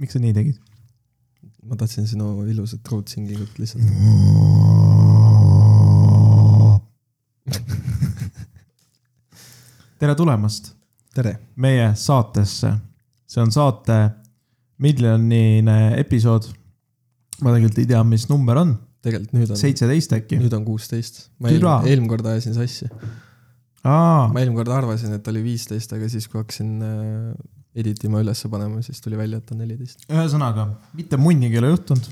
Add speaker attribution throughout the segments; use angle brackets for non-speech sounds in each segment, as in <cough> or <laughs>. Speaker 1: miks sa nii tegid ?
Speaker 2: ma tahtsin sinu ilusat raudsingigut lihtsalt .
Speaker 1: tere tulemast
Speaker 2: tere ,
Speaker 1: meie saatesse . see on saate miljonine episood . ma tegelikult ei tea , mis number on ,
Speaker 2: tegelikult nüüd on ,
Speaker 1: seitseteist äkki .
Speaker 2: nüüd on kuusteist . ma eelmine
Speaker 1: Türa. ,
Speaker 2: eelmine kord ajasin sassi .
Speaker 1: aa ,
Speaker 2: ma eelmine kord arvasin , et oli viisteist , aga siis , kui hakkasin äh, edit ima ülesse panema , siis tuli välja , et on neliteist .
Speaker 1: ühesõnaga mitte munnigi ei ole juhtunud .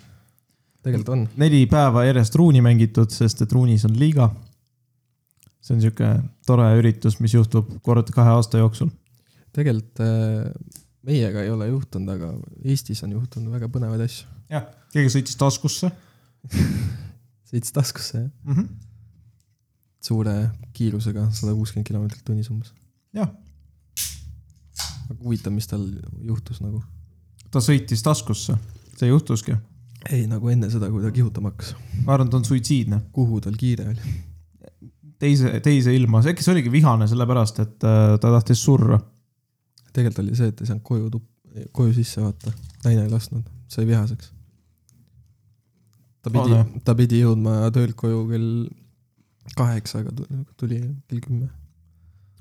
Speaker 2: tegelikult on .
Speaker 1: neli päeva järjest ruuni mängitud , sest et ruunis on liiga . see on sihuke tore üritus , mis juhtub kord kahe aasta jooksul .
Speaker 2: tegelikult äh, meiega ei ole juhtunud , aga Eestis on juhtunud väga põnevaid asju .
Speaker 1: jah , keegi sõitis taskusse
Speaker 2: sõits taskusse , jah .
Speaker 1: mm . -hmm.
Speaker 2: suure kiirusega , sada kuuskümmend kilomeetrit tunnis umbes .
Speaker 1: jah ,
Speaker 2: aga huvitav , mis tal juhtus nagu .
Speaker 1: ta sõitis taskusse , see juhtuski .
Speaker 2: ei , nagu enne seda , kui ta kihutama hakkas .
Speaker 1: ma arvan , ta on suitsiidne ,
Speaker 2: kuhu tal kiire oli ?
Speaker 1: teise , teise ilma , äkki see oligi vihane sellepärast , et äh, ta tahtis surra .
Speaker 2: tegelikult oli see , et ei saanud koju tup- , koju sisse vaata . naine ei lasknud , sai vihaseks . ta pidi
Speaker 1: Ole. ,
Speaker 2: ta pidi jõudma töölt koju kell kaheksa , aga tu- tuli kell kümme .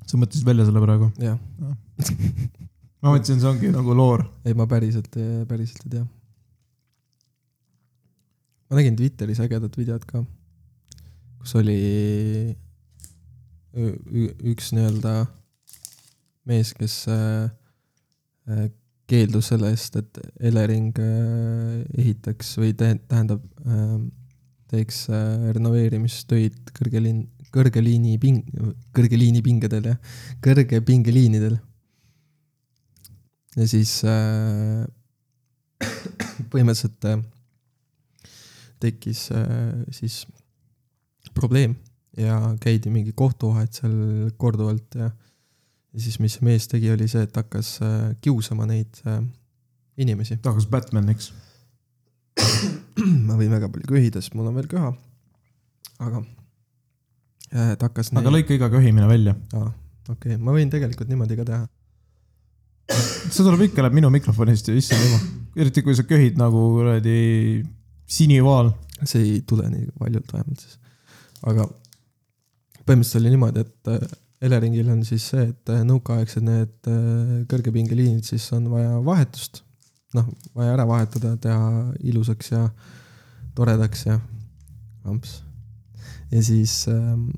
Speaker 1: sa mõtlesid välja selle praegu ?
Speaker 2: jah ,
Speaker 1: ma mõtlesin , see ongi nagu loor .
Speaker 2: ei ma päriselt , päriselt ei tea . ma nägin Twitteris ägedat videot ka , kus oli ü- ü- üks nii-öelda mees , kes äh, äh, keeldus selle eest , et Elering äh, ehitaks või tä- tähendab , Ehm, teeks äh, renoveerimistöid kõrge linn , kõrge liini ping- , kõrge liini pingedel jah , kõrge pingeliinidel . ja siis äh, <coughs> põhimõtteliselt äh, tekkis äh, siis probleem ja käidi mingi kohtuvahet seal korduvalt ja ja siis , mis see mees tegi , oli see , et hakkas äh, kiusama neid äh, inimesi .
Speaker 1: ta hakkas Batmaniks .
Speaker 2: <clears throat> ma võin väga palju köhida , sest mul on veel köha . aga äh, ta hakkas .
Speaker 1: aga lõika iga köhimine välja .
Speaker 2: aa , okei okay. , ma võin tegelikult niimoodi ka teha .
Speaker 1: see tuleb ikka , läheb minu mikrofonist ja issand jumal . eriti kui sa köhid nagu kuradi sinivaal .
Speaker 2: see ei tule nii paljult vähemalt siis . aga põhimõtteliselt oli niimoodi , et äh, Eleringil on siis see , et äh, nõukaaegsed need äh, kõrgepingeliinid siis on vaja vahetust . noh , vaja ära vahetada , teha ilusaks ja toredaks ja amps . ja siis ähm,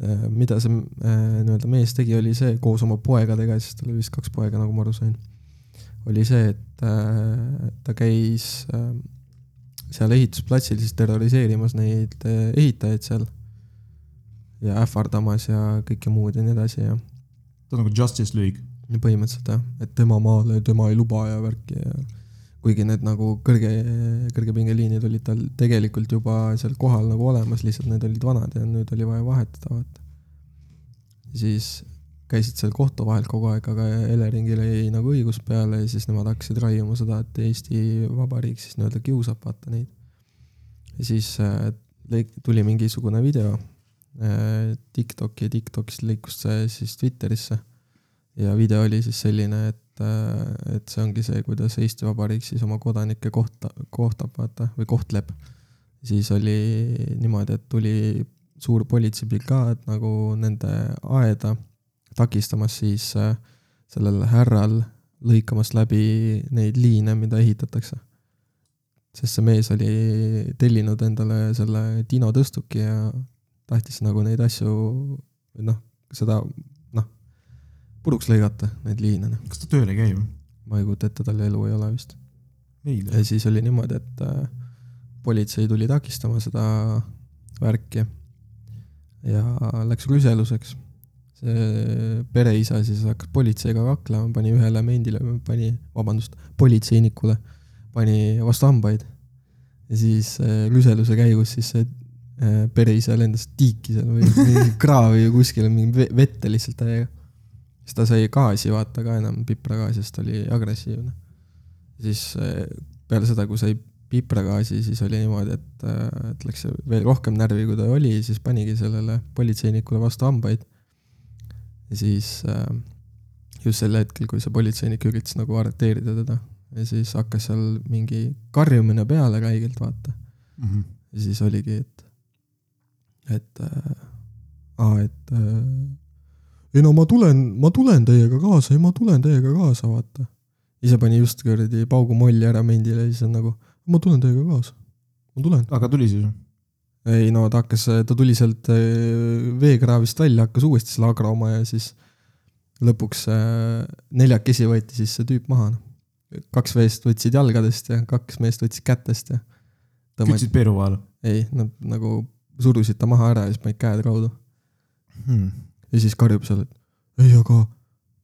Speaker 2: äh, mida see äh, nii-öelda mees tegi , oli see koos oma poegadega , siis tal oli vist kaks poega , nagu ma aru sain . oli see , et äh, ta käis äh, seal ehitusplatsil siis terroriseerimas neid eh, ehitajaid seal . ja ähvardamas ja kõike muud ja nii edasi ja ,
Speaker 1: ta on nagu Justice League .
Speaker 2: ja põhimõtteliselt jah , et tema maale tema ei luba ja värki ja . kuigi need nagu kõrge , kõrgepingeliinid olid tal tegelikult juba seal kohal nagu olemas , lihtsalt need olid vanad ja nüüd oli vaja vahetada , vaata . siis käisid seal kohtu vahel kogu aeg , aga Eleringile jäi nagu õigus peale ja siis nemad hakkasid raiuma seda , et Eesti Vabariik siis nii-öelda kiusab , vaata neid . ja siis äh, lõik- , tuli mingisugune video äh, TikToki ja TikTokist lõikus see siis Twitterisse . ja video oli siis selline , et äh, , et see ongi see , kuidas Eesti Vabariik siis oma kodanikke kohta , kohtab , vaata , või kohtleb . siis oli niimoodi , et tuli suur politseibrigaad nagu nende aeda takistamas siis äh, sellel härral lõikamas läbi neid liine , mida ehitatakse . sest see mees oli tellinud endale selle Dino tõstuki ja tahtis nagu neid asju , noh , seda , noh , puruks lõigata , neid liine , noh .
Speaker 1: kas ta tööl ei käi või ?
Speaker 2: ma ei kujuta ette , tal elu ei ole vist .
Speaker 1: ei .
Speaker 2: ja siis oli niimoodi , et äh, politsei tuli takistama seda värki ja läks rüseluseks . see pereisa siis hakkas politseiga kaklema , pani ühele mendile , pani , vabandust , politseinikule pani vastu hambaid . ja siis äh, rüseluse käigus siis see äh, pereisa lendas tiiki seal või <laughs> mingi kraavi või kuskile mingi ve- vette lihtsalt täiega . siis ta sai gaasi vaata ka enam , pipragaasi , sest ta oli agressiivne . siis äh, peale seda , kui sai pipragaasi , siis oli niimoodi , et , et läks veel rohkem närvi , kui ta oli , siis panigi sellele politseinikule vastu hambaid . ja siis äh, just sel hetkel , kui see politseinik üritas nagu arreteerida teda , ja siis hakkas seal mingi karjumine peale räigelt , vaata .
Speaker 1: mm . -hmm.
Speaker 2: ja siis oligi , et , et äh, , aa , et äh, ei no ma tulen , ma tulen teiega kaasa , ei ma tulen teiega kaasa , vaata . ise pani just kuradi paugu molli ära mendile ja siis on nagu , ma tulen teiega kaasa , ma tulen .
Speaker 1: aga tuli siis või ?
Speaker 2: ei no ta hakkas , ta tuli sealt äh, veekraavist välja , hakkas uuesti selle agroma ja siis lõpuks äh, neljakesi võeti siis see tüüp maha . kaks meest võtsid jalgadest ja kaks meest võtsid kätest ja tõmmati ,
Speaker 1: kütsid peeru vahele
Speaker 2: ei , nad nagu surusid ta maha ära ja siis panid käed kaudu
Speaker 1: hmm. ?
Speaker 2: ja siis karjub seal , et ei , aga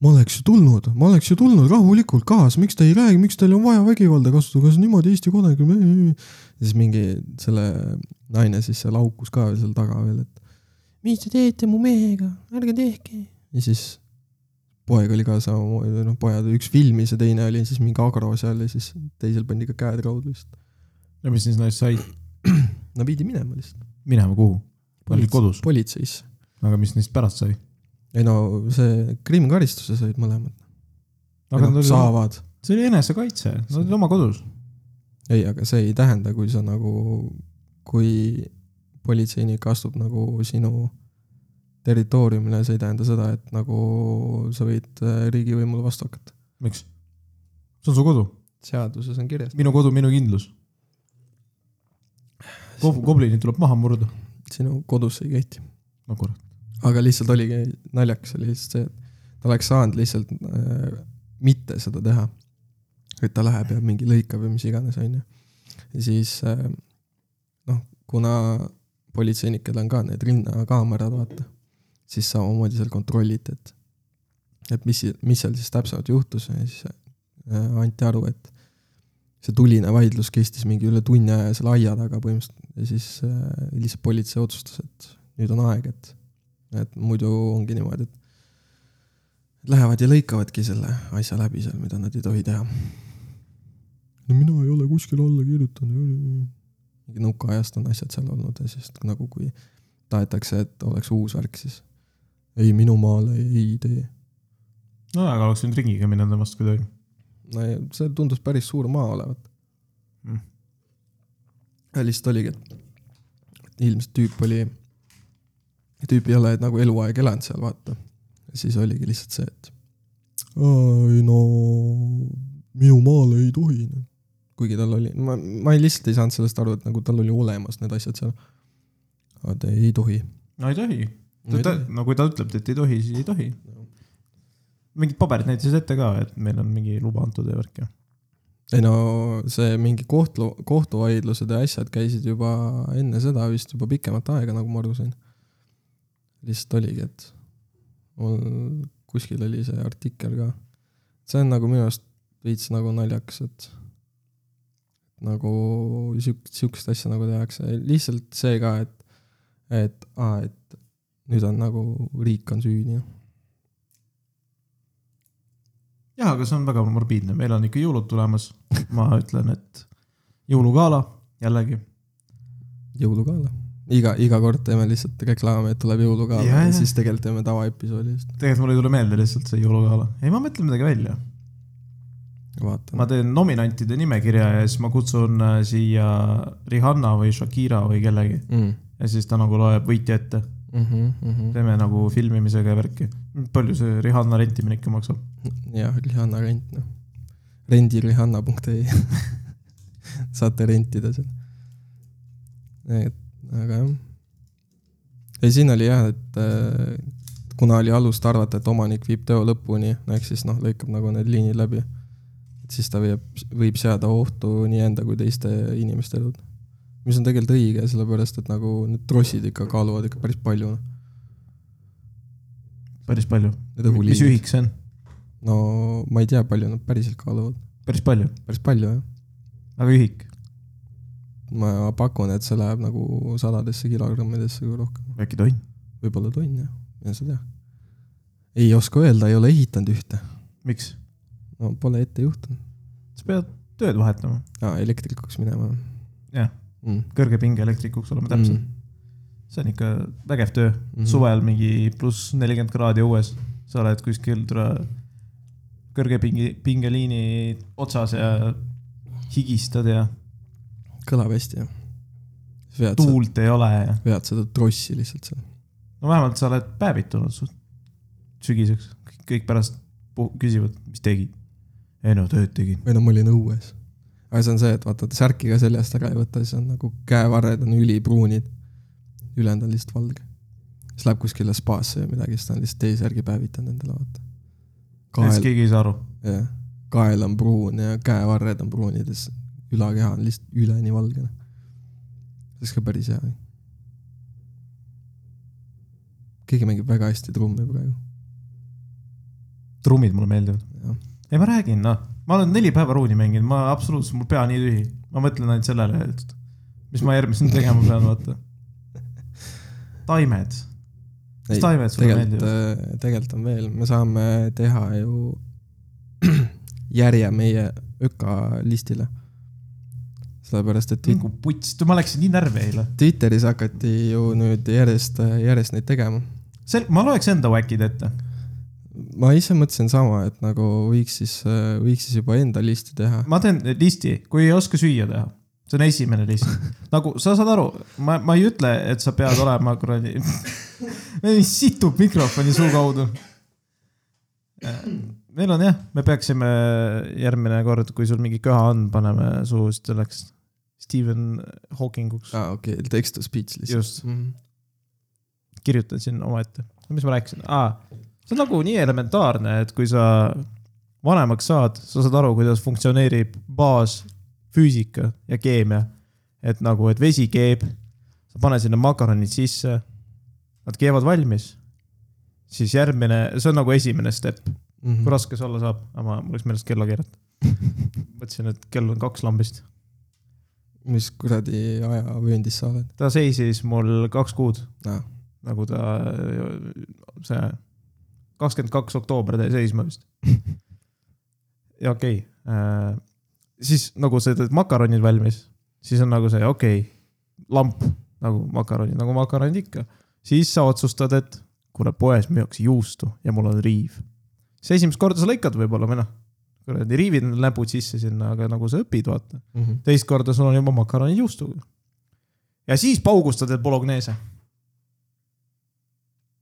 Speaker 2: ma oleks ju tulnud , ma oleks ju tulnud rahulikult kaasa , miks te ei räägi , miks teil on vaja vägivalda kasutada , kas niimoodi Eesti kodanik on ? ja siis mingi selle naine siis seal haukus ka seal taga veel , et mis te teete mu mehega , ärge tehke . ja siis poeg oli ka samamoodi , või noh , pojad , üks filmis ja teine oli siis mingi agro seal ja siis teisel pandi ka käed kaudu lihtsalt .
Speaker 1: ja mis siis naist sai
Speaker 2: Nad viidi minema lihtsalt .
Speaker 1: minema kuhu ? olid kodus ,
Speaker 2: politseisse .
Speaker 1: aga mis neist pärast sai ?
Speaker 2: ei no see kriimkaristuse said mõlemad .
Speaker 1: aga nad olid ,
Speaker 2: saavad .
Speaker 1: see oli enesekaitse , nad olid oma kodus .
Speaker 2: ei , aga see ei tähenda , kui sa nagu , kui politseinik astub nagu sinu territooriumile , see ei tähenda seda , et nagu sa võid äh, riigivõimule vastu hakata .
Speaker 1: miks ? see on su kodu ,
Speaker 2: seaduses on kirjas .
Speaker 1: minu kodu , minu kindlus . koblinid tuleb maha murda .
Speaker 2: sinu kodus see ei kehti .
Speaker 1: no kurat ,
Speaker 2: aga lihtsalt oligi naljakas oli lihtsalt see , et ta oleks saanud lihtsalt äh, mitte seda teha . et ta läheb ja mingi lõikab ja mis iganes , onju . ja siis äh, noh , kuna politseinikel on ka need rinnakaamerad , vaata , siis samamoodi seal kontrolliti , et , et mis , mis seal siis täpsemalt juhtus ja siis äh, anti aru , et see tuline vaidlus kestis mingi üle tunni aja seal aia taga põhimõtteliselt ja siis äh, lihtsalt politsei otsustas , et nüüd on aeg , et et muidu ongi niimoodi , et lähevad ja lõikavadki selle asja läbi seal , mida nad ei tohi teha . no mina ei ole kuskil alla kirjutanud . mingi nõukaajast on asjad seal olnud ja siis nagu kui tahetakse , et oleks uus värk , siis ei , minu maale ei tee .
Speaker 1: no aga oleks võinud ringiga minna temast kuidagi .
Speaker 2: no ja see tundus päris suur maa olevat
Speaker 1: Mm.
Speaker 2: mm. . lihtsalt oligi , et et ilmselt tüüp oli , tüüp ei ole nagu eluaeg elanud seal , vaata . siis oligi lihtsalt see , et ei no minu maale ei tohi . kuigi tal oli , ma , ma ei- lihtsalt ei saanud sellest aru , et nagu tal oli olemas need asjad seal . aga ta ei tohi .
Speaker 1: no ei tohi , no kui ta ütleb , et ei tohi , siis ei tohi . mingid paberid näitasid ette ka , et meil on mingi luba antud ja värk ja .
Speaker 2: ei no see mingi kohtu , kohtuvaidlused ja asjad käisid juba enne seda vist juba pikemat aega , nagu ma aru sain . lihtsalt oligi , et mul kuskil oli see artikkel ka . see on nagu minu arust veits nagu naljakas , et nagu siuk- , siukest asja nagu tehakse , lihtsalt see ka , et , et aa , et nüüd on nagu riik on süüdi .
Speaker 1: jah , aga see on väga morbiidne , meil on ikka jõulud tulemas . ma ütlen , et jõulugala jällegi .
Speaker 2: jõulugala . iga , iga kord teeme lihtsalt reklaami , et tuleb jõulugala ja,
Speaker 1: Jajah.
Speaker 2: ja siis tegelikult teeme tavaepisoodi lihtsalt .
Speaker 1: tegelikult mul ei tule meelde lihtsalt see jõulugala , ei ma mõtlen midagi välja .
Speaker 2: vaatan
Speaker 1: ma . teen nominantide nimekirja ja siis ma kutsun äh, siia Rihanna või Shakira või kellegi
Speaker 2: Mm.
Speaker 1: ja siis ta nagu loeb võitja ette ,
Speaker 2: Mm -hmm, mm -hmm.
Speaker 1: teeme nagu filmimisega ja värki . palju see Rihanna rentimine ikka maksab ?
Speaker 2: jah , Rihanna rent noh . rendirihanna.ee <laughs> saate rentida seal . et , aga jah . ei , siin oli jah , et äh, kuna oli alust arvata , et omanik viib teo lõpuni , ehk siis noh , lõikab nagu need liinid läbi . siis ta võib , võib seada ohtu nii enda kui teiste inimeste elud . mis on tegelikult õige , sellepärast et nagu need trossid ikka kaaluvad ikka päris palju .
Speaker 1: päris palju .
Speaker 2: Need
Speaker 1: mis
Speaker 2: õhuliinid .
Speaker 1: ühik see on ?
Speaker 2: no ma ei tea , palju nad päriselt kaaluvad ,
Speaker 1: päris palju ,
Speaker 2: päris palju jah .
Speaker 1: aga ühik ?
Speaker 2: ma pakun , et see läheb nagu sadadesse kilogrammidesse kui rohkem ,
Speaker 1: äkki tonn ?
Speaker 2: võib-olla tonn jah , mine sa tea . ei oska öelda , ei ole ehitanud ühte ,
Speaker 1: miks ?
Speaker 2: no pole ette juhtunud .
Speaker 1: sa pead tööd vahetama ,
Speaker 2: aa , elektrikuks minema
Speaker 1: Jah.
Speaker 2: mm. .
Speaker 1: kõrge pinge elektrikuks olema täpselt mm. . see on ikka vägev töö
Speaker 2: Mhm.
Speaker 1: mm. , suvel mingi pluss nelikümmend kraadi õues , sa oled kuskil tule kõrge pingi , pingeliini otsas ja higistad ja
Speaker 2: kõlab hästi jah . vead seda ,
Speaker 1: tuult ei ole ja .
Speaker 2: vead seda trossi lihtsalt seal .
Speaker 1: no vähemalt sa oled päevitunud suht sügiseks , kõik pärast pu- küsivad , mis tegid . ei no tööd tegin .
Speaker 2: või no ma olin õues . aga see on see , et vaata , et särki ka seljast ära ei võta , siis on nagu käevarred on ülipruunid . ülejäänud on lihtsalt valge . siis läheb kuskile spaasse või midagi , siis ta on lihtsalt T-särgi päevitanud endale , vaata .
Speaker 1: siis
Speaker 2: kael ,
Speaker 1: keegi ei saa aru .
Speaker 2: jah , kael on pruun ja käevarred on pruunid ja siis ülakeha on lihtsalt üleni valgene . noh. see oleks ka päris hea . keegi mängib väga hästi trummi praegu ,
Speaker 1: trummid mulle meeldivad .
Speaker 2: jah .
Speaker 1: ei , ma räägin , noh , ma olen neli päeva ruuni mänginud , ma absoluutselt , mul pea nii tühi , ma mõtlen ainult sellele , et mis ma järgmisena tegema pean ,
Speaker 2: <laughs>
Speaker 1: vaata . taimed , mis taimed sulle
Speaker 2: tegelikult äh,
Speaker 1: meeldivad ?,
Speaker 2: tegelikult on veel , me saame teha ju <clears throat> järje meie ökalistile . sellepärast , et Twit-
Speaker 1: nagu puts , ma läksin nii närvi eile .
Speaker 2: Twitteris hakati ju nüüd järjest , järjest neid tegema .
Speaker 1: sel- , ma loeks enda whack'id ette .
Speaker 2: ma ise mõtlesin sama , et nagu võiks siis , võiks siis juba enda listi teha .
Speaker 1: ma teen listi , kui ei oska süüa teha . see on esimene list . nagu sa saad aru , ma , ma ei ütle , et sa pead olema kuradi , <laughs> situb mikrofoni suu kaudu . meil on jah , me peaksime järgmine kord , kui sul mingi köha on , paneme suu just selleks Stephen Hawkinguks .
Speaker 2: aa , okei okay, , text to speech lihtsalt . Mhm.
Speaker 1: just , kirjutan siin omaette . mis ma rääkisin ah, ? see on nagu nii elementaarne , et kui sa vanemaks saad , sa saad aru , kuidas funktsioneerib baasfüüsika ja keemia . et nagu , et vesi keeb , sa pane sinna makaronid sisse , nad keevad valmis . siis järgmine , see on nagu esimene step , kui . raske see olla saab , aga ma- mul läks meelest kella keerata . <laughs> mõtlesin , et kell on kaks lambist .
Speaker 2: mis kuradi ajavööndis sa oled ?
Speaker 1: ta seisis mul kaks kuud
Speaker 2: aa ,
Speaker 1: nagu ta , see kakskümmend kaks oktoober jäi seisma vist . ja okei okay. , siis nagu sa teed makaronid valmis , siis on nagu see okei okay, , lamp nagu makaronid , nagu makaronid ikka . siis sa otsustad , et kuule , poes müüakse juustu ja mul on riiv . siis esimest korda sa lõikad võib-olla või noh , kuradi riivid on näpud sisse sinna , aga nagu sa õpid , vaata . teist korda sul on juba makaronid juustuga . ja siis paugustad , et bologneese .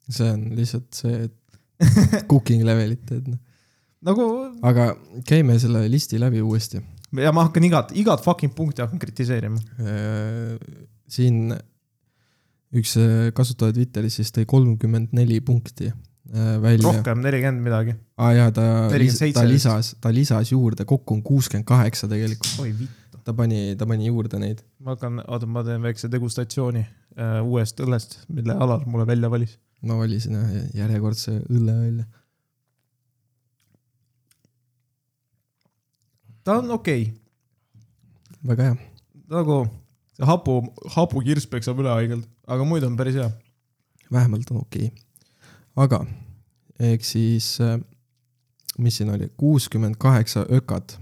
Speaker 2: see on lihtsalt see , et cooking levelit teed , noh .
Speaker 1: nagu
Speaker 2: aga käime selle listi läbi uuesti .
Speaker 1: ja ma hakkan igat , igat fucking punkti hakkan kritiseerima .
Speaker 2: Äh, siin üks äh, kasutaja Twitteris siis tõi kolmkümmend neli punkti äh, välja .
Speaker 1: rohkem nelikümmend midagi .
Speaker 2: aa jaa , ta ,
Speaker 1: 47
Speaker 2: ta
Speaker 1: vist.
Speaker 2: lisas , ta lisas juurde , kokku on kuuskümmend kaheksa tegelikult .
Speaker 1: oi vittu .
Speaker 2: ta pani , ta pani juurde neid .
Speaker 1: ma hakkan , oota , ma teen väikse degustatsiooni äh, uuest õllest , mille Alar mulle välja valis .
Speaker 2: ma valisin jah, järjekordse õlle välja .
Speaker 1: ta on okei okay. ,
Speaker 2: väga hea .
Speaker 1: nagu see hapu , hapukirss peksab üle haigelt , aga muidu on päris hea .
Speaker 2: vähemalt on okei okay. . aga ehk siis , mis siin oli , kuuskümmend kaheksa ökat ,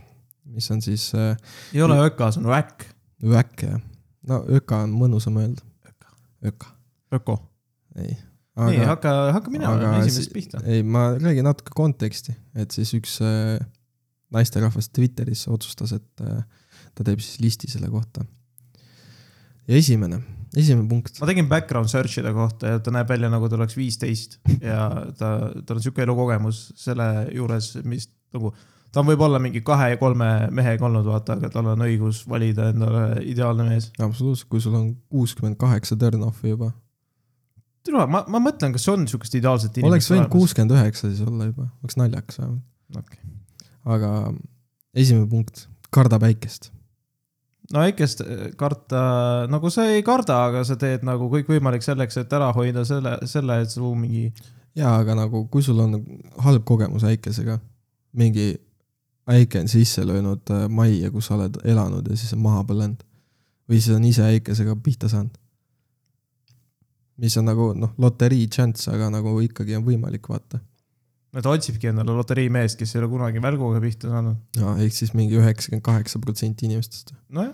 Speaker 2: mis on siis äh,
Speaker 1: ei ole öka , see on väkk .
Speaker 2: väkke . no öka on mõnusam öelda .
Speaker 1: Öka.
Speaker 2: öka ,
Speaker 1: öko .
Speaker 2: ei .
Speaker 1: nii , hakka , hakka
Speaker 2: aga
Speaker 1: minema ,
Speaker 2: si-
Speaker 1: esimesest pihta .
Speaker 2: ei , ma räägin natuke konteksti , et siis üks äh, naisterahvas Twitteris otsustas , et äh, ta teeb siis listi selle kohta . ja esimene , esimene punkt ,
Speaker 1: ma tegin background search'ide kohta ja ta näeb välja nagu ta oleks viisteist ja ta , tal on sihuke elukogemus selle juures , mis nagu . ta on võib-olla mingi kahe ja kolme mehega olnud , vaata , aga tal on õigus valida endale ideaalne mees .
Speaker 2: absoluutselt , kui sul on kuuskümmend kaheksa turn-off'i juba .
Speaker 1: tule , ma , ma mõtlen , kas on sihukest ideaalset
Speaker 2: oleks võinud . kuuskümmend üheksa siis olla juba , oleks naljakas vähemalt . aga mm, esimene punkt , karda päikest .
Speaker 1: no väikest äh, karta , nagu sa ei karda , aga sa teed nagu kõikvõimalik selleks , et ära hoida selle , selle , et su mingi .
Speaker 2: jaa , aga nagu kui sul on halb kogemus äikesega , mingi äike on sisse löönud äh, majja , kus sa oled elanud ja siis on maha põlenud . või siis on ise äikesega pihta saanud . mis on nagu noh , loterii chance , aga nagu ikkagi on võimalik , vaata .
Speaker 1: ta otsibki endale loteriimeest , kes ei ole kunagi välguga pihta saanud .
Speaker 2: ehk siis mingi üheksakümmend kaheksa protsenti inimestest
Speaker 1: nojah ,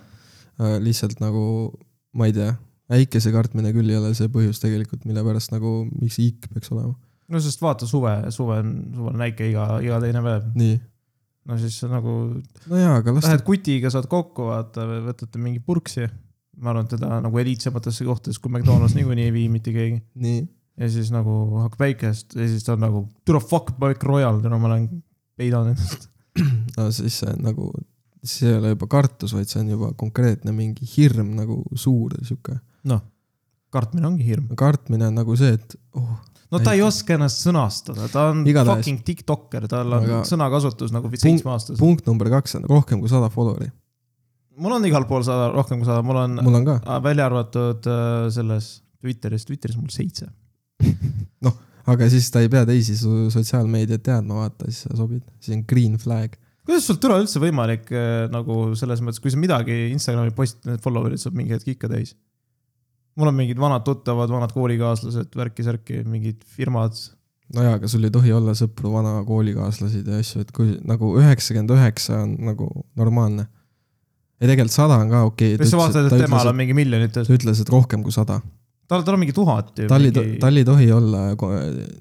Speaker 2: Äh, lihtsalt nagu , ma ei tea , äikese kartmine küll ei ole see põhjus tegelikult , mille pärast nagu , miks iik peaks olema .
Speaker 1: no sest vaata suve , suve on , suvel on väike iga , iga teine päev .
Speaker 2: nii .
Speaker 1: no siis sa nagu
Speaker 2: no jaa , aga las ta
Speaker 1: lähed kutiga , saad kokku , vaata , võtate mingi purksi . ma arvan , et teda nagu eliitsematesse kohtadesse , kui McDonalds niikuinii ei vii mitte keegi .
Speaker 2: nii ,
Speaker 1: ja siis nagu hakkab päikest ja siis ta on nagu türa fuck Bike Royal , täna ma olen peidan ennast .
Speaker 2: no siis see on nagu , siis ei ole juba kartus , vaid see on juba konkreetne mingi hirm nagu suur sihuke .
Speaker 1: noh , kartmine ongi hirm .
Speaker 2: kartmine on nagu see , et oh ,
Speaker 1: no ta ei oska ennast sõnastada , ta on
Speaker 2: Igatahes.
Speaker 1: Igatahes. fucking tiktokker , tal on
Speaker 2: Aga-
Speaker 1: Aga... sõnakasutus nagu seitsmeaastasel .
Speaker 2: punkt number kaks on rohkem kui sada follower'i ,
Speaker 1: mul on igal pool sada , rohkem kui sada , mul on
Speaker 2: mul on ka .
Speaker 1: Aa, välja arvatud äh, selles Twitteris , Twitteris mul seitse .
Speaker 2: aga siis ta ei pea teisi su sotsiaalmeediat teadma , vaata , siis sa sobid , siis on green flag .
Speaker 1: kuidas sul türa üldse võimalik äh, nagu selles mõttes , kui sa midagi Instagrami postid , need follower'id saab mingi hetk ikka täis . mul on mingid vanad tuttavad , vanad koolikaaslased , värki-särki , mingid firmad .
Speaker 2: nojaa , aga sul ei tohi olla sõpru , vana koolikaaslaseid ja asju , et kui nagu üheksakümmend üheksa on nagu normaalne . ja tegelikult sada on ka okei
Speaker 1: kas sa vaatad , et temal
Speaker 2: okay, .
Speaker 1: on mingi miljonites ,
Speaker 2: ta ütles , et rohkem kui sada .
Speaker 1: tal , tal on mingi tuhat ju .
Speaker 2: tal ei , tal ei tohi olla ko-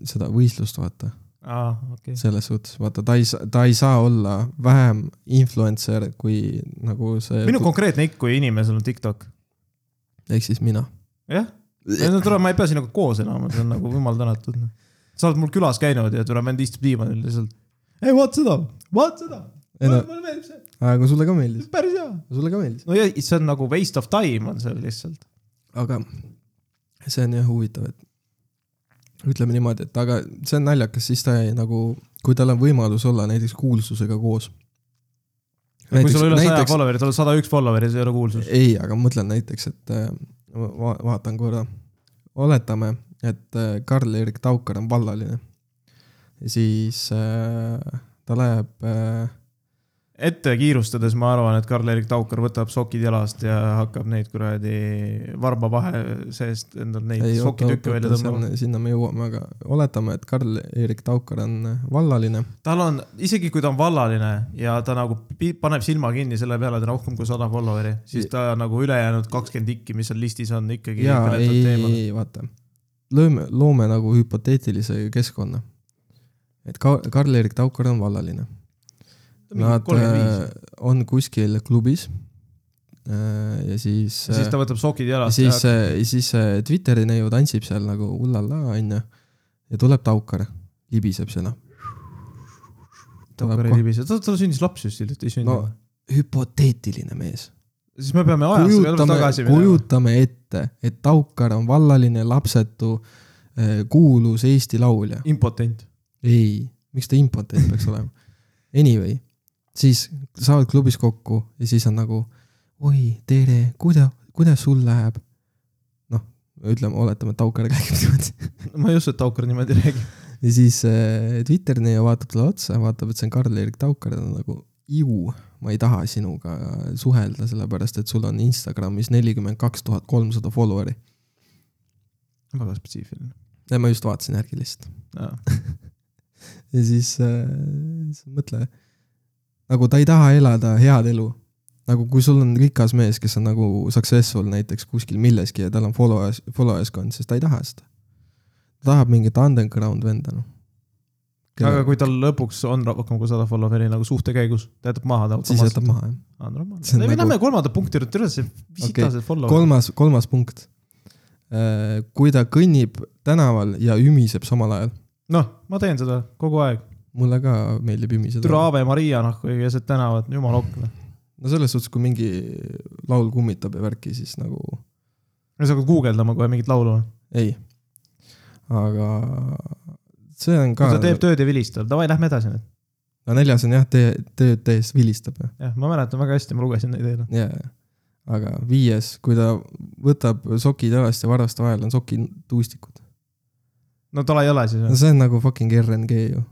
Speaker 2: seda võistlust , vaata ,
Speaker 1: aa , okei .
Speaker 2: selles suhtes , vaata , ta ei saa , ta ei saa olla vähem influencer kui nagu see .
Speaker 1: minu konkreetne ikk , kui inimesel on TikTok ,
Speaker 2: ehk siis mina .
Speaker 1: jah . no tule , ma ei pea sinuga koos enam , see on nagu jumal tänatud . sa oled mul külas käinud ja tule , vend istub diivanil lihtsalt . ei , vaata seda , vaata seda ,
Speaker 2: ei no ,
Speaker 1: mulle meeldib see ,
Speaker 2: aga sulle ka meeldis ,
Speaker 1: päris hea .
Speaker 2: sulle ka meeldis .
Speaker 1: no ja see on nagu waste of time on seal lihtsalt .
Speaker 2: aga see on jah huvitav , et ütleme niimoodi , et aga see on naljakas , siis ta jäi nagu , kui tal on võimalus olla näiteks kuulsusega koos .
Speaker 1: kui sul on üle saja follower'i , tal on sada üks follower'i , see ei ole kuulsus .
Speaker 2: ei , aga ma mõtlen näiteks , et äh, va- , vaatan korra , oletame , et äh, Karl-Erik Taukar on vallaline . siis äh, ta läheb äh, ,
Speaker 1: ette kiirustades ma arvan , et Karl-Erik Taukar võtab sokid jalast ja hakkab neid kuradi varba vahe seest endal neid
Speaker 2: ei oota ,
Speaker 1: sokitükke
Speaker 2: oota ,
Speaker 1: välja tõmbama .
Speaker 2: oota , sinna me jõuame , aga oletame , et Karl-Erik Taukar on äh, vallaline .
Speaker 1: tal on , isegi kui ta on vallaline ja ta nagu pi- paneb silma kinni selle peale , et on rohkem kui sada follower'i , siis ta nagu ülejäänud kakskümmend ikki , mis seal listis on , ikkagi
Speaker 2: jaa ,
Speaker 1: kõnetab
Speaker 2: ei , ei
Speaker 1: teemal. ,
Speaker 2: ei , vaata . lööme , loome nagu hüpoteetilise keskkonna . et Ka- , Karl-Erik Taukar on vallaline .
Speaker 1: Ta on mingi
Speaker 2: Nad
Speaker 1: 35.
Speaker 2: äh, on kuskil klubis . ja siis . äh,
Speaker 1: Ja siis ta võtab sokid jalast
Speaker 2: siis eh,
Speaker 1: ja ,
Speaker 2: siis see Twitteri neiu tantsib seal nagu ullala , onju . ja tuleb Taukar , libiseb noh. sinna .
Speaker 1: Taukar ei libise , tal tal sündis laps just hiljuti , ei
Speaker 2: no
Speaker 1: sündinud .
Speaker 2: hüpoteetiline mees .
Speaker 1: siis me peame ajas veel
Speaker 2: kujutame ,
Speaker 1: tagasi minema .
Speaker 2: kujutame ette , et Taukar on vallaline , lapsetu , kuulus Eesti laulja .
Speaker 1: impotent .
Speaker 2: ei , miks ta impotent peaks olema ? Anyway , siis saavad klubis kokku ja siis on nagu oi , tere , kuida- , kuidas sul läheb ? noh , ütleme , oletame , et Aukar käib <laughs> niimoodi .
Speaker 1: ma ei usu , et Taukar niimoodi räägib .
Speaker 2: ja siis äh, Twitterini ja vaatab talle otsa , vaatab , et see on Karl-Erik Taukar ja ta on nagu ju , ma ei taha sinuga suhelda , sellepärast et sul on Instagramis nelikümmend kaks tuhat kolmsada follower'i .
Speaker 1: väga spetsiifiline .
Speaker 2: ja ma just vaatasin järgi lihtsalt .
Speaker 1: Jaa.
Speaker 2: ja siis äh, siis mõtle , nagu ta ei taha elada head elu . nagu kui sul on rikas mees , kes on nagu successful näiteks kuskil milleski ja tal on followers , followerskond , siis ta ei taha seda . ta tahab mingit underground venda , noh .
Speaker 1: aga kui tal lõpuks on rohkem kui sada follower'i nagu suhte käigus , ta jätab maha ta
Speaker 2: siis jätab . maha , jah . See on
Speaker 1: me
Speaker 2: nagu-
Speaker 1: läheme kolmanda punkti juurde , tere , see visitased follower'id .
Speaker 2: kolmas , kolmas punkt . kui ta kõnnib tänaval ja ümiseb samal ajal ,
Speaker 1: noh , ma teen seda kogu aeg .
Speaker 2: mulle ka meeldib ümiseda
Speaker 1: türa Ave Maria nahku ja keset tänavat , jumala noh. okna .
Speaker 2: no selles suhtes , kui mingi laul kummitab ja värki , siis nagu
Speaker 1: no sa hakkad guugeldama kohe mingit laulu . noh.
Speaker 2: ei . aga see on
Speaker 1: kui
Speaker 2: ka
Speaker 1: ta , teeb tööd ja vilistab , davai , lähme edasi nüüd .
Speaker 2: no neljas on jah , tee , tööd tehes vilistab ja ,
Speaker 1: jah , ma mäletan väga hästi , ma lugesin neid eile .
Speaker 2: ja , ja . aga viies , kui ta võtab sokid jalast ja varraste vahel on sokituustikud .
Speaker 1: no tal ei ole siis
Speaker 2: no
Speaker 1: või ?
Speaker 2: see on nagu fucking RNG ju .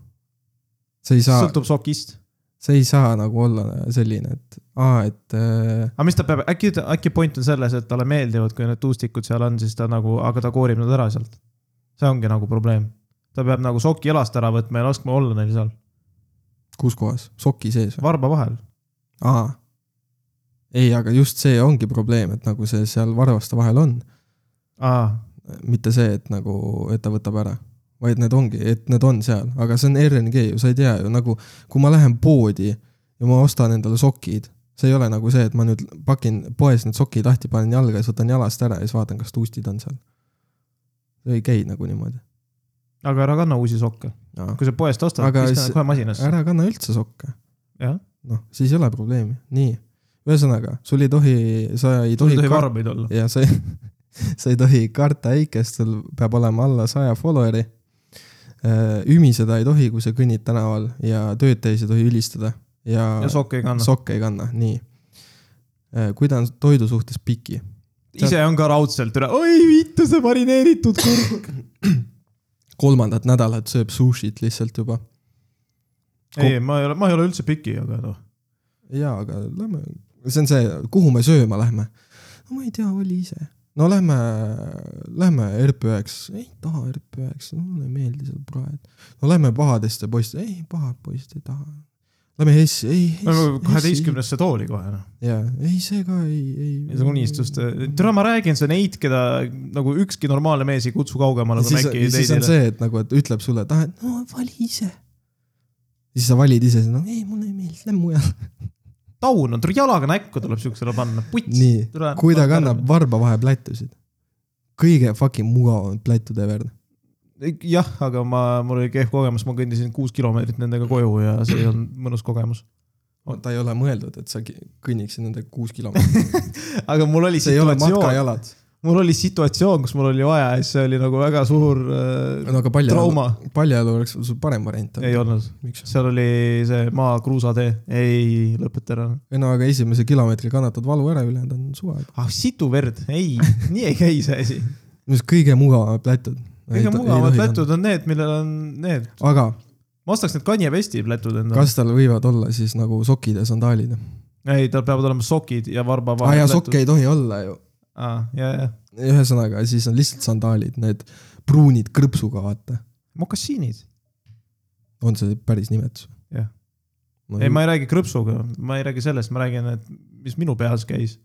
Speaker 2: sa ei saa ,
Speaker 1: sõltub sokist .
Speaker 2: sa ei saa nagu olla selline , et aa , et äh,
Speaker 1: aga mis ta peab , äkki , äkki point on selles , et talle meeldivad , kui need tuustikud seal on , siis ta nagu , aga ta koorib nad ära sealt . see ongi nagu probleem . ta peab nagu soki jalast ära võtma ja laskma olla neil seal ,
Speaker 2: kus kohas , soki sees või ?
Speaker 1: varba vahel .
Speaker 2: aa . ei , aga just see ongi probleem , et nagu see seal varvaste vahel on ,
Speaker 1: aa ,
Speaker 2: mitte see , et nagu , et ta võtab ära , vaid need ongi , et need on seal , aga see on RNG ju , sa ei tea ju nagu , kui ma lähen poodi ja ma ostan endale sokid , see ei ole nagu see , et ma nüüd pakin poes need sokid lahti , panen jalga ja siis võtan jalast ära ja siis vaatan , kas tuustid on seal . ei käi nagu niimoodi .
Speaker 1: aga ära kanna uusi sokke , kui sa poest ostad ,
Speaker 2: Aga
Speaker 1: viska
Speaker 2: s-
Speaker 1: nad kohe masinasse .
Speaker 2: ära kanna üldse sokke ,
Speaker 1: jah ,
Speaker 2: noh , siis ei ole probleemi , nii . ühesõnaga , sul ei tohi , sa ei
Speaker 1: sul
Speaker 2: tohi
Speaker 1: ei tohi varbaid olla .
Speaker 2: ja sa ei , <laughs> sa ei tohi karta äikest , sul peab olema alla saja follower'i . ümiseda ei tohi , kui sa kõnnid tänaval ja tööd tehes ei tohi ülistada ja,
Speaker 1: ja sokke ei kanna so .
Speaker 2: sokke ei kanna , nii . kui ta on toidu suhtes piki ,
Speaker 1: ise on ka raudselt üle , oi vittu , see marineeritud kurk .
Speaker 2: kolmandat nädalat sööb sushit lihtsalt juba .
Speaker 1: ei , ma ei ole , ma ei ole üldse piki , aga noh ,
Speaker 2: jaa , aga lähme , see on see , kuhu me sööma lähme . no ma ei tea , vali ise . no lähme , lähme RP9 , ei taha RP9 , mulle ei meeldi seal praed . no lähme pahadesse poiste , ei pahad poisid ei taha . Lähme Hessi , ei .
Speaker 1: kaheteistkümnesse tooli kohe noh .
Speaker 2: jaa , ei see ka ei , ei .
Speaker 1: see on äh, unistuste , türa , ma räägin , see on neid , keda nagu ükski normaalne mees ei kutsu kaugemale ,
Speaker 2: ja
Speaker 1: kui
Speaker 2: siis ,
Speaker 1: nagu Maci ei
Speaker 2: ja siis on
Speaker 1: tee .
Speaker 2: see , et nagu , et ütleb sulle , et ah , et no vali ise . siis sa valid ise , no ei , mulle ei meeldi , lähme mujale .
Speaker 1: taun on , tule jalaga näkku tuleb siuksele panna , puts .
Speaker 2: nii , kui ta kannab . varba vahe plätusid . kõige fucking mugavam plätude värv .
Speaker 1: jah , aga ma , mul oli kehv kogemus , ma kõndisin kuus kilomeetrit nendega koju ja see on mõnus kogemus .
Speaker 2: ta ei ole mõeldud , et sa ki- kõnniksid nendega kuus kilomeetrit ,
Speaker 1: aga mul oli
Speaker 2: see ei ole
Speaker 1: situatsioon ,
Speaker 2: matkajalad .
Speaker 1: mul oli situatsioon , kus mul oli vaja ja siis see oli nagu väga suur äh,
Speaker 2: no aga paljajalu ,
Speaker 1: trauma .
Speaker 2: paljajalu oleks sul parem variant
Speaker 1: ei
Speaker 2: olnud .
Speaker 1: olnud ,
Speaker 2: miks ?
Speaker 1: seal oli see maa kruusatee , ei lõpeta ära
Speaker 2: ei no aga esimese kilomeetri kannatad valu ära , ülejäänud on suva .
Speaker 1: ah situ verd , ei , nii ei käi see asi .
Speaker 2: mis kõige mugavamad plätud .
Speaker 1: kõige mugavamad plätud on need , millel on need ,
Speaker 2: aga
Speaker 1: ma ostaks need Kanye Westi plätud endale Kas... .
Speaker 2: kas tal võivad olla siis nagu sokid ja sandaalid ?
Speaker 1: ei , tal peavad olema sokid ja varba
Speaker 2: aa
Speaker 1: vahel
Speaker 2: Ah, jaa , sokke . ei tohi olla ju .
Speaker 1: aa , ja , ja ,
Speaker 2: ühesõnaga , siis on lihtsalt sandaalid , need pruunid krõpsuga , vaata .
Speaker 1: mokassiinid .
Speaker 2: on see päris nimetus ?
Speaker 1: Jah.
Speaker 2: no, .
Speaker 1: ei , ma ei räägi krõpsuga , ma ei räägi sellest , ma räägin , et mis minu peas käis .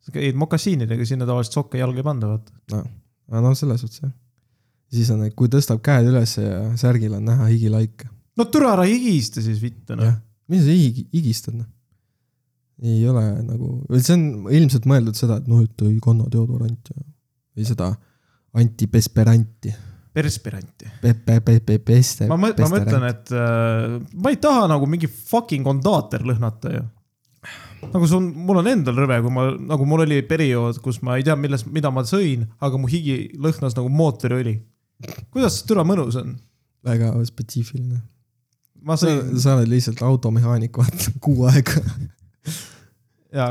Speaker 1: sa käid mokassiinidega , sinna tavaliselt sokke jalga ei panda , vaata .
Speaker 2: aga noh , selles suhtes jah . siis on , et kui tõstab käed üles ja särgil on näha higilaike .
Speaker 1: no türa ära higista siis vittu noh .
Speaker 2: jah , mis sa higi , higistad noh ? ei ole nagu , see on ilmselt mõeldud seda , et noh , et ei kanna deodoranti ja- või seda antipesperanti .
Speaker 1: perspiranti . ma
Speaker 2: ma
Speaker 1: mõtlen , ma mõtlen ,, et äh, ma ei taha nagu mingi fucking kondaater lõhnata ju . nagu see on , mul on endal rõve , kui ma , nagu mul oli periood , kus ma ei tea , millest , mida ma sõin , aga mu higi lõhnas nagu mootoriõli . kuidas see türa mõnus on ?
Speaker 2: väga spetsiifiline .
Speaker 1: ma
Speaker 2: sa
Speaker 1: sõin ,.
Speaker 2: sa oled lihtsalt automehaanik , vaata , kuu
Speaker 1: <laughs>
Speaker 2: aega .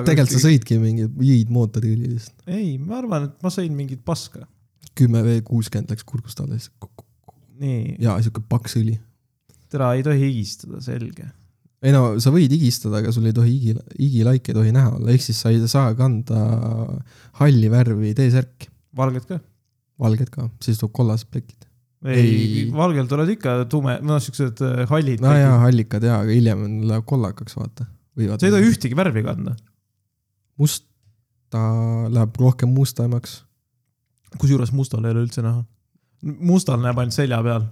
Speaker 2: tegelikult sa sõidki mingi , jõid mootoriõli lihtsalt .
Speaker 1: ei , ma arvan , et ma sõin mingit paska .
Speaker 2: kümme V kuuskümmend läks kurgust alla , siis
Speaker 1: nii ,
Speaker 2: ja siuke paks õli .
Speaker 1: türa ei tohi higistada , selge .
Speaker 2: ei no sa võid higistada , aga sul ei tohi higi , higilaike ei tohi näha olla , ehk siis sa ei saa kanda halli värvi T-särki ,
Speaker 1: valged ka ?
Speaker 2: valged ka , siis tuleb kollased plekid .
Speaker 1: ei, ei.
Speaker 2: Ei. ,
Speaker 1: valgel tulevad ikka tume , noh , siuksed äh, hallid .
Speaker 2: no jaa , hallikad jaa , aga hiljem on- läheb kollakaks , vaata . võivad .
Speaker 1: sa ei tohi ühtegi värvi kanda .
Speaker 2: musta , läheb rohkem mustemaks .
Speaker 1: kusjuures mustal ei ole üldse näha . mustal näeb ainult selja peal .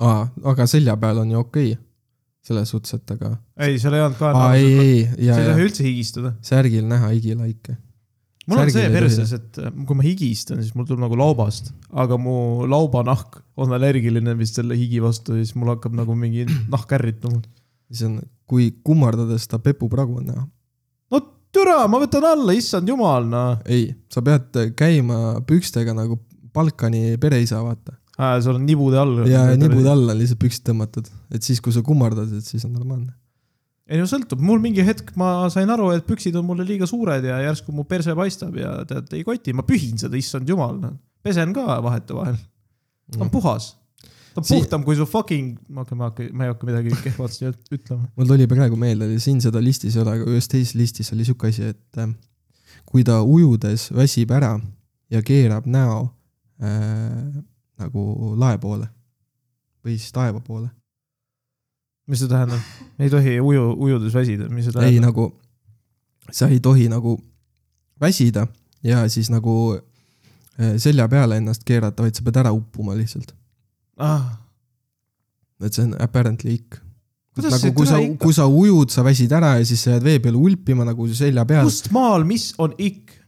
Speaker 2: aa , aga selja peal on ju okei okay. . selles suhtes , et aga .
Speaker 1: ei , seal ei olnud ka
Speaker 2: aa , ei ,
Speaker 1: näha .
Speaker 2: ei ,
Speaker 1: sa
Speaker 2: jaa ,
Speaker 1: ei tohi
Speaker 2: jaa ,
Speaker 1: üldse higistada .
Speaker 2: särgil näha higilaike .
Speaker 1: mul on
Speaker 2: Särgil
Speaker 1: see
Speaker 2: ei tohi.
Speaker 1: perses , et äh, kui ma higistan , siis mul tuleb nagu laubast , aga mu laubanahk on allergiline vist selle higi vastu ja siis mul hakkab nagu mingi nahk ärrituma .
Speaker 2: siis on , kui kummardades ta pepupragu on näha .
Speaker 1: no türa , ma võtan alla , issand jumal , noh .
Speaker 2: ei , sa pead käima pükstega nagu Balkani pereisa , vaata .
Speaker 1: sul on nibude all .
Speaker 2: ja nibud . alla on lihtsalt püksid tõmmatud , et siis , kui sa kummardad , et siis on normaalne .
Speaker 1: ei no sõltub , mul mingi hetk ma sain aru , et püksid on mulle liiga suured ja järsku mu perse paistab ja tead , ei koti , ma pühin seda , issand jumal , noh . pesen ka vahetevahel . ta on
Speaker 2: Mm.
Speaker 1: puhas . ta on
Speaker 2: Sii-
Speaker 1: puhtam kui su fucking , ma hakkan , ma hakkan , ma ei hakka midagi kehvat siin üt- ütlema .
Speaker 2: mul tuli praegu meelde , siin seda listis ei ole , aga ühes teises listis oli sihuke asi , et äh, kui ta ujudes väsib ära ja keerab näo äh, nagu lae poole või siis taeva poole .
Speaker 1: mis see tähendab ? ei tohi uju , ujudes väsida , mis see
Speaker 2: ei
Speaker 1: tähendab ?
Speaker 2: nagu , sa ei tohi nagu väsida ja siis nagu äh, selja peale ennast keerata , vaid sa pead ära uppuma lihtsalt .
Speaker 1: ah, .
Speaker 2: et see on apparently ikk .
Speaker 1: Kuidas
Speaker 2: nagu
Speaker 1: see
Speaker 2: kui sa
Speaker 1: türa ikk- ,
Speaker 2: kui sa ujud , sa väsid ära ja siis sa jääd vee peal ulpima nagu selja peal .
Speaker 1: kust maal , mis on ikk ?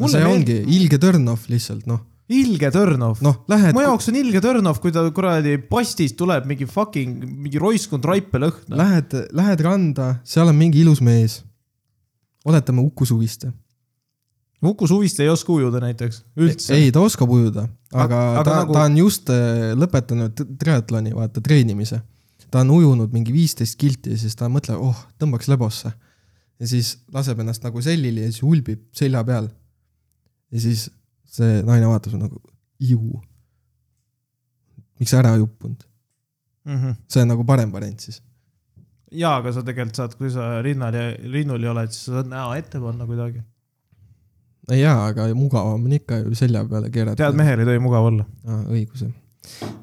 Speaker 2: see ongi ilge turn-off lihtsalt noh ,
Speaker 1: ilge törnov .
Speaker 2: noh lähed
Speaker 1: mu , jaoks on ilge törnov , kui ta kuradi postist tuleb mingi fucking , mingi roiskunud raipelõhn .
Speaker 2: lähed , lähed randa , seal on mingi ilus mees . oletame Uku Suviste .
Speaker 1: Uku Suviste ei oska ujuda näiteks , üldse .
Speaker 2: ei , ta oskab ujuda , aga,
Speaker 1: Aga- aga
Speaker 2: aga ta
Speaker 1: nagu-
Speaker 2: nagu... , ta on just äh, lõpetanud tri- triatloni , vaata treenimise . ta on ujunud mingi viisteist kilti ja siis ta mõtleb , oh , tõmbaks lebosse . ja siis laseb ennast nagu sellili ja siis ulbib selja peal . ja siis see naine vaatab sulle nagu , ju . miks sa ära ei uppunud ? see on nagu parem variant siis .
Speaker 1: Mhm. jaa , aga sa tegelikult saad , kui sa rinnal ja rinnul ei oled , siis sa saad näo ette panna kuidagi .
Speaker 2: jaa , aga mugavam on ikka ju selja peale keerata .
Speaker 1: tead , mehel ei tohi mugav olla .
Speaker 2: ah, . õigus jah .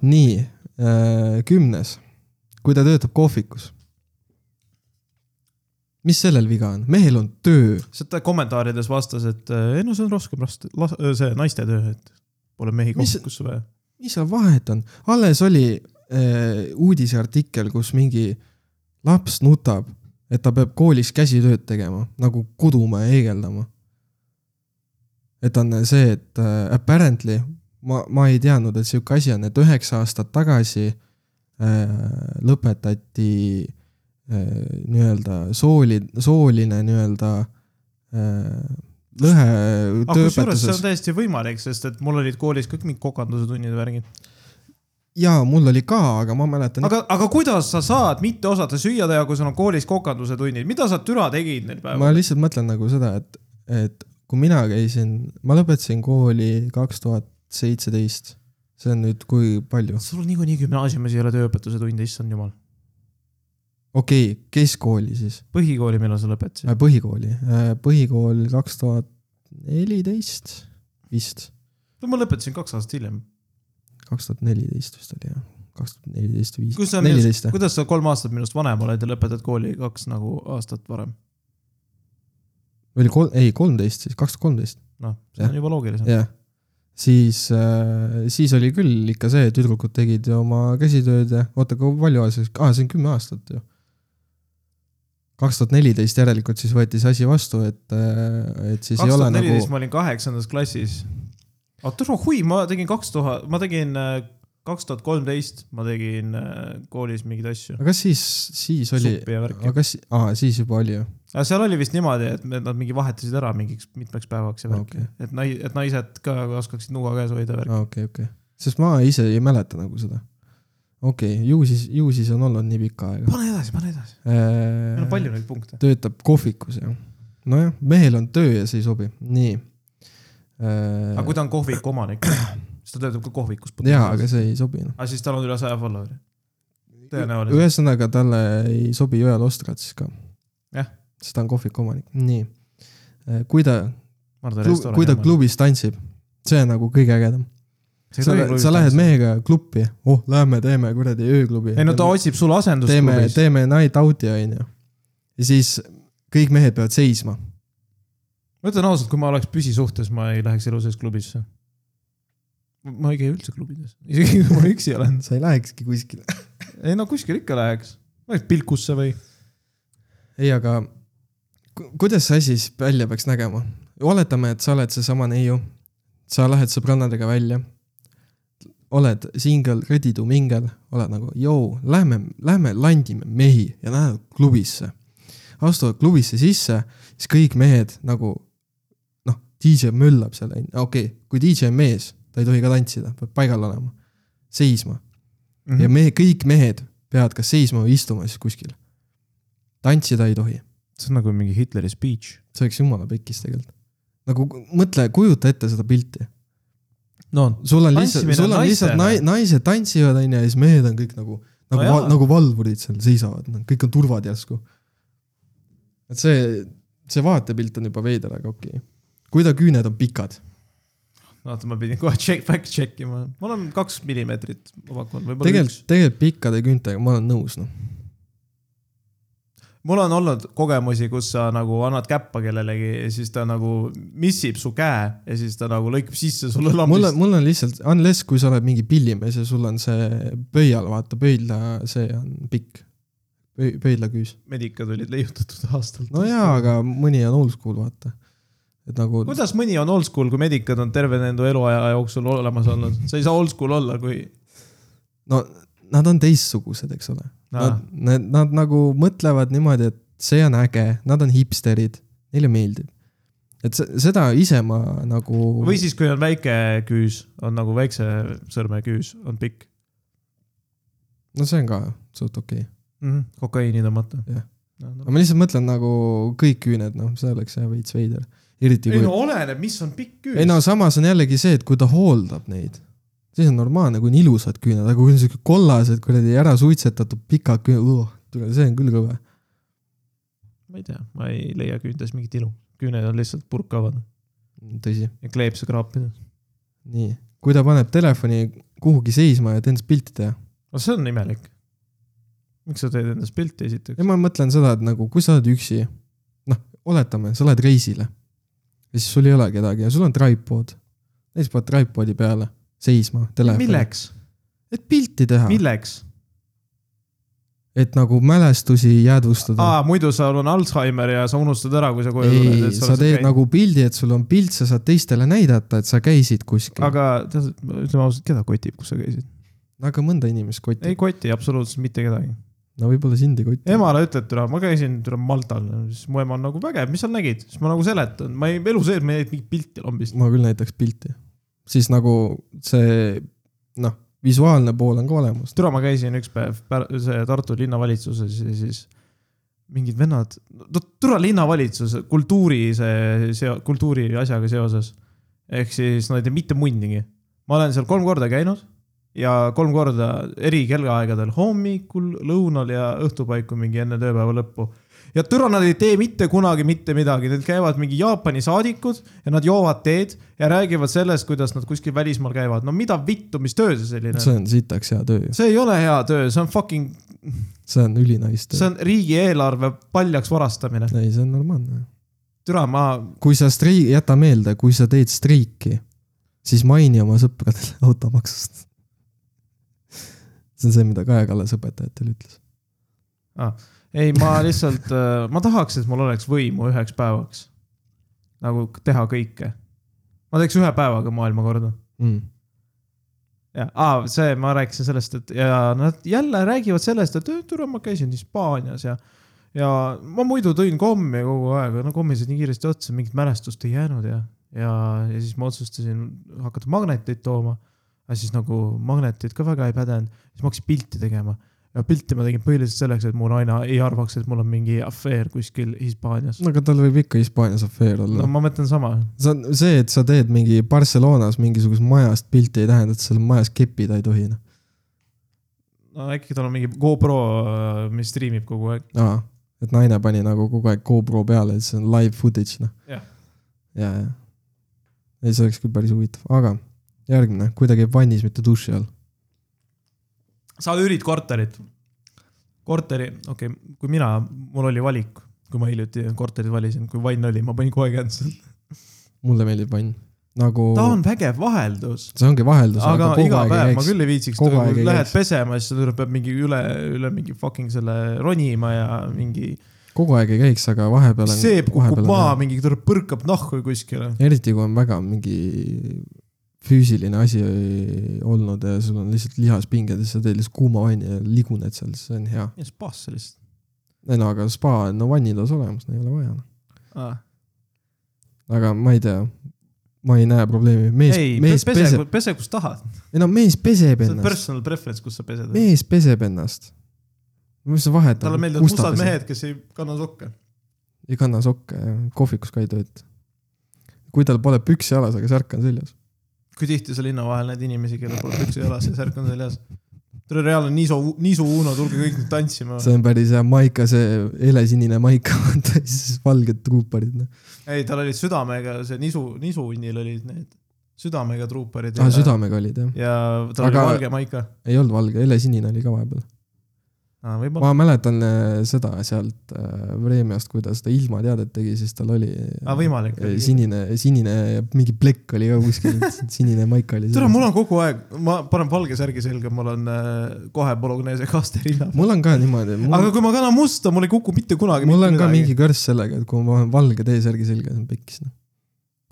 Speaker 2: nii , kümnes , kui ta töötab kohvikus . mis sellel viga on , mehel on töö ,
Speaker 1: sest ta kommentaarides vastas , et äh, ei no see on rohkem last- , see naiste töö , et pole mehi
Speaker 2: Mis-
Speaker 1: kohvikusse vaja .
Speaker 2: mis seal vahet on , alles oli äh, uudiseartikkel , kus mingi laps nutab , et ta peab koolis käsitööd tegema , nagu kuduma ja heegeldama . et on see , et äh, apparently ma , ma ei teadnud , et sihuke asi on , et üheksa aastat tagasi äh, lõpetati äh, nii-öelda sooli , sooline nii-öelda äh, lõhe
Speaker 1: aga Ah, kusjuures see
Speaker 2: tööõpetuses
Speaker 1: on . täiesti võimalik , sest et mul olid koolis kõik mingid kokanduse tunnid ja värgid .
Speaker 2: jaa , mul oli ka , aga ma mäletan
Speaker 1: aga , aga kuidas sa saad mitte osata süüa teha , kui sul on koolis kokanduse tunnid , mida sa türa tegid neil
Speaker 2: ma
Speaker 1: päeval ?
Speaker 2: lihtsalt mõtlen nagu seda , et , et kui mina käisin , ma lõpetasin kooli kaks tuhat seitseteist . see on nüüd kui palju ?
Speaker 1: sul niikuinii gümnaasiumis ei ole tööõpetuse tunde , issand jumal .
Speaker 2: okei okay, , keskkooli siis ,
Speaker 1: põhikooli , millal sa lõpetasid ?
Speaker 2: põhikooli , põhikool kaks tuhat neliteist vist ,
Speaker 1: no ma lõpetasin kaks aastat hiljem .
Speaker 2: kaks tuhat neliteist vist oli jah , kaks tuhat neliteist , viis ,
Speaker 1: kus sa
Speaker 2: neliteist
Speaker 1: minust ,
Speaker 2: jah .
Speaker 1: kuidas sa kolm aastat minust vanem oled ja lõpetad kooli kaks nagu aastat varem ?
Speaker 2: või oli kolm , ei kolmteist siis , kaks tuhat kolmteist ,
Speaker 1: noh , see on juba loogilisem .
Speaker 2: jah . siis , siis oli küll ikka see , tüdrukud tegid ju oma käsitööd ja oota , kui palju aastas , aa , see on kümme aastat ju . kaks tuhat neliteist järelikult siis võeti see asi vastu , et , et siis
Speaker 1: kaks
Speaker 2: ei ole
Speaker 1: tuhat
Speaker 2: nagu
Speaker 1: neliteist , ma olin kaheksandas klassis . aga tule hui , ma tegin kaks tuhat , ma tegin äh, kaks tuhat kolmteist , ma tegin äh, koolis mingeid asju .
Speaker 2: aga kas siis , siis oli ,
Speaker 1: suppi ja värki
Speaker 2: aga . kas , aa , siis juba oli ju ,
Speaker 1: aga seal oli vist niimoodi , et me- nad mingi vahetasid ära mingiks mitmeks päevaks ja värki
Speaker 2: Okei.
Speaker 1: okay. . et nai- , et naised ka oskaksid nuga käes hoida ja värki .
Speaker 2: aa okei , okei . sest ma ise ei mäleta nagu seda . okei okay, , ju siis , ju siis on olnud nii pikka aega . Äh,
Speaker 1: pane edasi , pane edasi . meil on palju neid punkte .
Speaker 2: töötab kohvikus jah . nojah , mehel on töö ja see ei sobi , nii .
Speaker 1: aga kui ta on kohviku omanik , siis ta töötab ka kohvikus .
Speaker 2: jaa , aga see ei sobi noh .
Speaker 1: aga siis tal on üle saja follower'i . tõenäoliselt .
Speaker 2: ühesõnaga talle ei sobi Joel Ostrats ka .
Speaker 1: Jah.
Speaker 2: sest ta on kohviku omanik , nii . kui ta ,
Speaker 1: ma arvan , et restoran .
Speaker 2: kui ta . klubis tantsib , see on nagu kõige ägedam . sa, sa lähed . mehega klubi , oh lähme teeme kuradi ööklubi .
Speaker 1: ei no ta otsib sulle asendust
Speaker 2: teeme ,
Speaker 1: klubis .
Speaker 2: teeme night out'i onju . ja siis kõik mehed peavad seisma .
Speaker 1: ma ütlen ausalt , kui ma oleks püsisuhtes , ma ei läheks elu sees klubisse . ma ei käi üldse klubides , <laughs> isegi kui ma üksi olen .
Speaker 2: sa ei lähekski kuskile .
Speaker 1: ei no kuskil ikka läheks , läheks pilkusse või .
Speaker 2: ei , aga ku- kuidas see asi siis välja peaks nägema ? oletame , et sa oled seesama neiu , sa lähed sõbrannadega välja , oled singel , redidumingel , oled nagu joo , lähme , lähme landime mehi ja lähme klubisse . astuvad klubisse sisse , siis kõik mehed nagu noh , DJ möllab seal , onju , okei okay, , kui DJ on mees , ta ei tohi ka tantsida , peab paigal olema , seisma mm.
Speaker 1: Mhm.
Speaker 2: ja me kõik mehed peavad kas seisma või istuma siis kuskil . tantsida ei tohi .
Speaker 1: see on nagu mingi Hitleri speech .
Speaker 2: see oleks jumala pekkis tegelikult . nagu ku- mõtle , kujuta ette seda pilti .
Speaker 1: no
Speaker 2: sul on lihtsalt ,
Speaker 1: Tantsimine
Speaker 2: sul on
Speaker 1: naistele.
Speaker 2: lihtsalt nai- , naised tantsivad , onju , ja siis mehed on kõik nagu , nagu
Speaker 1: No
Speaker 2: no ,
Speaker 1: jaa.
Speaker 2: nagu valvurid seal seisavad , kõik on turvad järsku . et see , see vaatepilt on juba veider , aga okei okay. . kui ta küüned on pikad ,
Speaker 1: vaata , ma pidin kohe check , fact check ima , ma olen kaks millimeetrit vabakonda , võib-olla üks .
Speaker 2: tegelikult , tegelikult pikkade küüntega ma olen nõus , noh .
Speaker 1: mul on olnud kogemusi , kus sa nagu annad käppa kellelegi ja siis ta nagu missib su käe ja siis ta nagu lõikab sisse sulle
Speaker 2: mul on ,
Speaker 1: lambist .
Speaker 2: mul on lihtsalt , unless kui sa oled mingi pillimees ja sul on see pöial , vaata pöidla , see on pikk . pöidlaküüs .
Speaker 1: medikad olid leiutatud aastal .
Speaker 2: no jaa , aga mõni on oldschool , vaata . et nagu ,
Speaker 1: kuidas mõni on oldschool , kui medikad on terve nende eluaja jooksul olemas olnud , sa ei saa oldschool olla , kui .
Speaker 2: no nad on teistsugused , eks ole . Nad , nad , nad nagu mõtlevad niimoodi , et see on äge , nad on hipsterid , neile meeldib . et se- seda ise ma nagu .
Speaker 1: või siis , kui on väike küüs , on nagu väikse sõrme küüs , on pikk
Speaker 2: no see on ka suht okei okay. ,
Speaker 1: mm -hmm. , kokaiini tõmmata
Speaker 2: Mhm. Jah. .
Speaker 1: No, no.
Speaker 2: aga ma lihtsalt mõtlen nagu kõik küüned , noh , see oleks jah veits veider . eriti
Speaker 1: ei
Speaker 2: kui
Speaker 1: no , oleneb , mis on pikk küüs .
Speaker 2: ei no samas on jällegi see , et kui ta hooldab neid , siis on normaalne , kui on ilusad küüned , aga kui on siuke kollased kuradi ära suitsetatud pikad küüned , tule , see on küll kõve .
Speaker 1: ma ei tea , ma ei leia küüntes mingit ilu , küüned on lihtsalt purkavad
Speaker 2: tõsi ,
Speaker 1: ja kleepse kraapida .
Speaker 2: nii , kui ta paneb telefoni kuhugi seisma ja et endast pilti teha .
Speaker 1: no see on imelik . miks sa teed endast pilti esiteks
Speaker 2: ja ? ma mõtlen seda , et nagu , kui sa oled üksi , noh , oletame , sa lähed reisile . ja siis sul ei ole kedagi ja sul on tripod . ja siis paned tripodi peale seisma , telefoni .
Speaker 1: milleks ,
Speaker 2: et pilti teha ,
Speaker 1: milleks ?
Speaker 2: et nagu mälestusi jäädvustada .
Speaker 1: aa , muidu sul on Alžeimer ja sa unustad ära , kui sa koju
Speaker 2: ei , sa
Speaker 1: oled
Speaker 2: teed . nagu pildi , et sul on pilt , sa saad teistele näidata , et sa käisid kuskil aga... .
Speaker 1: aga tead , ütleme ausalt , keda kotib , kus sa käisid ?
Speaker 2: aga mõnda inimest kotib
Speaker 1: ei . koti absoluutselt mitte kedagi .
Speaker 2: no võib-olla sind ei koti .
Speaker 1: emale ütled , türa , ma käisin türa Maltal , siis mu ema on nagu vägev , mis sa nägid , siis ma nagu seletan , ma ei , elu sees ma ei näinud mingit pilti lambist .
Speaker 2: ma küll näitaks pilti . siis nagu see , noh , visuaalne pool on ka olemas .
Speaker 1: türa , ma käisin üks päev pär- see Tartu linnavalitsuses ja siis mingid vennad , no türa linnavalitsus , kultuuri see , see kultuuri asjaga seoses . ehk siis nad ei tee mitte munnigi . ma olen seal kolm korda käinud ja kolm korda eri kellaaegadel , hommikul , lõunal ja õhtupaiku mingi enne tööpäeva lõppu . ja türa , nad ei tee mitte kunagi mitte midagi , need käivad mingi Jaapani saadikud ja nad joovad teed ja räägivad sellest , kuidas nad kuskil välismaal käivad . no mida vittu , mis töö see selline on ?
Speaker 2: see on sitaks hea töö ju ,
Speaker 1: see ei ole hea töö , see on fucking ,
Speaker 2: see on ülinais töö
Speaker 1: see . on riigieelarve paljaks varastamine .
Speaker 2: ei , see on normaalne .
Speaker 1: türa , ma ,
Speaker 2: kui sa strei- , jäta meelde , kui sa teed streiki , siis maini oma sõpradele <laughs> automaksust . see on see , mida Kaja Kallas õpetajatele ütles .
Speaker 1: ei , ma lihtsalt , ma tahaks , et mul oleks võimu üheks päevaks . nagu teha kõike . ma teeks ühe päevaga maailma korda .
Speaker 2: Mm.
Speaker 1: ja ah, , see , ma rääkisin sellest , et ja nad jälle räägivad sellest , et türa , ma käisin Hispaanias ja ja ma muidu tõin kommi kogu aeg , no kommi said nii kiiresti otsa , mingit mälestust ei jäänud ja , ja , ja siis ma otsustasin hakata magneteid tooma . aga siis nagu magnetid ka väga ei pädenud , siis ma hakkasin pilti tegema . ja pilti ma tegin põhiliselt selleks , et mu naine ei arvaks , et mul on mingi afäär kuskil Hispaanias .
Speaker 2: no aga tal võib ikka Hispaanias afeer olla
Speaker 1: no
Speaker 2: no. .
Speaker 1: ma mõtlen sama ,
Speaker 2: see on see , et sa teed mingi Barcelonas mingisugust majast pilti , ei tähenda , et seal majas keppida ei tohi , noh .
Speaker 1: no äkki tal on mingi GoPro , mis striimib kogu aeg .
Speaker 2: aa , et naine pani nagu kogu aeg GoPro peale , et see on live footage , noh .
Speaker 1: Jah.
Speaker 2: ja , ja . ei , see oleks küll päris huvitav , aga järgmine , kui ta käib vannis , mitte duši all .
Speaker 1: sa üürid korterit . korteri , okei okay, , kui mina , mul oli valik , kui ma hiljuti korterit valisin , kui vann oli , ma panin kohe cancel'i .
Speaker 2: mulle meeldib vann , nagu .
Speaker 1: ta on vägev vaheldus .
Speaker 2: see ongi vaheldus , aga
Speaker 1: aga
Speaker 2: kogu
Speaker 1: iga
Speaker 2: aeg ei
Speaker 1: päev ma
Speaker 2: käiks .
Speaker 1: küll ei viitsiks ,
Speaker 2: Kogu aeg ei
Speaker 1: lähed
Speaker 2: käiks.
Speaker 1: pesema , siis sa tuleb , peab mingi üle , üle mingi fucking selle ronima ja mingi .
Speaker 2: kogu aeg ei käiks , aga vahepeal on .
Speaker 1: seep kukub maha , mingi tuleb põrkab nahku kuskile .
Speaker 2: eriti kui on väga mingi füüsiline asi olnud ja sul on lihtsalt lihaspinged ja sa teed lihtsalt kuuma vanni ja liguned seal , see on hea .
Speaker 1: ja spaasse lihtsalt
Speaker 2: ei no aga spa on no, vannitoas olemas , ei ole vaja .
Speaker 1: ah. .
Speaker 2: aga ma ei tea , ma ei näe probleemi , mees ,
Speaker 1: ei ,
Speaker 2: mees
Speaker 1: pese,
Speaker 2: peseb ,
Speaker 1: pese , pese kus tahad .
Speaker 2: ei no mees peseb
Speaker 1: see on
Speaker 2: ennast ,
Speaker 1: personal preference , kus sa pesed .
Speaker 2: mees peseb ennast . mis see vahet on
Speaker 1: talle ? meeldivad mustad . mehed , kes ei kanna sokke .
Speaker 2: ei kanna sokke , kohvikus ka ei tööta . kui tal pole püksi jalas , aga särk on seljas .
Speaker 1: kui tihti sa linna vahel näed inimesi , kellel pole püksi jalas ja särk on seljas ? tule reaalne niisu , niisu Uno , tulge kõik nüüd tantsima .
Speaker 2: see on päris hea maika , see helesinine maika , <laughs> vaata siis valged truuparid , noh .
Speaker 1: ei , tal olid südamega , see niisu , nisuhunnil olid need südamega truuparid .
Speaker 2: aa , Ah, südamega olid jah ,
Speaker 1: ja tal Aga...
Speaker 2: Aga-
Speaker 1: oli valge maika Ah,
Speaker 2: ei olnud valge , helesinine oli ka vahepeal .
Speaker 1: võib-olla .
Speaker 2: ma mäletan äh, seda sealt äh, Vremjast , kui ta seda ilma teadet tegi , siis tal oli
Speaker 1: aga ah, võimalik .
Speaker 2: äh, sinine , sinine ja mingi plekk oli ka kuskil , sinine maik oli .
Speaker 1: tere , mul on kogu aeg , ma panen valge särgi selga , mul on äh, kohe Bolognese kaste rinnal .
Speaker 2: mul on ka niimoodi ,
Speaker 1: aga
Speaker 2: mul,
Speaker 1: kui ma kannan musta , mul ei kuku mitte kunagi .
Speaker 2: mul on ka . mingi kõrss sellega , et kui ma panen valge T-särgi selga , siis on piks noh .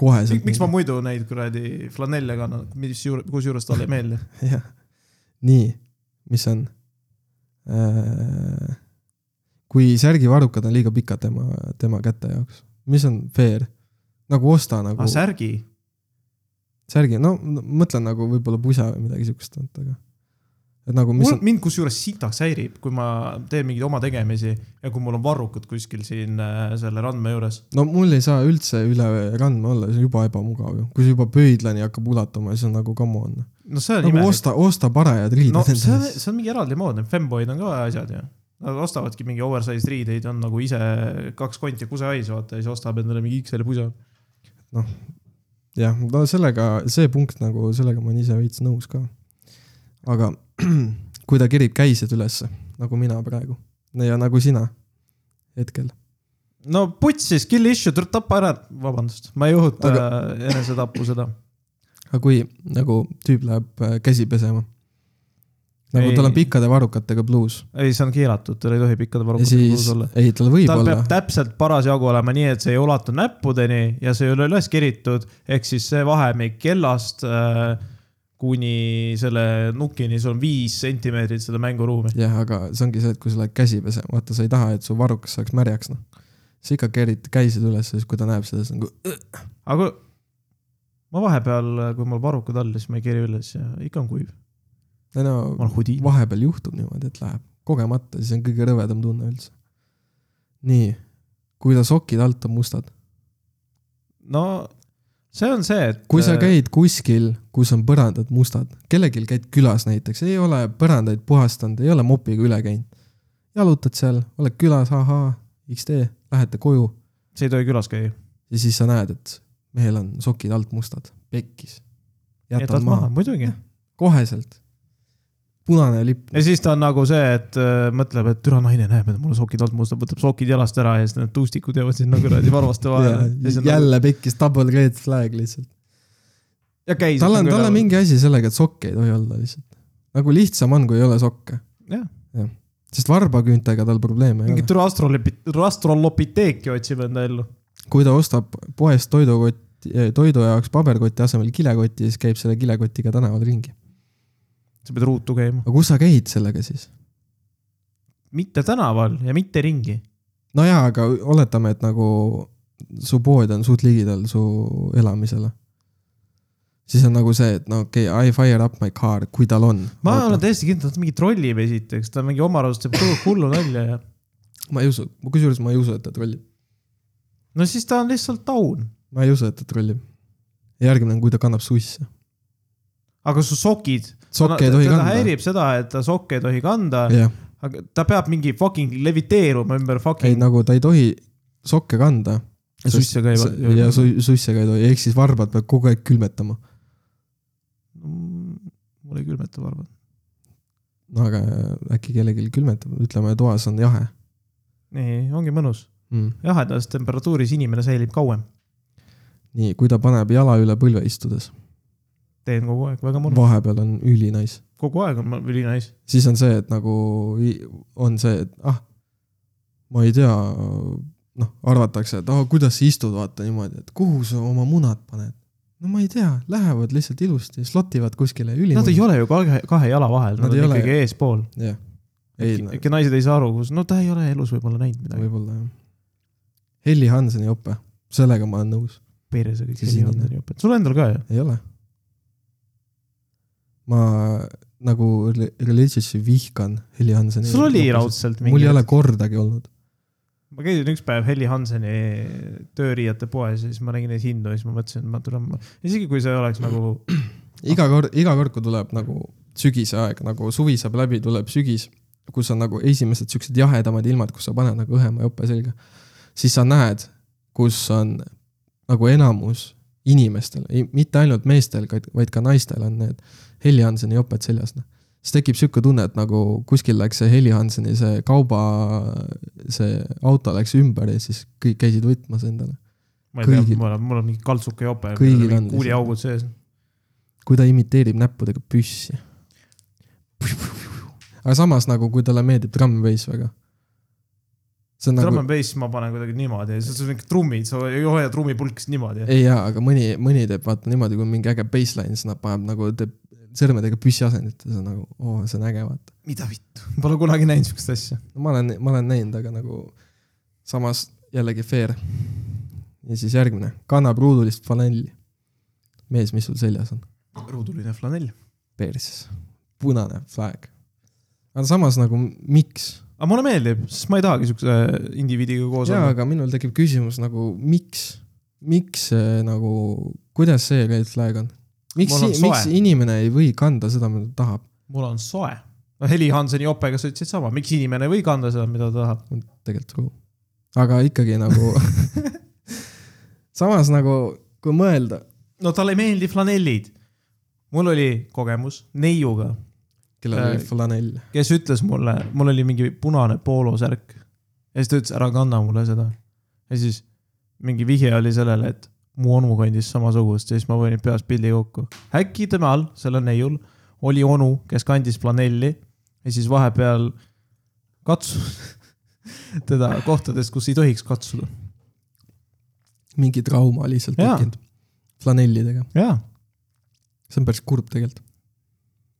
Speaker 2: koheselt .
Speaker 1: miks ma muidu neid kuradi flanelle kannan , mis juur- , kusjuures talle ei meeldi .
Speaker 2: <laughs> jah , nii , mis on äh, ? kui särgivarrukad on liiga pikad tema , tema käte jaoks , mis on fair ? nagu osta nagu
Speaker 1: aga
Speaker 2: ah,
Speaker 1: särgi ,
Speaker 2: särgi , no no mõtlen nagu võib-olla pusa või midagi siukest , aga . et nagu , mis
Speaker 1: mul
Speaker 2: on ,
Speaker 1: mind kusjuures sitaks häirib , kui ma teen mingeid oma tegemisi ja kui mul on varrukud kuskil siin äh, selle randme juures .
Speaker 2: no mul ei saa üldse üle randme olla , see on juba ebamugav ju , kui see juba pöidlani hakkab ulatuma , siis on nagu come on .
Speaker 1: no see on
Speaker 2: nagu
Speaker 1: imelik .
Speaker 2: osta , osta parajad riided
Speaker 1: no see on ,
Speaker 2: endale.
Speaker 1: see on mingi eraldi mood , need femboid on ka asjad ju . Nad ostavadki mingi oversize riideid , on nagu ise kaks konti kusehais , vaata ja siis ostab endale mingi XL pusa .
Speaker 2: jah , no sellega , see punkt nagu , sellega ma olen ise veits nõus ka . aga <clears throat> kui ta kerib käised ülesse , nagu mina praegu no ja nagu sina hetkel ,
Speaker 1: no putsis , kill issue , tuleb tappa ära . vabandust , ma ei õhuta Aga... enesetappu seda .
Speaker 2: aga kui nagu tüüp läheb äh, käsi pesema , nagu
Speaker 1: Ei.
Speaker 2: tal on pikkade varrukatega pluus
Speaker 1: ei , see on keelatud , tal ei tohi pikkade
Speaker 2: ja
Speaker 1: varrukutega puus
Speaker 2: siis
Speaker 1: olla .,
Speaker 2: ei tal võib
Speaker 1: tal
Speaker 2: olla
Speaker 1: peab , täpselt parasjagu olema nii , et see ei ulatu näppudeni ja see ei ole üles kiritud , ehk siis see vahemik kellast äh, kuni selle nukini , sul on viis sentimeetrit seda mänguruumi .
Speaker 2: jah , aga see ongi see , et kui sa lähed käsi pesema , vaata , sa ei taha , et su varrukas saaks märjaks , noh . sa ikka kerid käised üles , siis kui ta näeb seda , siis nagu
Speaker 1: aga ma vahepeal , kui mul varrukad all , siis ma ei keri üles ja ikka on kuiv .
Speaker 2: ei no
Speaker 1: ma olen hudi .
Speaker 2: vahepeal juhtub niimoodi , et läheb kogemata , siis on kõige rõvedam tunne üldse . nii , kui ta sokid alt on mustad ,
Speaker 1: no see on see , et . äh,
Speaker 2: kui sa . käid kuskil , kus on põrandad mustad , kellelgi käid külas näiteks , ei ole põrandaid puhastanud , ei ole mopiga üle käinud . jalutad seal , oled külas , ahaa , XD , lähete koju
Speaker 1: see ei tohi külas käia .
Speaker 2: ja siis sa näed , et mehel on sokid alt mustad , pekkis . jätad
Speaker 1: jätad
Speaker 2: maha
Speaker 1: maha ,, muidugi .
Speaker 2: koheselt . punane lipp ,
Speaker 1: ja siis ta on nagu see , et äh, mõtleb , et türa naine näeb , et mul on sokid alt mustad , võtab sokid jalast ära ja siis need tuustikud jäävad sinna kuradi varvaste vahele .
Speaker 2: jälle pekkis , double red flag lihtsalt .
Speaker 1: ja käis .
Speaker 2: tal on , tal on . mingi asi sellega , et sokke ei tohi olla lihtsalt . nagu lihtsam on , kui ei ole sokke .
Speaker 1: jah ,
Speaker 2: sest varbaküüntega tal probleeme ei
Speaker 1: mingi
Speaker 2: ole .
Speaker 1: türa astrolopi- , astrolopiteeki otsib enda ellu .
Speaker 2: kui ta ostab poest toidukott , toidu jaoks paberkoti asemel kilekotti , siis käib selle kilekotiga tänaval ringi .
Speaker 1: sa pead ruutu käima .
Speaker 2: aga kus sa käid sellega siis ?
Speaker 1: mitte tänaval ja mitte ringi .
Speaker 2: no jaa , aga oletame , et nagu su pood on suht ligidal su elamisele . siis on nagu see , et no okei okay, , I fire up my car , kui tal on .
Speaker 1: ma olen täiesti kindel , et ta mingi trollib esiteks , ta mingi oma arust teeb hullu- hullu nalja ja
Speaker 2: ma ei usu , kusjuures ma ei usu , et ta trollib .
Speaker 1: no siis ta on lihtsalt taun .
Speaker 2: ma ei usu , et ta trollib . järgmine on , kui ta kannab suisse .
Speaker 1: aga su sokid .
Speaker 2: sokke ei tohi
Speaker 1: ta
Speaker 2: kanda .
Speaker 1: häirib seda , et ta sokke ei tohi kanda ,
Speaker 2: jah ,
Speaker 1: aga ta peab mingi fucking leviteeruma ümber
Speaker 2: ei
Speaker 1: fucking .
Speaker 2: nagu ta ei tohi sokke kanda .
Speaker 1: Ja suisse ka ei-
Speaker 2: ja su- suisse ka ei tohi , ehk siis varbad peab kogu aeg külmetama .
Speaker 1: mul Mm, ei külmeta varvad .
Speaker 2: no aga äkki kellelgi külmetab , ütleme toas on jahe
Speaker 1: nii , ongi mõnus .
Speaker 2: mm. .
Speaker 1: jahedas temperatuuris inimene säilib kauem .
Speaker 2: nii , kui ta paneb jala üle põlve istudes ,
Speaker 1: teen kogu aeg , väga mõnus .
Speaker 2: vahepeal on ülinais ,
Speaker 1: kogu aeg on mul ülinais .
Speaker 2: siis on see , et nagu i- on see , et ah , ma ei tea , noh , arvatakse , et ah , kuidas sa istud , vaata niimoodi , et kuhu sa oma munad paned . no ma ei tea , lähevad lihtsalt ilusti , slotivad kuskile ülimõnus .
Speaker 1: Nad ei ole ju kahe , kahe jala vahel , nad
Speaker 2: Nad ei
Speaker 1: on
Speaker 2: ole
Speaker 1: ikkagi eespool .
Speaker 2: jah , ei no,
Speaker 1: äkki naised ei saa aru , kus , no ta ei ole elus võib-olla näinud midagi .
Speaker 2: võib-olla jah . Helli Hanseni ope , sellega ma olen nõus ,
Speaker 1: perse kõik
Speaker 2: See
Speaker 1: ei
Speaker 2: sinine.
Speaker 1: olnud nii õpet . sul endal ka ju ?
Speaker 2: ei ole . ma nagu rel- religious'i vihkan Helli Hanseni .
Speaker 1: sul oli . raudselt mingi .
Speaker 2: mul ei ole kordagi olnud .
Speaker 1: ma käisin üks päev Heli Hanseni tööriiete poes ja siis ma nägin neid hindu ja siis ma mõtlesin , et ma tulen , isegi kui see oleks nagu ,
Speaker 2: iga kord , iga kord , kui tuleb nagu sügise aeg , nagu suvi saab läbi , tuleb sügis , kus on nagu esimesed siuksed jahedamad ilmad , kus sa paned nagu õhema jope selga . siis sa näed , kus on nagu enamus inimestel , mitte ainult meestel , vaid ka naistel on need Helli Hanseni joped seljas , noh . siis tekib sihuke tunne , et nagu kuskil läks see Heli Hanseni see kauba , see auto läks ümber ja siis kõik käisid võtmas endale .
Speaker 1: ma ei tea ,
Speaker 2: Kõigil.
Speaker 1: mul on , mul on mingi kaltsuke jope ,
Speaker 2: Kõigil on
Speaker 1: kuuliaugud sees .
Speaker 2: kui ta imiteerib näppudega püssi . aga samas nagu , kui talle meeldib trumm-bass väga . see on
Speaker 1: Drum
Speaker 2: nagu ,
Speaker 1: and bass ma panen kuidagi niimoodi , see on mingi trummid , sa ei hoia trummipulkist niimoodi .
Speaker 2: ei jaa , aga mõni , mõni teeb vaata niimoodi , kui on mingi äge bassline , siis nad paneb nagu , teeb sõrmedega püssi asendit ja see on nagu , oo , see on äge , vaata .
Speaker 1: mida vittu , pole kunagi näinud siukest asja .
Speaker 2: no ma olen , ma olen näinud , aga nagu samas jällegi fair . ja siis järgmine , kannab ruudulist flanelli . mees , mis sul seljas on ?
Speaker 1: ruuduline flanell .
Speaker 2: perses , punane flag . aga samas nagu miks ?
Speaker 1: aga mulle meeldib , sest ma ei tahagi siukse äh, indiviidiga koos
Speaker 2: jaa ,
Speaker 1: olla .
Speaker 2: aga minul tekib küsimus nagu miks , miks see nagu , kuidas see red flag on ? miks
Speaker 1: Mul on , soe.
Speaker 2: miks inimene ei või kanda seda , mida ta tahab ?
Speaker 1: mul on soe . no Heli Hanseni jopega sa ütlesid sama , miks inimene ei või kanda seda , mida ta tahab .
Speaker 2: on tegelikult true . aga ikkagi
Speaker 1: <laughs>
Speaker 2: nagu , samas nagu kui mõelda ,
Speaker 1: no talle ei meeldi flanellid . mul oli kogemus neiuga ,
Speaker 2: kellel
Speaker 1: Äh,
Speaker 2: oli flanell ,
Speaker 1: kes ütles mulle , mul oli mingi punane poolosärk . ja siis ta ütles , ära kanna mulle seda . ja siis mingi vihje oli sellele , et mu onu kandis samasugust ja siis ma panin peas pildi kokku . äkki temal , sellel neiul , oli onu , kes kandis flanelli ja siis vahepeal katsus <laughs> teda kohtades , kus ei tohiks katsuda .
Speaker 2: mingi trauma lihtsalt
Speaker 1: Jaa.
Speaker 2: tekkinud flanellidega ,
Speaker 1: jaa ,
Speaker 2: see on päris kurb tegelikult .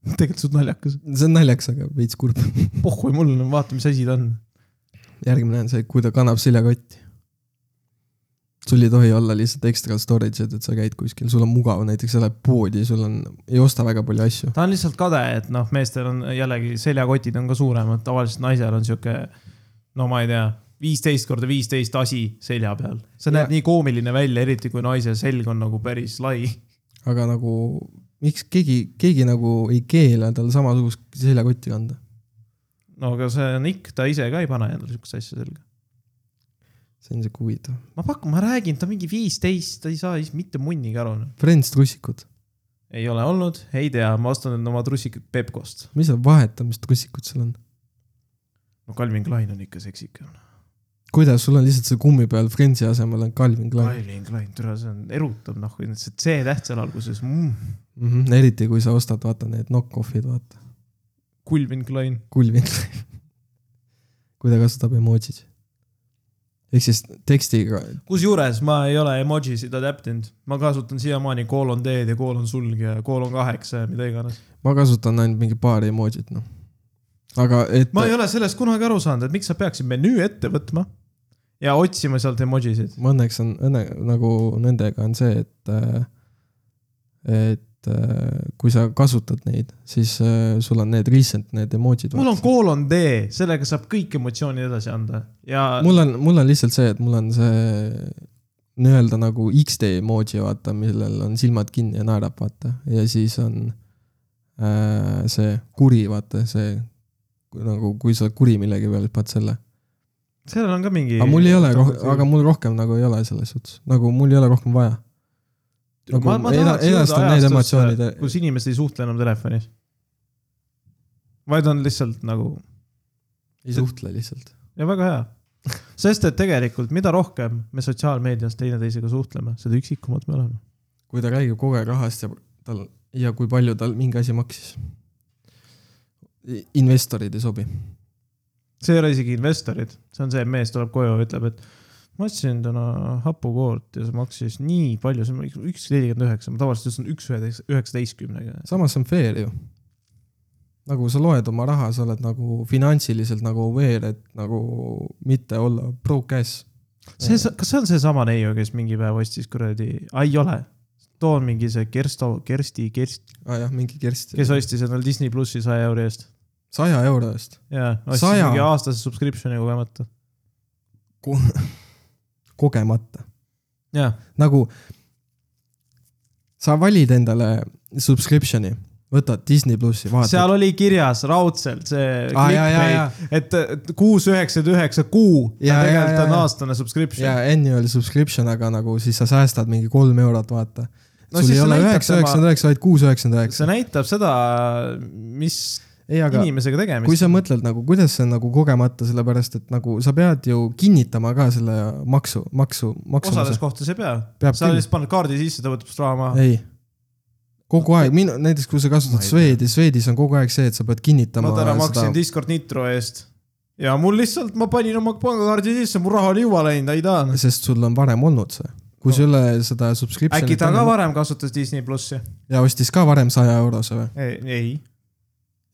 Speaker 1: <laughs> tegelikult suht naljakas .
Speaker 2: see on naljakas , aga veits kurb .
Speaker 1: pohhui mul , vaata , mis asi ta on .
Speaker 2: järgmine on see , kui ta kannab seljakotti . sul ei tohi olla lihtsalt ekstra storage'it , et sa käid kuskil , sul on mugav , näiteks sa lähed poodi , sul on , ei osta väga palju asju .
Speaker 1: ta on lihtsalt kade , et noh , meestel on jällegi seljakotid on ka suuremad , tavaliselt naisel on sihuke , no ma ei tea , viisteist korda viisteist asi selja peal . see
Speaker 2: Ja-
Speaker 1: näeb nii koomiline välja , eriti kui naise selg on nagu päris lai .
Speaker 2: aga nagu miks keegi , keegi nagu ei keela tal samasugust seljakotti kanda ?
Speaker 1: no aga see on ikk , ta ise ka ei pane endale sihukest asja selga .
Speaker 2: see on siuke huvitav .
Speaker 1: ma pakun , ma räägin , ta on mingi viisteist , ta ei saa siis mitte munnigi aru .
Speaker 2: Friends trussikud ,
Speaker 1: ei ole olnud , ei tea , ma ostan enda oma trussikud Pepkost .
Speaker 2: mis seal vahetamistrussikud sul on ?
Speaker 1: no Calvin Klein on ikka seksikam .
Speaker 2: kuidas , sul on lihtsalt see kummi peal Friendsi asemel on Calvin Klein
Speaker 1: Calvin Klein , türa , see on , erutab noh , see C-täht seal alguses mm. .
Speaker 2: mm . -hmm. eriti kui sa ostad , vaata need knock-off'id , vaata .
Speaker 1: Calvin Klein .
Speaker 2: Kulvin Klein . kui ta kasutab emotsid . ehk siis tekstiga ,
Speaker 1: kusjuures ma ei ole emojisid adaptinud , ma kasutan siiamaani koolon teed ja koolon sulg ja koolon kaheksa ja mida iganes .
Speaker 2: ma kasutan ainult mingi paari emotsit , noh . aga et
Speaker 1: ma
Speaker 2: ma,
Speaker 1: ei ole sellest kunagi aru saanud , et miks sa peaksid menüü ette võtma ja otsima sealt emojisid .
Speaker 2: ma õnneks on õnne nagu nendega on see , et äh, et äh, kui sa kasutad neid , siis äh, sul on need recent need emotsid .
Speaker 1: mul on koolon tee , sellega saab kõik emotsioonid edasi anda ja
Speaker 2: mul on , mul on lihtsalt see , et mul on see nii-öelda nagu X-tee emoji , vaata , millel on silmad kinni ja naerab , vaata , ja siis on äh, see kuri , vaata , see nagu , kui sa oled kuri millegi peale , siis paned selle .
Speaker 1: sellel on ka mingi .
Speaker 2: aga mul ei ole , aga mul rohkem nagu ei ole selles suhtes , nagu mul ei ole rohkem vaja . nagu
Speaker 1: ma, ma
Speaker 2: eda-
Speaker 1: tahaks
Speaker 2: edastan
Speaker 1: jõuda
Speaker 2: neid
Speaker 1: ajastusse,
Speaker 2: emotsioonide-
Speaker 1: kus inimesed ei suhtle enam telefonis . vaid on lihtsalt nagu
Speaker 2: ei suhtle lihtsalt .
Speaker 1: ja väga hea . sest et tegelikult , mida rohkem me sotsiaalmeedias teineteisega suhtleme , seda üksikumad me oleme .
Speaker 2: kui ta räägib kogu aeg rahast ja tal ja kui palju tal mingi asi maksis . investorid ei sobi .
Speaker 1: see ei ole isegi investorid , see on see , et mees tuleb koju ja ütleb , et ma ostsin täna hapukoort ja see maksis nii palju , see on üks- üks nelikümmend üheksa , ma tavaliselt ütlen üks üheteist , üheksateistkümnega .
Speaker 2: samas see on fair ju . nagu sa loed oma raha , sa oled nagu finantsiliselt nagu aware , et nagu mitte olla broke ass .
Speaker 1: see , kas see on seesama neiu , kes mingi päev ostis kuradi , ei ole , too on mingi see Kersto , Kersti , Kerst ,
Speaker 2: aa ah, jah , mingi kerst .
Speaker 1: kes ostis endale Disney plussi saja euro eest .
Speaker 2: saja euro eest .
Speaker 1: jaa , ostis
Speaker 2: Saja?
Speaker 1: mingi aastase subscription'i kogemata .
Speaker 2: <laughs> kogemata .
Speaker 1: jaa ,
Speaker 2: nagu sa valid endale subscription'i , võtad Disney plussi , vaatad .
Speaker 1: seal oli kirjas raudselt see
Speaker 2: Aa, jaa, jaa, jaa.
Speaker 1: clickbait , et kuus üheksakümmend üheksa kuu ja
Speaker 2: Jaa, jaa,
Speaker 1: tegelikult
Speaker 2: jaa,
Speaker 1: on
Speaker 2: jaa.
Speaker 1: aastane subscription .
Speaker 2: ja annual subscription , aga nagu siis sa säästad mingi kolm eurot , vaata
Speaker 1: No
Speaker 2: no, . sul
Speaker 1: siis
Speaker 2: ei
Speaker 1: see
Speaker 2: ole
Speaker 1: näitab
Speaker 2: üheksa ,
Speaker 1: tema-
Speaker 2: üheksakümmend üheksa , vaid kuus , üheksakümmend üheksa .
Speaker 1: see näitab seda , mis
Speaker 2: ei , aga
Speaker 1: inimesega
Speaker 2: kui
Speaker 1: tegemist .
Speaker 2: sa mõtled nagu , kuidas see on nagu kogemata , sellepärast et nagu sa pead ju kinnitama ka selle maksu , maksu ,
Speaker 1: osades
Speaker 2: maksumuse .
Speaker 1: kohtades ei pea .
Speaker 2: peab
Speaker 1: sa
Speaker 2: küll ,
Speaker 1: lihtsalt paned kaardi sisse , ta võtab sust raha maha .
Speaker 2: ei . kogu aeg , minu , näiteks kui sa
Speaker 1: Ma
Speaker 2: kasutad
Speaker 1: ei
Speaker 2: Swedi , Swedis on kogu aeg see , et sa pead
Speaker 1: ma
Speaker 2: kinnitama
Speaker 1: täna maksin
Speaker 2: seda ,
Speaker 1: Discord Nitro eest ja mul lihtsalt , ma panin oma pangakaardi sisse , mu raha oli juba läinud , ei taha .
Speaker 2: sest sul on varem olnud see . kui
Speaker 1: No.
Speaker 2: no. sul ei ole seda subscription'it
Speaker 1: äkki ta ka
Speaker 2: enam-
Speaker 1: varem kasutas Disney plussi ?
Speaker 2: ja ostis ka varem saja eurose või ?
Speaker 1: ei , ei ,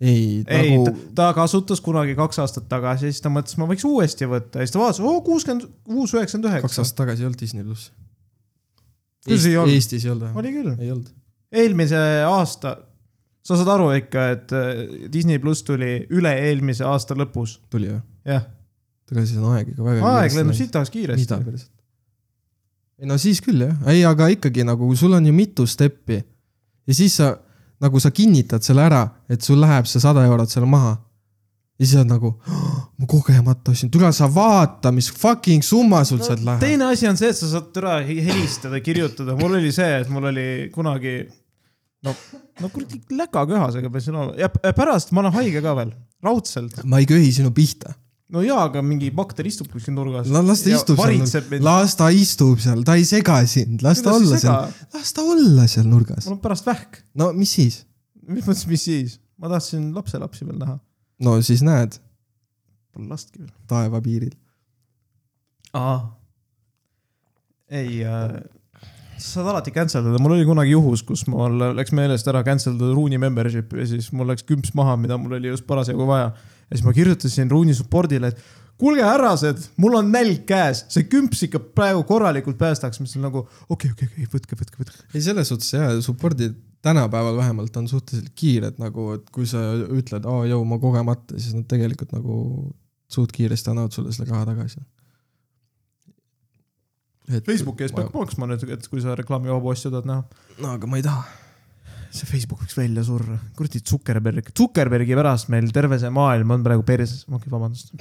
Speaker 2: ei,
Speaker 1: ei ,
Speaker 2: nagu
Speaker 1: ta kasutas kunagi kaks aastat tagasi ja siis ta mõtles , ma võiks uuesti võtta ja siis ta vaatas , oo kuuskümmend kuus , üheksakümmend
Speaker 2: kaks
Speaker 1: üheksa .
Speaker 2: aastat tagasi ei olnud Disney pluss .
Speaker 1: Kuidas ei olnud?
Speaker 2: Eestis ei olnud vähemalt .
Speaker 1: oli küll ,
Speaker 2: ei olnud .
Speaker 1: eelmise aasta , sa saad aru ikka , et äh, Disney pluss tuli üle-eelmise aasta lõpus ,
Speaker 2: tuli või ?
Speaker 1: jah ,
Speaker 2: ega siis on aeg ikka väga .
Speaker 1: aeg lendab sitaks
Speaker 2: mida
Speaker 1: kiiresti .
Speaker 2: päriselt ? ei no siis küll jah , ei aga ikkagi nagu sul on ju mitu steppi ja siis sa nagu sa kinnitad selle ära , et sul läheb see sada eurot seal maha . ja siis oled nagu "Oh, ma kogemata ostsin , tule sa vaata , mis fucking summa sul sealt
Speaker 1: No,
Speaker 2: läheb .
Speaker 1: teine asi on see , et sa saad türa helistada , kirjutada , mul oli see , et mul oli kunagi no , no kuradi läga köhasega peasin olema ja p- ja pärast ma olen haige ka veel , raudselt .
Speaker 2: ma ei köhi sinu pihta ,
Speaker 1: no jaa , aga mingi bakter istub kuskil nurgas .
Speaker 2: las ta istub
Speaker 1: varitseb
Speaker 2: seal ,
Speaker 1: mind .
Speaker 2: las ta istub seal , ta ei sega sind , las ta
Speaker 1: Kuidas ei
Speaker 2: olla
Speaker 1: sega?
Speaker 2: seal , las ta olla seal nurgas .
Speaker 1: mul on pärast vähk ,
Speaker 2: no mis siis ?
Speaker 1: mis mõttes , mis siis , ma tahtsin lapselapsi veel näha ,
Speaker 2: no siis näed
Speaker 1: pole lastki veel .
Speaker 2: taevapiiril .
Speaker 1: aa . ei äh, , sa saad alati cancel ida , mul oli kunagi juhus , kus mul läks meelest ära cancel ida Ruuni membership ja siis mul läks kümps maha , mida mul oli just parasjagu vaja . ja siis ma kirjutasin Ruuni support'ile , et kuulge härrased , mul on nälg käes , see kümps ikka praegu korralikult päästaks , mis on nagu okei okay, , okei okay, , okei okay, , võtke , võtke , võtke .
Speaker 2: ei , selles suhtes jaa , support'id tänapäeval vähemalt on suhteliselt kiired nagu , et kui sa ütled , aa jõu , ma kogemata , siis nad tegelikult nagu suht kiiresti annavad sulle selle raha tagasi . Et,
Speaker 1: Facebooki ees peab maksma nüüd , et kui sa reklaamivaba asju tahad näha .
Speaker 2: no aga ma ei taha .
Speaker 1: see Facebook võiks välja surra , kuradi Zuckerberg , Zuckerbergi pärast meil terve see maailm on praegu perses , okei okay, , vabandust .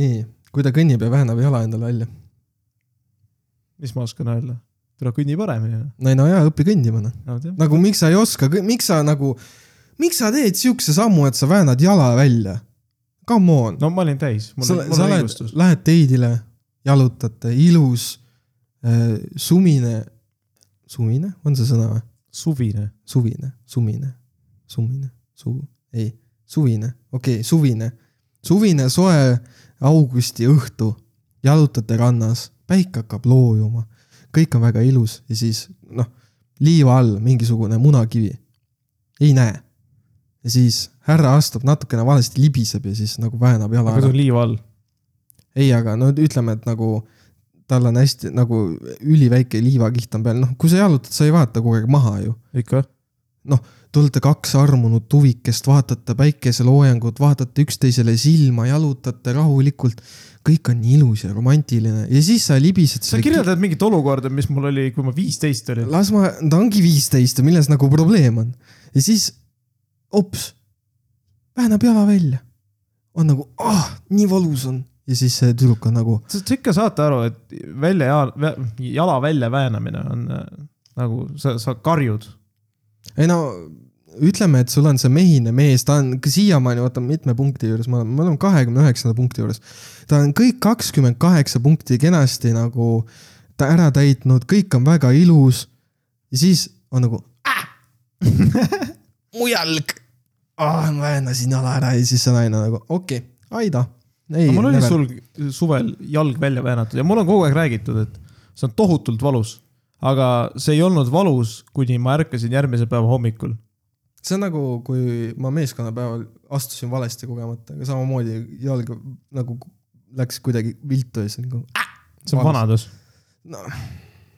Speaker 2: nii , kui ta kõnnib ja väänab jala endale välja .
Speaker 1: mis ma oskan öelda , tule kõnni paremini noh.
Speaker 2: no ei no jaa , õpi kõndima noh .
Speaker 1: no, .
Speaker 2: nagu miks sa ei oska , miks sa nagu , miks sa teed siukse sammu , et sa väänad jala välja ? Come on .
Speaker 1: no ma olin täis , mul
Speaker 2: sa,
Speaker 1: oli , mul
Speaker 2: sa
Speaker 1: oli
Speaker 2: oled
Speaker 1: õigustus ,.
Speaker 2: lähed teidile , jalutate , ilus äh, , sumine , sumine , on see sõna või ?
Speaker 1: suvine .
Speaker 2: suvine , sumine , sumine , suu , ei , suvine , okei okay, , suvine . suvine soe augusti õhtu , jalutate rannas , päike hakkab loojuma , kõik on väga ilus ja siis noh , liiva all mingisugune munakivi , ei näe . ja siis härra astub natukene valesti , libiseb ja siis nagu väänab jala
Speaker 1: aga see on liiva all .
Speaker 2: ei , aga no ütleme , et nagu tal on hästi nagu üliväike liivakiht on peal , noh , kui sa jalutad , sa ei vaata kogu aeg maha ju .
Speaker 1: ikka .
Speaker 2: Te olete kaks armunud tuvikest , vaatate päikeseloojangut , vaatate üksteisele silma , jalutate rahulikult . kõik on nii ilus ja romantiline ja siis sa libised .
Speaker 1: sa kirjeldad mingit olukorda , mis mul oli , kui ma viisteist olin .
Speaker 2: las ma , ta ongi viisteist ja milles nagu probleem on . ja siis hops , väänab jala välja . on nagu , ah , nii valus on . ja siis see tüdruk on nagu ,
Speaker 1: sa sa ikka saate aru , et välja jala , jala välja väänamine on äh, nagu sa , sa karjud .
Speaker 2: ei no ütleme , et sul on see mehine mees , ta on ka siiamaani , vaata mitme punkti juures me oleme , me oleme kahekümne üheksanda punkti juures . ta on kõik kakskümmend kaheksa punkti kenasti nagu ta ära täitnud , kõik on väga ilus . ja siis on nagu "Ah! <laughs> mu jalg . aa , ma väänasin jala ära ja siis see naine on nagu okei okay, , aida . ei
Speaker 1: No, mul oli sul suvel jalg välja väänatud ja mul on kogu aeg räägitud , et see on tohutult valus . aga see ei olnud valus , kuni ma ärkasin järgmise päeva hommikul .
Speaker 2: see on nagu , kui ma meeskonnapäeval astusin valesti kogemata , aga samamoodi jalg nagu läks kuidagi viltu ja siis nagu
Speaker 1: see on vanadus .
Speaker 2: no. .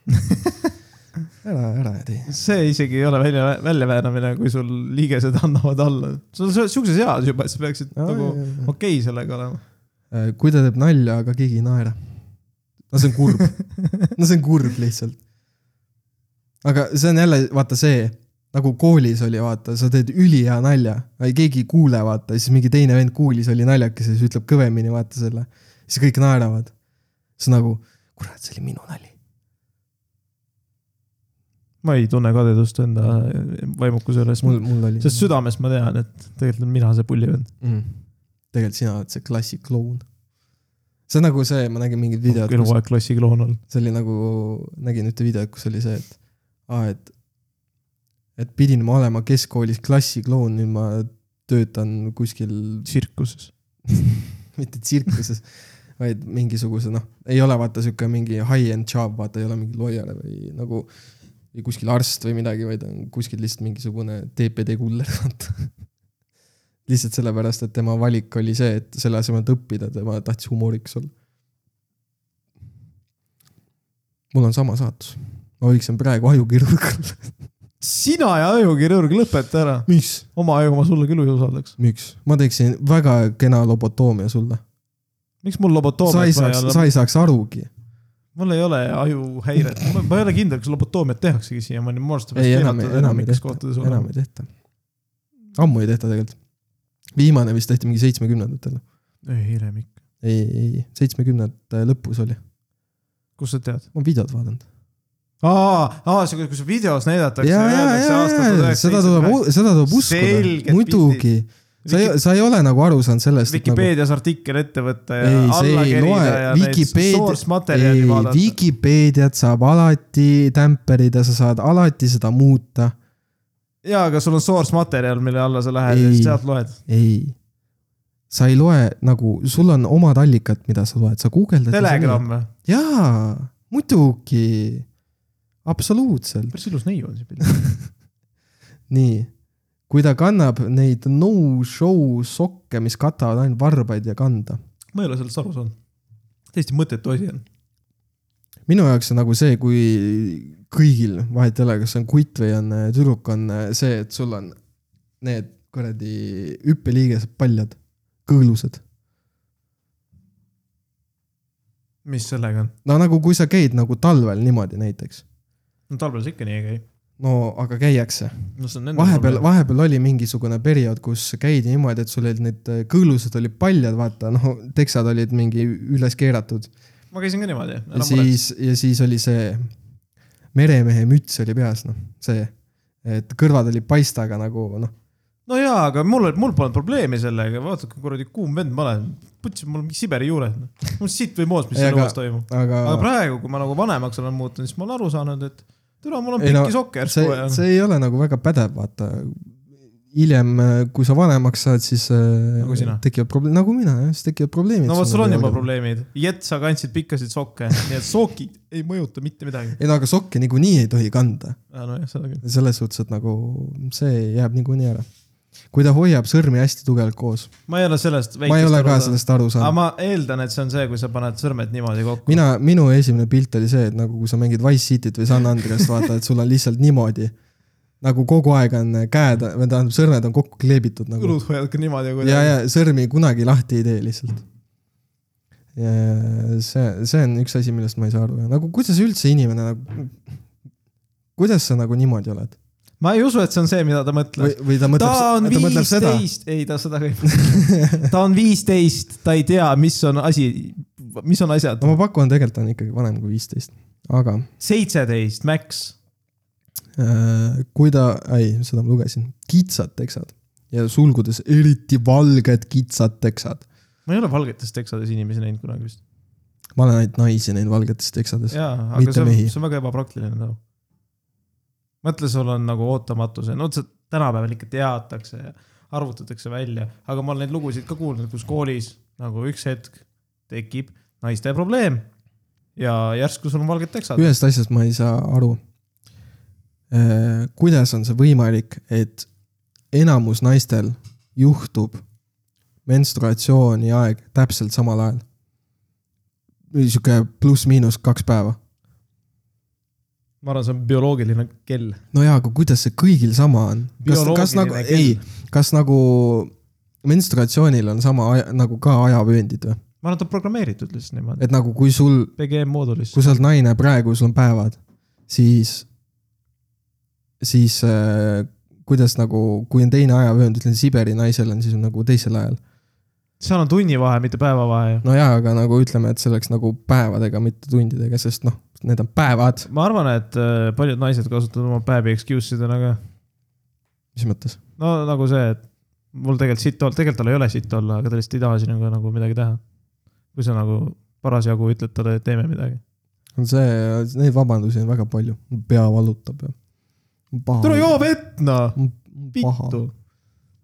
Speaker 2: <laughs> ära , ära tee .
Speaker 1: see isegi ei ole välja , väljaväänamine , kui sul liigesed annavad alla . sa oled siukses eas juba , et sa peaksid nagu okei okay sellega olema .
Speaker 2: Äh, kui ta teeb nalja , aga keegi ei naera . no see on kurb , no see on kurb lihtsalt . aga see on jälle , vaata see , nagu koolis oli , vaata , sa teed ülihea nalja , keegi ei kuule , vaata , siis mingi teine vend kuulis , oli naljakas ja siis ütleb kõvemini , vaata selle . siis kõik naeravad . siis nagu , kurat , see oli minu nali .
Speaker 1: ma ei tunne kadedust enda vaimukuse üles ,
Speaker 2: mul , mul oli .
Speaker 1: sest südames ma tean , et tegelikult olen mina see pullivend .
Speaker 2: mm. . tegelikult sina oled see klassikloon . see on nagu see , ma nägin mingit videot , kus
Speaker 1: eluaeg klassikloon olnud .
Speaker 2: see oli nagu , nägin ühte videot , kus oli see , et aa , et , et pidin ma olema keskkoolis klassikloon , nüüd ma töötan kuskil
Speaker 1: tsirkuses .
Speaker 2: mitte tsirkuses , vaid mingisuguse noh , ei ole vaata sihuke mingi high-end job , vaata ei ole mingi lawyer või nagu või kuskil arst või midagi , vaid on kuskil lihtsalt mingisugune TPD kuller , <laughs> vaata . lihtsalt sellepärast , et tema valik oli see , et selle asemel , et õppida , tema tahtis humoorikas olla . mul on sama saatus , ma võiksin praegu ajukirurg olla .
Speaker 1: sina ja ajukirurg , lõpeta ära .
Speaker 2: miks ?
Speaker 1: oma aju ma sulle küll ei usaldaks .
Speaker 2: miks ? ma teeksin väga kena lobotoomia sulle .
Speaker 1: miks mul
Speaker 2: sa ei
Speaker 1: lobotoomiat vaja
Speaker 2: saaks ,
Speaker 1: olla ?
Speaker 2: sa ei saaks arugi .
Speaker 1: mul ei ole ajuhäiret , ma ei ole kindel , kas lobotoomiat tehaksegi siiamaani , mu arust
Speaker 2: ei , enam , enam ei tehta , enam ei tehta . ammu ei tehta tegelikult . viimane vist tehti mingi seitsmekümnendatel .
Speaker 1: ei , Remik ,
Speaker 2: ei , ei , ei , seitsmekümnendate lõpus oli ,
Speaker 1: kust sa tead ?
Speaker 2: ma olen videot vaadanud .
Speaker 1: aa , aa , see , kus videos näidatakse .
Speaker 2: ja , ja , ja , ja seda tuleb , seda
Speaker 1: Selged
Speaker 2: tuleb uskuda , muidugi . sa ei , sa ei ole nagu aru saanud sellest , et nagu
Speaker 1: Vikipeedias artikkel ette võtta ja
Speaker 2: ei , see
Speaker 1: alla
Speaker 2: ei
Speaker 1: kerida
Speaker 2: loe
Speaker 1: ja , neid source
Speaker 2: Vikipeedia , ei
Speaker 1: materjali , vaadata .
Speaker 2: Vikipeediat saab alati tämperida , sa saad alati seda muuta .
Speaker 1: jaa , aga sul on source materjal , mille alla sa lähed ja
Speaker 2: Ei.
Speaker 1: siis sealt loed .
Speaker 2: ei , sa ei loe nagu , sul on omad allikad , mida sa loed , sa guugeldad .
Speaker 1: Telegram või ?
Speaker 2: jaa , muidugi , absoluutselt ,
Speaker 1: päris ilus neiu on see pilt .
Speaker 2: nii . kui ta kannab neid no-show sokke , mis katavad ainult varbaid ja kanda .
Speaker 1: ma ei ole sellest aru saanud . täiesti mõttetu asi on .
Speaker 2: minu jaoks on nagu see , kui kõigil , vahet ei ole , kas on kutt või on äh, tüdruk , on äh, see , et sul on need kuradi hüppeliigesed paljad , kõõlused .
Speaker 1: mis sellega on ?
Speaker 2: no nagu , kui sa käid nagu talvel niimoodi näiteks ,
Speaker 1: no talvel see ikka nii ei käi .
Speaker 2: no aga käiakse .
Speaker 1: no see on nende
Speaker 2: vahepeal ,. vahepeal oli mingisugune periood , kus käidi niimoodi , et sul olid need kõõlused olid paljad , vaata noh , teksad olid mingi üles keeratud
Speaker 1: ma käisin ka niimoodi .
Speaker 2: ja siis , ja siis oli see meremehe müts oli peas , noh , see , et kõrvad olid paistaga nagu noh ,
Speaker 1: no jaa , aga mul , mul polnud probleemi sellega , vaata kui kuradi kuum vend ma olen , putsi , mul on mingi Siberi juured . mul sitt või moost , mis
Speaker 2: Ei,
Speaker 1: seal
Speaker 2: aga-
Speaker 1: õues toimub .
Speaker 2: aga,
Speaker 1: aga praegu , kui ma nagu vanemaks olen muutunud , siis ma olen aru saanud , et türa , mul on
Speaker 2: Ei no,
Speaker 1: pikki sokke järsku
Speaker 2: see
Speaker 1: vaja ,.
Speaker 2: see ei ole nagu väga pädev , vaata . hiljem , kui sa vanemaks saad , siis äh,
Speaker 1: Nagu sina.
Speaker 2: tekivad probleemid , nagu mina jah , siis tekivad probleemid .
Speaker 1: no vot , sul on juba . probleemid . Jett , sa kandsid pikkasid sokke , nii et sokid ei mõjuta mitte midagi .
Speaker 2: ei no aga sokke niikuinii ei tohi kanda
Speaker 1: nojah , seda küll .
Speaker 2: selles suhtes , et nagu see jääb niikuinii ära . kui ta hoiab sõrmi hästi tugevalt koos ,
Speaker 1: ma ei ole sellest .
Speaker 2: ma ei ole ka . sellest aru
Speaker 1: aga
Speaker 2: saanud .
Speaker 1: ma eeldan , et see on see , kui sa paned sõrmed niimoodi kokku .
Speaker 2: mina , minu esimene pilt oli see , et nagu kui sa mängid Wise Cityt või San Andreast , vaata , et sul on lihtsalt niimoodi . nagu kogu aeg on käed , või tähendab , sõrmed on kokku kleebitud nagu .
Speaker 1: õlud hoiavad ka niimoodi kuidagi .
Speaker 2: ja , ja sõrmi kunagi lahti ei tee lihtsalt . see , see on üks asi , millest ma ei saa aru , nagu kuidas üldse inimene nagu , kuidas sa nagu niimoodi oled ?
Speaker 1: ma ei usu , et see on see , mida ta mõtles
Speaker 2: või , või ta mõtleb ,
Speaker 1: ta on
Speaker 2: ta mõtleb seda
Speaker 1: viisteist , ei ta seda ka ei mõtle . ta on viisteist , ta ei tea , mis on asi , mis on asjad
Speaker 2: no . ma pakun , tegelikult on ikkagi vanem kui viisteist , aga
Speaker 1: seitseteist , max .
Speaker 2: äh, kui ta , ei , seda ma lugesin , kitsad teksad ja sulgudes eriti valged kitsad teksad .
Speaker 1: ma ei ole valgetes teksades inimesi näinud kunagi vist .
Speaker 2: ma olen ainult naisi näinud valgetes teksades .
Speaker 1: jaa , aga
Speaker 2: Mitte
Speaker 1: see on ,
Speaker 2: mehi.
Speaker 1: see on väga ebapraktiline nagu . mõtle , sul on nagu ootamatuse , no otseselt tänapäeval ikka teatakse ja arvutatakse välja , aga ma olen neid lugusid ka kuulnud , kus koolis nagu üks hetk tekib naiste probleem ja järsku sul on valged teksad .
Speaker 2: ühest asjast ma ei saa aru äh, . kuidas on see võimalik , et enamus naistel juhtub menstruatsiooni aeg täpselt samal ajal ? niisugune pluss-miinus kaks päeva .
Speaker 1: ma arvan , see on bioloogiline kell .
Speaker 2: no jaa , aga kuidas see kõigil sama on ? kas , kas nagu ,
Speaker 1: Bioloogiline
Speaker 2: ei , kas nagu menstruatsioonil on sama aja, nagu ka ajavööndid või ?
Speaker 1: ma arvan , et ta on programmeeritud lihtsalt niimoodi ,
Speaker 2: et nagu kui sul ,
Speaker 1: PGM moodulis .
Speaker 2: kui sa oled naine praegu , sul on päevad , siis , siis äh, kuidas nagu , kui on teine ajavöönd , ütleme Siberi naisel on siis nagu teisel ajal .
Speaker 1: seal on tunnivahe , mitte päevavahe ju .
Speaker 2: no jaa , aga nagu ütleme , et see oleks nagu päevadega , mitte tundidega , sest noh , need on päevad .
Speaker 1: ma arvan , et äh, paljud naised kasutavad oma päevi excuse idena ka .
Speaker 2: mis mõttes ?
Speaker 1: no nagu see , et mul tegelikult sitt olla , tegelikult tal ei ole sitt olla , aga ta lihtsalt ei taha sinuga nagu midagi teha . kui sa nagu parasjagu ütled talle , et teeme midagi .
Speaker 2: on see , neid vabandusi on väga palju . pea valutab ja .
Speaker 1: tule joo vett noh ,
Speaker 2: paha
Speaker 1: vittu ..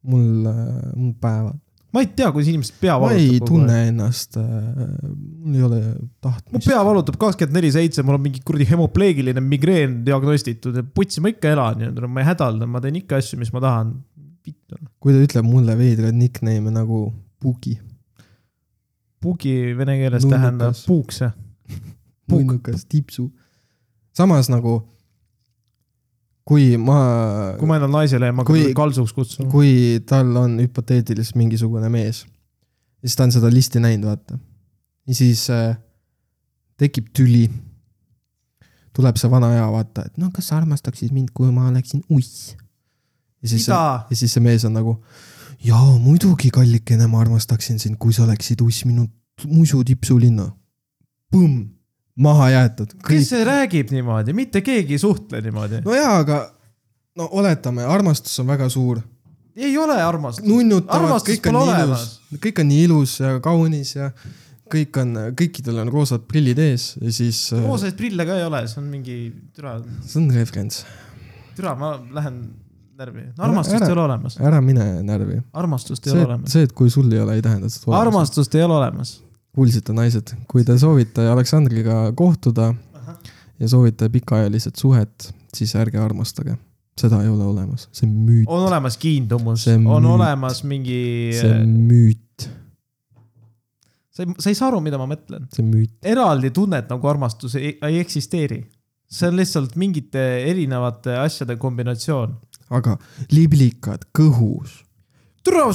Speaker 2: mul , mul päevad .
Speaker 1: ma ei tea , kuidas inimesed pea
Speaker 2: ma ei
Speaker 1: valutab .
Speaker 2: tunne ennast , mul ei ole
Speaker 1: mu
Speaker 2: tahtmist .
Speaker 1: pea valutab kakskümmend neli seitse , mul on mingi kuradi hemopleegiline migreen diagnostitud ja putsi ma ikka elan ja ma ei hädalda , ma teen ikka asju , mis ma tahan . noh. vittu .
Speaker 2: kui ta ütleb mulle veidraid nickname'e nagu Pugi .
Speaker 1: pugi vene keeles
Speaker 2: Nunnukas.
Speaker 1: tähendab puukse . Puk-
Speaker 2: punnukas , tipsu . samas nagu , kui ma,
Speaker 1: kui ma ennast naisele ei hakka
Speaker 2: Kui-
Speaker 1: kalsuks kutsuma .
Speaker 2: kui tal on hüpoteetiliselt mingisugune mees , siis ta on seda listi näinud , vaata . ja siis äh, tekib tüli . tuleb see vana hea , vaata , et no kas sa armastaksid mind , kui ma oleksin uss . ja siis ,
Speaker 1: mida ?
Speaker 2: ja siis see mees on nagu , jaa muidugi , kallikene , ma armastaksin sind , kui sa oleksid uss minu t- musu tipsulinna . Põmm , maha jäetud .
Speaker 1: kes see räägib niimoodi , mitte keegi ei suhtle niimoodi no, .
Speaker 2: no jaa , aga no oletame , armastus on väga suur .
Speaker 1: ei ole armastust .
Speaker 2: nunnutavad ,
Speaker 1: Armastus
Speaker 2: kõik on
Speaker 1: pole
Speaker 2: nii
Speaker 1: olemas.
Speaker 2: ilus , kõik on nii ilus ja kaunis ja kõik on , kõikidel on roosad prillid ees ja siis äh,
Speaker 1: roosaid prille ka ei ole , see on mingi türa ,
Speaker 2: see on referents .
Speaker 1: türa , ma lähen närvi .
Speaker 2: Ära-
Speaker 1: armastust
Speaker 2: ära-
Speaker 1: ei ole olemas ,
Speaker 2: ära mine närvi .
Speaker 1: armastust ei
Speaker 2: see
Speaker 1: ole , olemas ,
Speaker 2: see , et kui sul ei ole , ei tähenda , et sa oled olemas .
Speaker 1: armastust ei ole olemas .
Speaker 2: kuulsite , naised , kui te soovite Aleksandriga kohtuda ja soovite pikaajaliselt suhet , siis ärge armastage . seda ei ole olemas , see on müüt ,
Speaker 1: on olemas kiindumus ,
Speaker 2: See on
Speaker 1: on
Speaker 2: müüt.
Speaker 1: olemas mingi ,
Speaker 2: see on
Speaker 1: sa
Speaker 2: müüt ,
Speaker 1: ei , sa ei saa aru , mida ma mõtlen .
Speaker 2: see on müüt .
Speaker 1: eraldi tunnet nagu armastus ei, ei eksisteeri . see on lihtsalt mingite erinevate asjade kombinatsioon .
Speaker 2: aga liblikad kõhus ,
Speaker 1: türa ,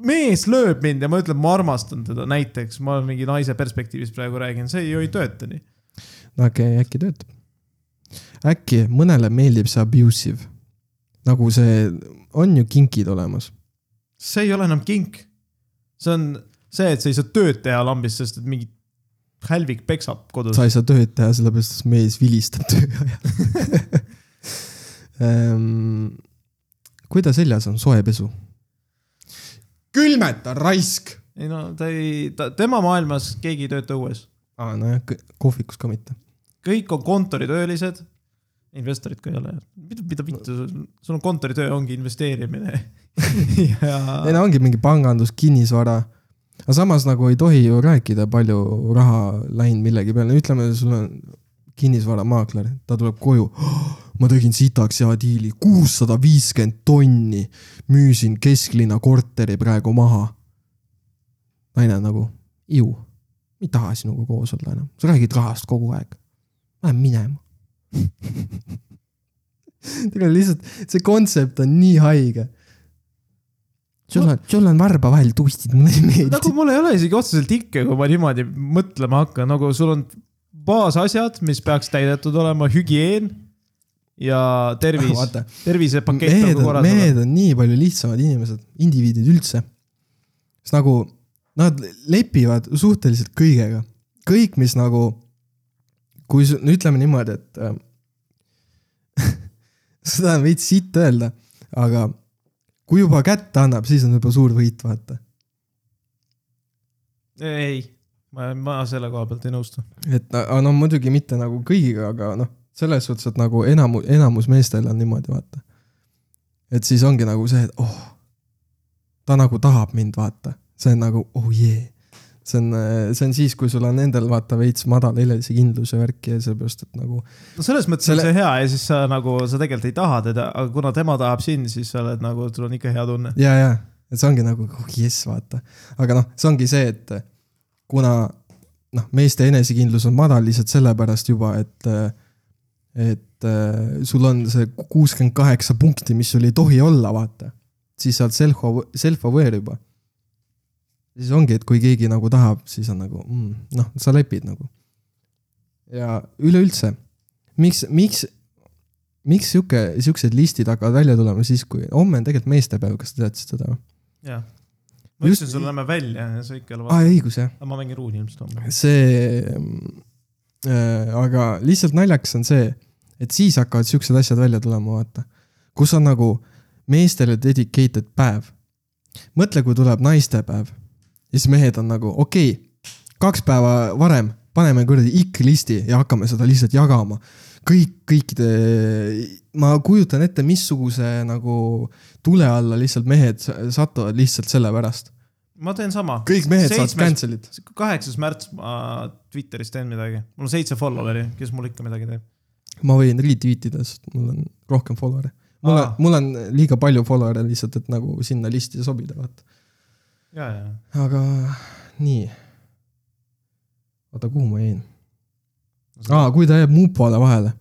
Speaker 1: mees lööb mind ja ma ütlen , ma armastan teda , näiteks ma mingi naise perspektiivis praegu räägin , see ju ei tööta nii .
Speaker 2: no okei , äkki töötab . äkki mõnele meeldib see abusive , nagu see , on ju kinkid olemas .
Speaker 1: see ei ole enam kink . see on see , et sa ei saa tööd teha lambis , sest et mingi hälvik peksab kodus
Speaker 2: sa . ei saa tööd teha , sellepärast et mees vilistab töö <laughs> ajal . Ehm, kui ta seljas on , soe pesu . külmeta raisk .
Speaker 1: ei no ta ei , ta , tema maailmas keegi ei tööta õues .
Speaker 2: aa , nojah , kohvikus ka mitte .
Speaker 1: kõik on kontoritöölised . investorid ka ei ole . mida , mida vittu , sul on kontoritöö ongi investeerimine . <laughs>
Speaker 2: ei
Speaker 1: ja
Speaker 2: no ongi mingi pangandus , kinnisvara . aga samas nagu ei tohi ju rääkida , palju raha läinud millegi peale , ütleme , sul on kinnisvaramaakler , ta tuleb koju oh, . ma tegin sitaks hea diili , kuussada viiskümmend tonni müüsin kesklinna korteri praegu maha . naine on nagu , ju , ma ei taha sinuga koos olla enam , sa räägid rahast kogu aeg , lähen minema <laughs> tegelikult lihtsalt see kontsept on nii haige . sul on , sul on varba vahel tuistid , mulle ei meeldi
Speaker 1: nagu
Speaker 2: nagu... .
Speaker 1: mul ei ole isegi otseselt ikke , kui ma niimoodi mõtlema hakkan , nagu sul on baasasjad , mis peaks täidetud olema , hügieen ja tervis ,
Speaker 2: <laughs> vaata ,
Speaker 1: tervisepakett
Speaker 2: mehed
Speaker 1: nagu
Speaker 2: on ,
Speaker 1: korras .
Speaker 2: mehed on nii palju lihtsamad inimesed , indiviidid üldse . sest nagu nad lepivad suhteliselt kõigega , kõik , mis nagu , kui su- no ütleme niimoodi , et äh, <laughs> seda on veits sitt öelda , aga kui juba kätte annab , siis on juba suur võit , vaata .
Speaker 1: ei , ma , ma selle koha pealt ei nõustu .
Speaker 2: et no- aga no muidugi mitte nagu kõigiga , aga noh , selles suhtes , et nagu enam , enamus meestel on niimoodi , vaata . et siis ongi nagu see , et oh , ta nagu tahab mind , vaata , see on nagu oh jee yeah. . see on , see on siis , kui sul on endal vaata veits madal enesekindluse värk ja sellepärast , et nagu
Speaker 1: no selles mõttes
Speaker 2: Selle-
Speaker 1: selle... on see hea ja siis sa nagu , sa tegelikult ei taha teda , aga kuna tema tahab sind , siis sa oled nagu , sul on ikka hea tunne .
Speaker 2: ja , ja , et see ongi nagu oh jess , vaata . aga noh , see ongi see , et kuna noh , meeste enesekindlus on madal lihtsalt sellepärast juba , et , et eh, sul on see kuuskümmend kaheksa punkti , mis sul ei tohi olla , vaata . siis sa oled self-aw- , self-aware juba . siis ongi , et kui keegi nagu tahab , siis on nagu mm, noh , sa lepid nagu . ja üleüldse , miks , miks , miks sihuke , siuksed listid hakkavad välja tulema siis , kui homme on tegelikult meestepäev , kas te teadsite seda või ?
Speaker 1: jah . ma
Speaker 2: Just- Ah.
Speaker 1: ütlesin sulle , lähme välja ja sa ikka ei ole
Speaker 2: aa ,
Speaker 1: vastu .
Speaker 2: õigus jah ,
Speaker 1: ma mängin ruuni ilmselt homme .
Speaker 2: see mm, aga lihtsalt naljakas on see , et siis hakkavad siuksed asjad välja tulema , vaata . kus on nagu meestele dedicated päev . mõtle , kui tuleb naistepäev ja siis mehed on nagu okei okay, , kaks päeva varem paneme kuradi ikk-listi ja hakkame seda lihtsalt jagama . kõik , kõikide , ma kujutan ette , missuguse nagu tule alla lihtsalt mehed sa- satuvad lihtsalt sellepärast .
Speaker 1: ma teen sama .
Speaker 2: kõik mehed saavad . cancel'it .
Speaker 1: kaheksas märts ma Twitteris teen midagi , mul on seitse follower'i , kes mul ikka midagi teeb .
Speaker 2: ma võin retweet ida , sest mul on rohkem follower'e . mul on
Speaker 1: Aa. ,
Speaker 2: mul on liiga palju follower'e lihtsalt , et nagu sinna listi sobida , vaata .
Speaker 1: ja , ja ,
Speaker 2: aga nii . oota , kuhu ma jäin ?
Speaker 1: see-
Speaker 2: aa , kui ta jääb mupole vahele .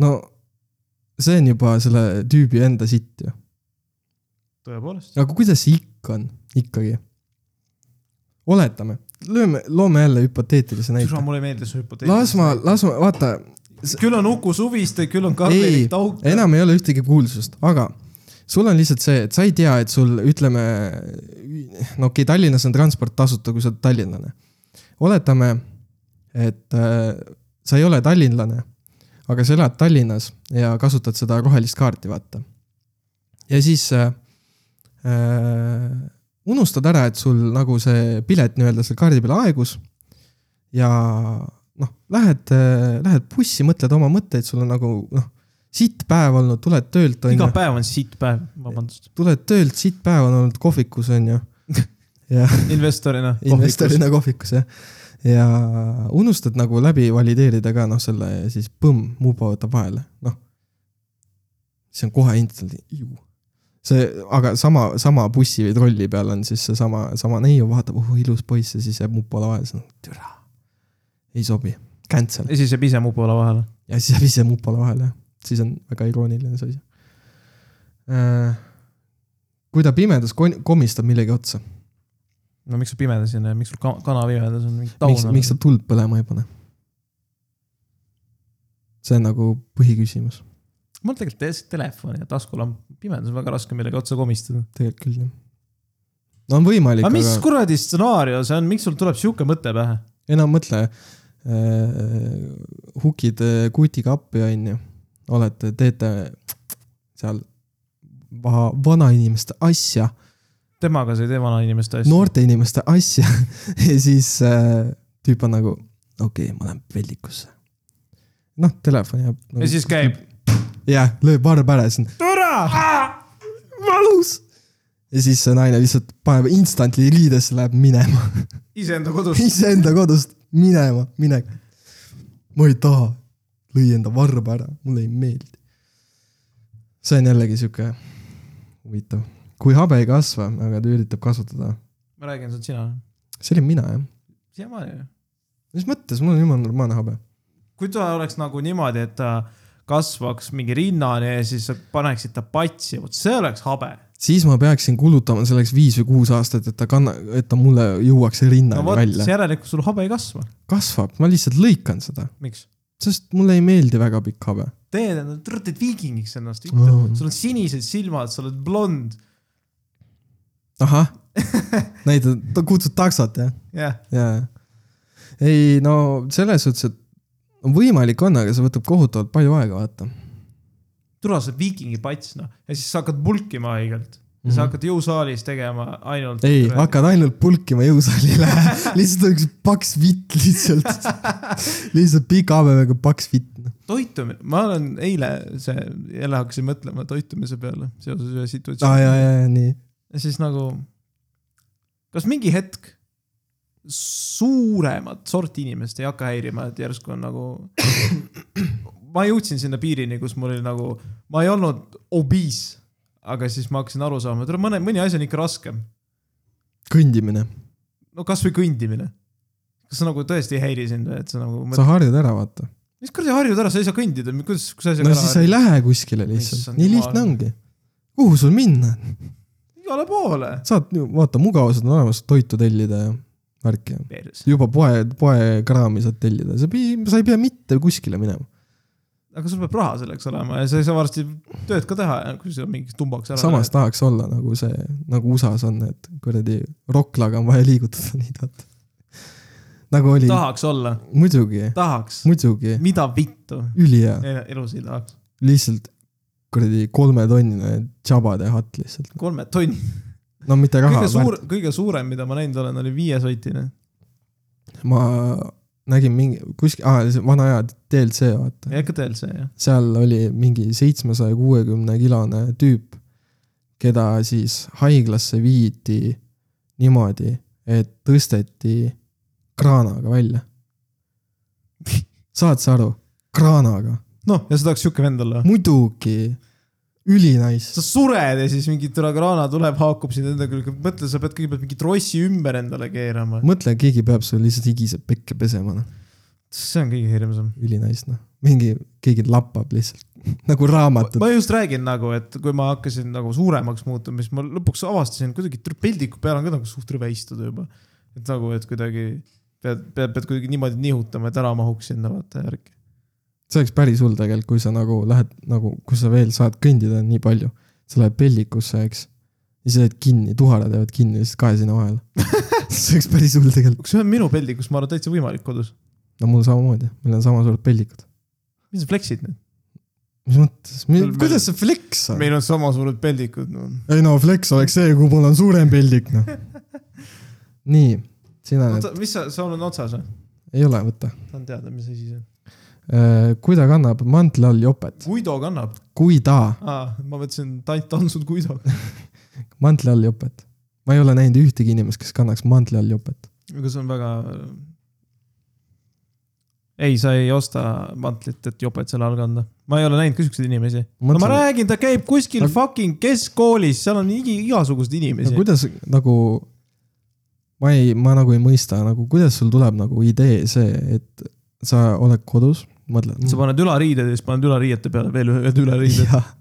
Speaker 2: no see on juba selle tüübi enda sitt ju .
Speaker 1: tõepoolest .
Speaker 2: aga kuidas see ikka on , ikkagi ? oletame , lööme , loome jälle hüpoteetilise
Speaker 1: türa ,
Speaker 2: näite .
Speaker 1: mulle ei meeldi see hüpotees .
Speaker 2: las ma , las ma , vaata
Speaker 1: küll on Uku Suviste , küll on Karl-Erik Tauk .
Speaker 2: enam ei ole ühtegi kuulsust , aga sul on lihtsalt see , et sa ei tea , et sul ütleme , no okei okay, , Tallinnas on transport tasuta , kui sa oled tallinlane . oletame , et äh, sa ei ole tallinlane , aga sa elad Tallinnas ja kasutad seda rohelist kaarti , vaata . ja siis äh, äh, unustad ära , et sul nagu see pilet nii-öelda seal kaardi peal aegus ja noh , lähed , lähed bussi , mõtled oma mõtteid , sul on nagu noh , sitt päev olnud , tuled töölt ,
Speaker 1: iga
Speaker 2: onju .
Speaker 1: päev on sitt päev ,
Speaker 2: <laughs>
Speaker 1: vabandust .
Speaker 2: tuled töölt , sitt päev on olnud kohvikus ,
Speaker 1: <laughs>
Speaker 2: onju . ja
Speaker 1: investorina .
Speaker 2: investorina kohvikus jah . ja unustad nagu läbi valideerida ka noh , selle siis põmm , muba võtab vahele , noh . see on kohe instant , see , aga sama , sama bussi või trolli peal on siis seesama , sama neiu vaatab , oh ilus poiss ja siis jääb mupole vahele , siis on türa . ei sobi , cancel
Speaker 1: ja siis jääb ise mupola vahele .
Speaker 2: ja siis jääb ise mupole vahele , siis on väga irooniline see asi . kui ta pimedas kon- komistab millegi otsa ,
Speaker 1: no miks sa pimedas ei näe , miks sul ka- kana pimedas on mingi taun
Speaker 2: miks , miks ta tuld põlema ei pane ? see on nagu põhiküsimus ,
Speaker 1: mul tegelikult täiesti telefon ja taskulamp , pimedas on väga raske millegi otsa komistada .
Speaker 2: tegelikult küll jah . no on võimalik ,
Speaker 1: aga mis
Speaker 2: aga
Speaker 1: kuradi stsenaarium see on , miks sul tuleb sihuke mõte pähe ?
Speaker 2: enam mõtle äh, . hukid äh, kutiga appi , onju , olete , teete seal va- , vanainimeste asja ,
Speaker 1: temaga sa ei tee vanainimeste asja .
Speaker 2: noorte inimeste asja <laughs> ja siis äh, tüüp on nagu , okei okay, , ma lähen peldikusse . noh , telefon jääb nagu,
Speaker 1: ja siis käib .
Speaker 2: jah , lööb varb ära ja siis on Ah!
Speaker 1: türa ,
Speaker 2: valus . ja siis see naine lihtsalt paneb instantly riidesse , läheb minema , <laughs>
Speaker 1: iseenda kodus .
Speaker 2: iseenda kodust minema , minek . ma ei taha , lõi enda varba ära , mulle ei meeldi . see on jällegi sihuke huvitav , kui habe ei kasva , aga ta üritab kasvatada ,
Speaker 1: ma räägin , see on sina .
Speaker 2: see olin mina jah ,
Speaker 1: siiamaani ju .
Speaker 2: mis mõttes , mul on jumala normaalne habe .
Speaker 1: kui ta oleks nagu niimoodi , et ta kasvaks mingi rinnani ja siis sa paneksid ta patsi , vot see oleks habe .
Speaker 2: siis ma peaksin kulutama selleks viis või kuus aastat , et ta kanna , et ta mulle jõuaks
Speaker 1: no
Speaker 2: rinnani no,
Speaker 1: vot ,
Speaker 2: välja ,
Speaker 1: järelikult sul habe ei kasva .
Speaker 2: kasvab , ma lihtsalt lõikan seda ,
Speaker 1: miks ?
Speaker 2: sest mulle ei meeldi väga pikk habe .
Speaker 1: teed endale , te olete viikingiks ennast ,
Speaker 2: Mm.
Speaker 1: sul on sinised silmad , sa oled blond ,
Speaker 2: ahah ,
Speaker 1: <laughs>
Speaker 2: näitad , ta kutsub taksot jah ,
Speaker 1: jah .
Speaker 2: jaa . ei no selles suhtes , et no võimalik on , aga see võtab kohutavalt palju aega , vaata .
Speaker 1: tule sa viikingi pats noh , ja siis sa hakkad mulkima haigelt . ja sa hakkad jõusaalis tegema ainult .
Speaker 2: Mhm. ei , hakkad ainult pulkima
Speaker 1: <laughs>
Speaker 2: jõusaalile , lihtsalt on üks paks vitt lihtsalt . lihtsalt pika habemega paks vitt .
Speaker 1: toitumine , ma olen eile see , jälle hakkasin mõtlema toitumise peale seoses ühe
Speaker 2: aa
Speaker 1: situatsiooniga
Speaker 2: jaa , jaa , jaa , nii .
Speaker 1: ja siis nagu . kas mingi hetk suuremat sorti inimest ei hakka häirima , et järsku on nagu . <coughs> ma jõudsin sinna piirini , kus mul oli nagu , ma ei olnud obiis , aga siis ma hakkasin aru saama , et mõne , mõni asi on ikka raskem .
Speaker 2: kõndimine ,
Speaker 1: no kasvõi kõndimine . kas see nagu tõesti ei häiri sind või , et sa nagu mõtled ,
Speaker 2: sa harjud ära , vaata .
Speaker 1: mis kuradi harjud ära , sa ei saa kõndida , kuidas , kus asjaga
Speaker 2: no
Speaker 1: ära
Speaker 2: siis sa ei lähe kuskile lihtsalt ,
Speaker 1: Issand
Speaker 2: nii
Speaker 1: jumal.
Speaker 2: lihtne ongi . kuhu sul minna ?
Speaker 1: igale poole .
Speaker 2: saad , vaata , mugavused on olemas , toitu tellida ja värki ja
Speaker 1: perses .
Speaker 2: juba poe , poekraami saad tellida , sa ei , sa ei pea mitte kuskile minema .
Speaker 1: aga sul peab raha selleks olema ja sa ei saa varsti tööd ka teha , kui sa mingi tumbaks ära .
Speaker 2: samas tahaks olla nagu see , <laughs> nagu USA-s on need kuradi roklaga on vaja liigutada neid , vaata . nagu oli ,
Speaker 1: tahaks olla ,
Speaker 2: muidugi ,
Speaker 1: tahaks ,
Speaker 2: muidugi ,
Speaker 1: mida vittu ,
Speaker 2: ülihea ,
Speaker 1: elus ei tahaks ,
Speaker 2: lihtsalt kuradi kolmetonnine tšabade hatt lihtsalt ,
Speaker 1: kolme tonni ,
Speaker 2: no mitte raha
Speaker 1: kõige , suur , kõige suurem , mida ma näinud olen , oli viiesotine .
Speaker 2: ma nägin mingi kuskil ah, , vana aja DLC vaata ,
Speaker 1: ja ikka DLC jah ,
Speaker 2: seal oli mingi seitsmesaja kuuekümne kilone tüüp , keda siis haiglasse viidi niimoodi , et tõsteti kraanaga välja . saad sa aru , kraanaga ,
Speaker 1: noh , ja sa tahaks sihuke vend olla .
Speaker 2: muidugi , ülinais
Speaker 1: sa sured ja siis mingi türa kraana tuleb , haakub sind enda külge , mõtle , sa pead kõigepealt mingi trossi ümber endale keerama .
Speaker 2: mõtle , keegi peab sul lihtsalt higiseb pekke pesema , noh ,
Speaker 1: see on kõige hirmsam .
Speaker 2: ülinais , noh , mingi , keegi lappab lihtsalt <laughs> nagu raamatut .
Speaker 1: ma just räägin nagu , et kui ma hakkasin nagu suuremaks muutuma , siis ma lõpuks avastasin kuidagi tr- peldiku peal on ka nagu suht rõve istuda juba . et nagu , et kuidagi pead , pead , pead kuidagi niimoodi nihutama , et ära mahuks sinna vaata järgi .
Speaker 2: see oleks päris hull tegelikult , kui sa nagu lähed nagu , kui sa veel saad kõndida nii palju , sa lähed pellikusse , eks . ja sa jääd kinni , tuharad jäävad kinni lihtsalt kahe silma vahele . <laughs> see oleks päris hull tegelikult .
Speaker 1: kas see on minu peldikus , ma arvan , täitsa võimalik kodus .
Speaker 2: no mul samamoodi , meil on sama suured pellikud .
Speaker 1: mis sa flex'id nüüd ?
Speaker 2: mis mõttes
Speaker 1: Meil- ,
Speaker 2: kuidas see flex on ?
Speaker 1: meil on sama suured peldikud , noh .
Speaker 2: ei no flex oleks see , kui mul on suurem peldik ,
Speaker 1: <laughs>
Speaker 2: noh . nii , sina nüüd ,
Speaker 1: oota , mis sa , sul on otsas või ?
Speaker 2: ei ole , võta .
Speaker 1: tahan teada , mis asi see on .
Speaker 2: kui ta kannab mantli all jopet ,
Speaker 1: Guido kannab
Speaker 2: kui ta
Speaker 1: ah, . ma mõtlesin , tant on sul Guido .
Speaker 2: mantli all jopet , ma ei ole näinud ühtegi inimest , kes kannaks mantli all jopet .
Speaker 1: aga see on väga . ei , sa ei osta mantlit , et joped selle all kanda . ma ei ole näinud ka siukseid inimesi . no ma
Speaker 2: Mõtlen-
Speaker 1: räägin , ta käib kuskil
Speaker 2: No-
Speaker 1: fucking keskkoolis , seal on igi, igasuguseid
Speaker 2: no
Speaker 1: inimesi no, .
Speaker 2: kuidas nagu , ma ei , ma nagu ei mõista nagu , kuidas sul tuleb nagu idee see , et sa oled kodus , mõtled .
Speaker 1: sa paned ülariided ja siis paned ülariiete peale veel ühed ülariided .
Speaker 2: jah ,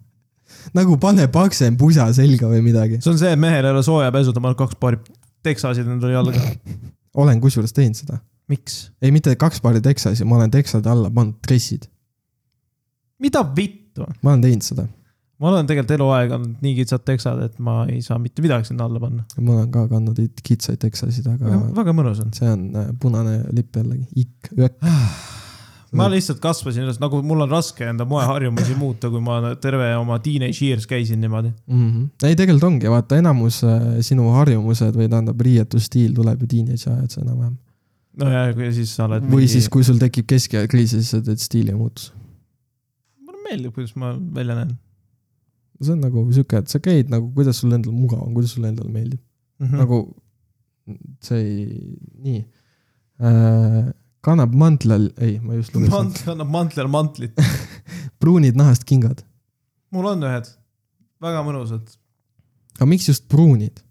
Speaker 2: nagu pane paksem pusa selga või midagi .
Speaker 1: see on see , et mehel ei ole sooja pesu , ta paneb kaks paari teksasid endale jalga .
Speaker 2: olen kusjuures teinud seda ,
Speaker 1: miks ?
Speaker 2: ei mitte kaks paari teksasi , ma olen teksade alla pannud dressid ,
Speaker 1: mida vittu ?
Speaker 2: ma olen teinud seda ,
Speaker 1: ma olen tegelikult eluaeg olnud nii kitsad teksad , et ma ei saa mitte midagi sinna alla panna .
Speaker 2: ma olen ka kandnud it- kitsaid teksasid , aga
Speaker 1: väga mõnus on .
Speaker 2: see on äh, punane lipp jällegi , ikk , ökk ,
Speaker 1: ma lihtsalt kasvasin üles , nagu mul on raske enda moeharjumusi muuta , kui ma terve oma teenage years käisin niimoodi .
Speaker 2: mm . -hmm. ei , tegelikult ongi , vaata enamus äh, sinu harjumused või tähendab riietusstiil tuleb ju teenage ajad enam-vähem .
Speaker 1: no ja , ja siis sa oled .
Speaker 2: või siis , kui sul tekib keskea kriis ja siis sa teed stiilimuutus .
Speaker 1: mulle meeldib , kuidas ma välja näen
Speaker 2: see on nagu sihuke , et sa käid nagu , kuidas sul endal mugav on , kuidas sulle endale meeldib
Speaker 1: mm .
Speaker 2: mm. ,
Speaker 1: -hmm.
Speaker 2: nagu see ei , nii äh, . kannab mantlal , ei , ma just lugesin ,
Speaker 1: mantl annab mantlile mantlit .
Speaker 2: pruunid nahast kingad .
Speaker 1: mul on ühed , väga mõnusad ,
Speaker 2: aga miks just pruunid ?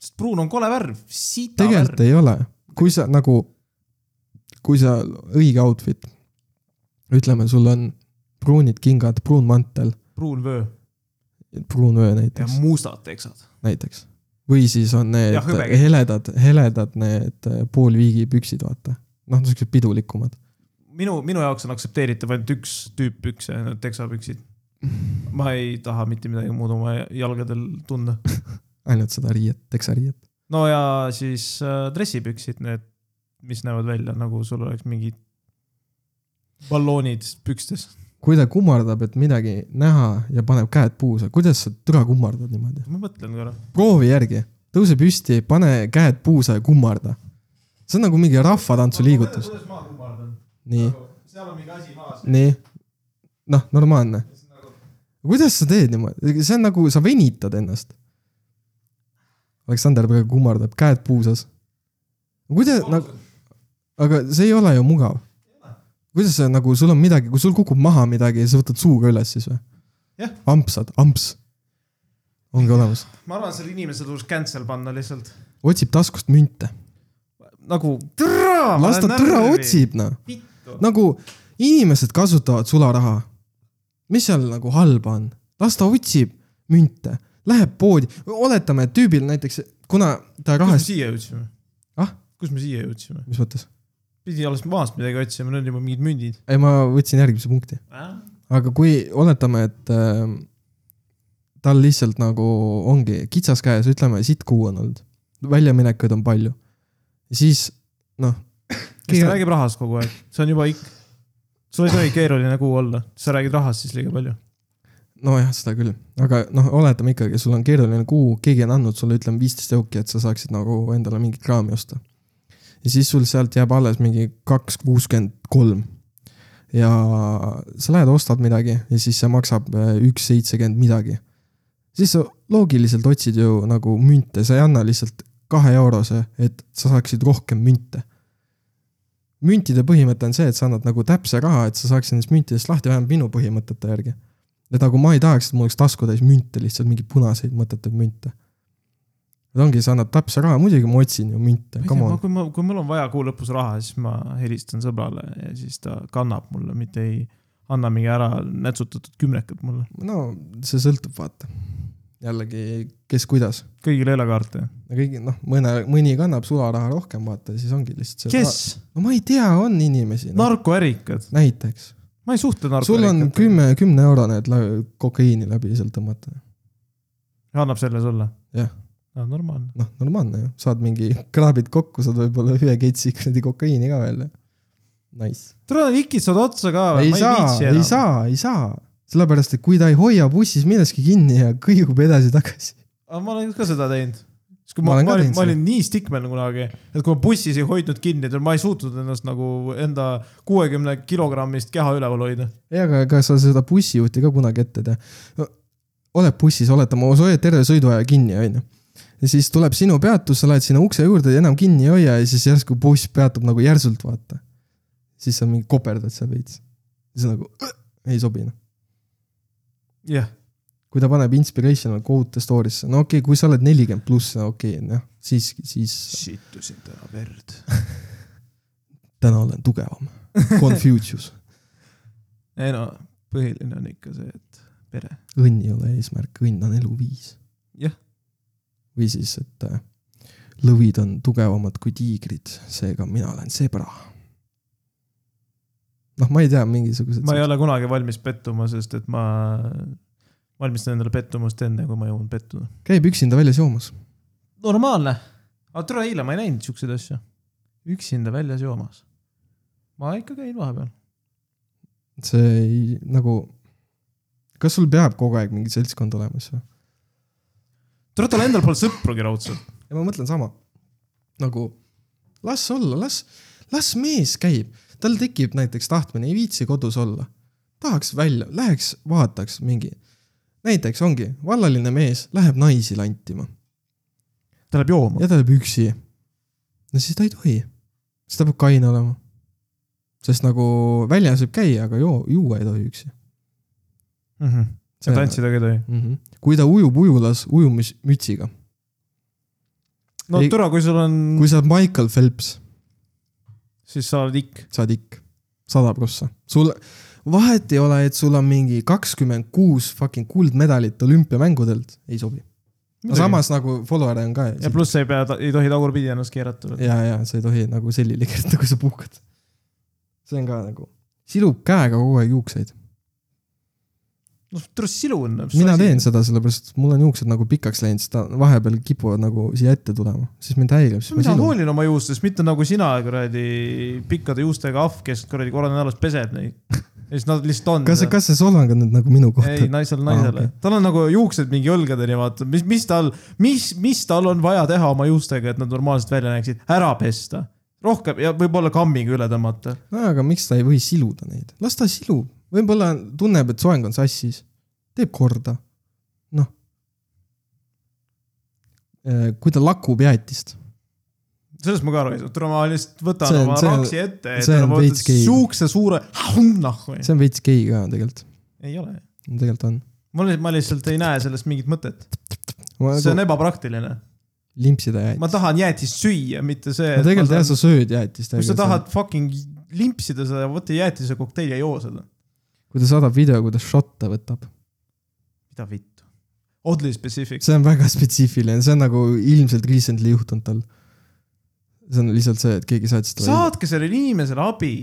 Speaker 1: sest pruun on kole värv , sita
Speaker 2: tegelikult
Speaker 1: värv .
Speaker 2: ei ole , kui sa nagu , kui sa õige outfit , ütleme , sul on pruunid kingad , pruun mantel ,
Speaker 1: pruun vöö
Speaker 2: pruun öö
Speaker 1: ja
Speaker 2: näiteks ,
Speaker 1: mustad teksad .
Speaker 2: näiteks . või siis on need
Speaker 1: Ja hõbekad.
Speaker 2: heledad , heledad need poolviigi püksid , vaata . noh , niisugused pidulikumad .
Speaker 1: minu , minu jaoks on aktsepteeritav ainult üks tüüp pükse , need teksapüksid . ma ei taha mitte midagi muud oma jalgadel tunda .
Speaker 2: ainult seda riiet , teksariiet .
Speaker 1: no ja siis äh, dressipüksid , need , mis näevad välja nagu sul oleks mingid balloonid pükstes .
Speaker 2: kui ta kummardab , et midagi näha ja paneb käed puusse , kuidas sa türa kummardad niimoodi ?
Speaker 1: ma mõtlen korra .
Speaker 2: proovi järgi , tõuse püsti , pane käed puusse ja kummarda . see on nagu mingi rahvatantsuliigutus .
Speaker 1: kuidas ma kummardan ?
Speaker 2: nii ,
Speaker 1: seal on mingi asi maas .
Speaker 2: nii . noh , normaalne . kuidas sa teed niimoodi , see on nagu , sa venitad ennast . Aleksander praegu kummardab , käed puusas . kuidas , nagu , aga see ei ole ju mugav . kuidas see nagu , sul on midagi , kui sul kukub maha midagi ja sa võtad suuga üles siis või
Speaker 1: Jah. ?
Speaker 2: ampsad , amps . ongi olemas ,
Speaker 1: ma arvan , selle inimese tuleks cancel panna lihtsalt .
Speaker 2: otsib taskust münte ,
Speaker 1: nagu türa .
Speaker 2: las ta türa . otsib noh ,
Speaker 1: vittu .
Speaker 2: nagu inimesed kasutavad sularaha . mis seal nagu halba on , las ta otsib münte , läheb poodi , oletame , et tüübil näiteks , kuna ta
Speaker 1: kus me
Speaker 2: rahast ,
Speaker 1: siia jõudsime ?
Speaker 2: Ah? ?
Speaker 1: kus me siia jõudsime ?
Speaker 2: mis mõttes ,
Speaker 1: pidi alles maast midagi otsima , need on juba mingid mündid .
Speaker 2: ei ma võtsin järgmise punkti , aga kui oletame , et äh, tal lihtsalt nagu ongi kitsas käes , ütleme sittkuu on olnud , väljaminekud on palju , siis noh ,
Speaker 1: kes räägib rahast kogu aeg , see on juba ikk . sul ei tohi keeruline kuu olla , sa räägid rahast siis liiga palju .
Speaker 2: nojah , seda küll , aga noh , oletame ikkagi , sul on keeruline kuu , keegi on andnud sulle , ütleme viisteist euki , et sa saaksid nagu endale mingit kraami osta . ja siis sul sealt jääb alles mingi kaks kuuskümmend kolm . ja sa lähed ostad midagi ja siis see maksab äh, üks seitsekümmend midagi . siis sa loogiliselt otsid ju nagu münte , sa ei anna lihtsalt kahe eurose , et sa saaksid rohkem münte . müntide põhimõte on see , et sa annad nagu täpse raha , et sa saaksid nendest müntidest lahti , vähemalt minu põhimõtete järgi et nagu ma ei tahaks , et mul oleks taskutäis münte lihtsalt , mingeid punaseid mõttetuid münte . et ongi , sa annad täpse raha , muidugi ma otsin ju münte , come on .
Speaker 1: kui ma , kui mul on vaja kuu lõpus raha , siis ma helistan sõbrale ja siis ta kannab mulle , mitte ei anna mingi ära nätsutatud kümnekat mulle .
Speaker 2: no see sõltub , vaata . jällegi , kes kuidas .
Speaker 1: kõigile ei ole kaarte .
Speaker 2: kõigi , noh , mõne , mõni kannab sularaha rohkem , vaata , siis ongi lihtsalt see .. no ma ei tea , on inimesi no. .
Speaker 1: narkoärikad .
Speaker 2: näiteks .
Speaker 1: ma ei suhtle
Speaker 2: sul
Speaker 1: narkoärikatega .
Speaker 2: on kümme , kümne eurone , et la- kokaiini läbi sealt tõmmata .
Speaker 1: annab selle sulle ?
Speaker 2: Jah. .
Speaker 1: no normaalne .
Speaker 2: noh , normaalne ju , saad mingi , kraabid kokku , saad võib-olla ühe ketsi kuradi kokaiini ka välja . Nice .
Speaker 1: tule , ikid saad otsa ka .
Speaker 2: ei saa , ei . saa , ei saa , sellepärast et kui ta ei hoia bussis milleski kinni ja kõigub edasi-tagasi .
Speaker 1: aga ma olen ka seda teinud . siis kui
Speaker 2: Ma
Speaker 1: ma,
Speaker 2: olen
Speaker 1: ma
Speaker 2: ka
Speaker 1: olin ,
Speaker 2: teinud
Speaker 1: ma
Speaker 2: seda.
Speaker 1: olin nii stickman kunagi , et kui ma bussis ei hoidnud kinni , ma ei suutnud ennast nagu enda kuuekümne kilogrammist keha üleval hoida .
Speaker 2: ei , aga kas sa seda bussijuhti ka kunagi ette tea ? oled bussis , oletame , sa hoiad terve sõiduaja kinni , onju . ja siis tuleb sinu peatus , sa lähed sinna ukse juurde ja enam kinni ei hoia ja siis järsku buss peatub nagu järsult , vaata . siis sa mingi koperdad seal veits . siis on nagu "Õh, ei sobi noh .
Speaker 1: jah ,
Speaker 2: kui ta paneb inspirational quote story'sse , no okei okay, , kui sa oled nelikümmend pluss , okei okay, , noh , siis , siis
Speaker 1: sittusin täna verd .
Speaker 2: täna olen tugevam . Confucius .
Speaker 1: ei no , põhiline on ikka see , et pere .
Speaker 2: õnn ei ole eesmärk , õnn on eluviis .
Speaker 1: Jah. .
Speaker 2: või siis , et äh, lõvid on tugevamad kui tiigrid , seega mina olen zebra . noh , ma ei tea , mingisugused .
Speaker 1: ma ei ole kunagi valmis pettuma , sest et ma valmistan endale pettumust enne , kui ma jõuan pettuda .
Speaker 2: käib üksinda väljas joomas .
Speaker 1: normaalne . aga tule eile ma ei näinud siukseid asju . üksinda väljas joomas . ma ikka käin vahepeal .
Speaker 2: see ei nagu , kas sul peab kogu aeg mingi seltskond olemas või ?
Speaker 1: tule , tal endal pole sõprugi raudselt .
Speaker 2: ja ma mõtlen sama . nagu las olla , las , las mees käib , tal tekib näiteks tahtmine , ei viitsi kodus olla . tahaks välja , läheks vaataks mingi , näiteks ongi vallaline mees läheb naisi lantima
Speaker 1: ta läheb jooma .
Speaker 2: ja ta läheb üksi . no siis ta ei tohi , siis ta peab kaine olema . sest nagu väljas võib käia , aga joo- , juua ei tohi üksi .
Speaker 1: mm . -hmm. ja tantsida ka ei tohi .
Speaker 2: mm . -hmm. kui ta ujub ujulas ujumismütsiga ,
Speaker 1: no
Speaker 2: Ei-
Speaker 1: türa , kui sul on kui... ,
Speaker 2: kui sa oled Michael Phelps
Speaker 1: siis sa oled ikk .
Speaker 2: sa oled ikk , sada prossa . sul , vahet ei ole , et sul on mingi kakskümmend kuus fucking kuldmedalit olümpiamängudelt , ei sobi . aga samas nagu follower'e on ka
Speaker 1: ja . pluss sa ei pea , ei tohi tagurpidi ennast keerata .
Speaker 2: ja , ja sa ei tohi nagu sellile <laughs> kerida , kui sa puhkad . see on ka nagu , silub käega kogu aeg juukseid .
Speaker 1: noh , türa silu on .
Speaker 2: mina teen . seda sellepärast , mul on juuksed nagu pikaks läinud , siis ta vahepeal kipuvad nagu siia ette tulema , siis mind häirib , siis ma
Speaker 1: mina
Speaker 2: silun .
Speaker 1: hoolin oma juustest , mitte nagu sina kuradi pikkade juustega ahv , kes kuradi korra nädalas peseb neid . ja siis nad lihtsalt on .
Speaker 2: kas , kas sa solvang on nüüd nagu minu
Speaker 1: ei ,
Speaker 2: kohta ?
Speaker 1: naisel naisele ah, ,
Speaker 2: Aa,
Speaker 1: okay. tal on nagu juuksed mingi õlgadeni , vaata , mis , mis tal , mis , mis tal on vaja teha oma juustega , et nad normaalselt välja näeksid , ära pesta . rohkem ja võib-olla kammiga üle tõmmata .
Speaker 2: no aga miks ta ei või siluda neid , las ta silub , võib-olla tunneb , et soeng on sassis , teeb korda , noh . kui ta lakub jäätist ,
Speaker 1: sellest ma ka aru ei saa , tule ma lihtsalt võtan
Speaker 2: See on-
Speaker 1: oma
Speaker 2: see on-
Speaker 1: raksi ette , et nagu
Speaker 2: see on
Speaker 1: ma võtan
Speaker 2: veits gei.
Speaker 1: siukse suure , nahku .
Speaker 2: see on veits gei ka tegelikult ,
Speaker 1: ei ole ,
Speaker 2: tegelikult on .
Speaker 1: ma lihtsalt , ma lihtsalt ei näe sellest mingit mõtet , see on ebapraktiline .
Speaker 2: nagu limpsida jäätist .
Speaker 1: ma tahan jäätist süüa , mitte see .
Speaker 2: no tegelikult jah , sa sööd jäätist .
Speaker 1: kui sa tahad fucking limpsida seda , võta jäätise kokteili ja joo seda .
Speaker 2: kui ta saadab video , kuidas šotte võtab ,
Speaker 1: mida vittu . Oddly specific .
Speaker 2: see on väga <laughs> spetsiifiline , see on nagu ilmselt recently juhtunud tal . see on lihtsalt see , et keegi saatis talle ,
Speaker 1: saatke sellele inimesele abi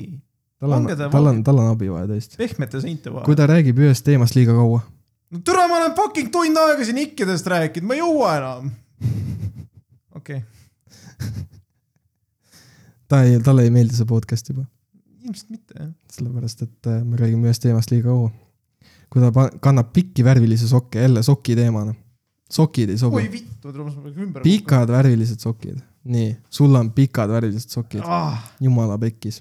Speaker 2: tal on ,
Speaker 1: langeda-
Speaker 2: tal on , tal on abi vaja tõesti .
Speaker 1: pehmete seinte vahel
Speaker 2: kui
Speaker 1: Kuda... .
Speaker 2: ta räägib ühest teemast liiga kaua ,
Speaker 1: no türa , ma olen fucking tund aega siin ikkidest rääkinud , <laughs> ma ei jõua enam . okei okay. ,
Speaker 2: ta ei , talle ei meeldi see podcast juba ,
Speaker 1: ilmselt mitte jah .
Speaker 2: sellepärast et äh, me räägime ühest teemast liiga kaua . kui ta pa- kannab pikki värvilisi sokke , jälle soki teemana . sokid ei sobi
Speaker 1: oi , vittu , tuleb mul ümber .
Speaker 2: pikad värvilised sokid , nii , sul on pikad värvilised sokid ,
Speaker 1: ah, . Ah.
Speaker 2: jumala pekkis .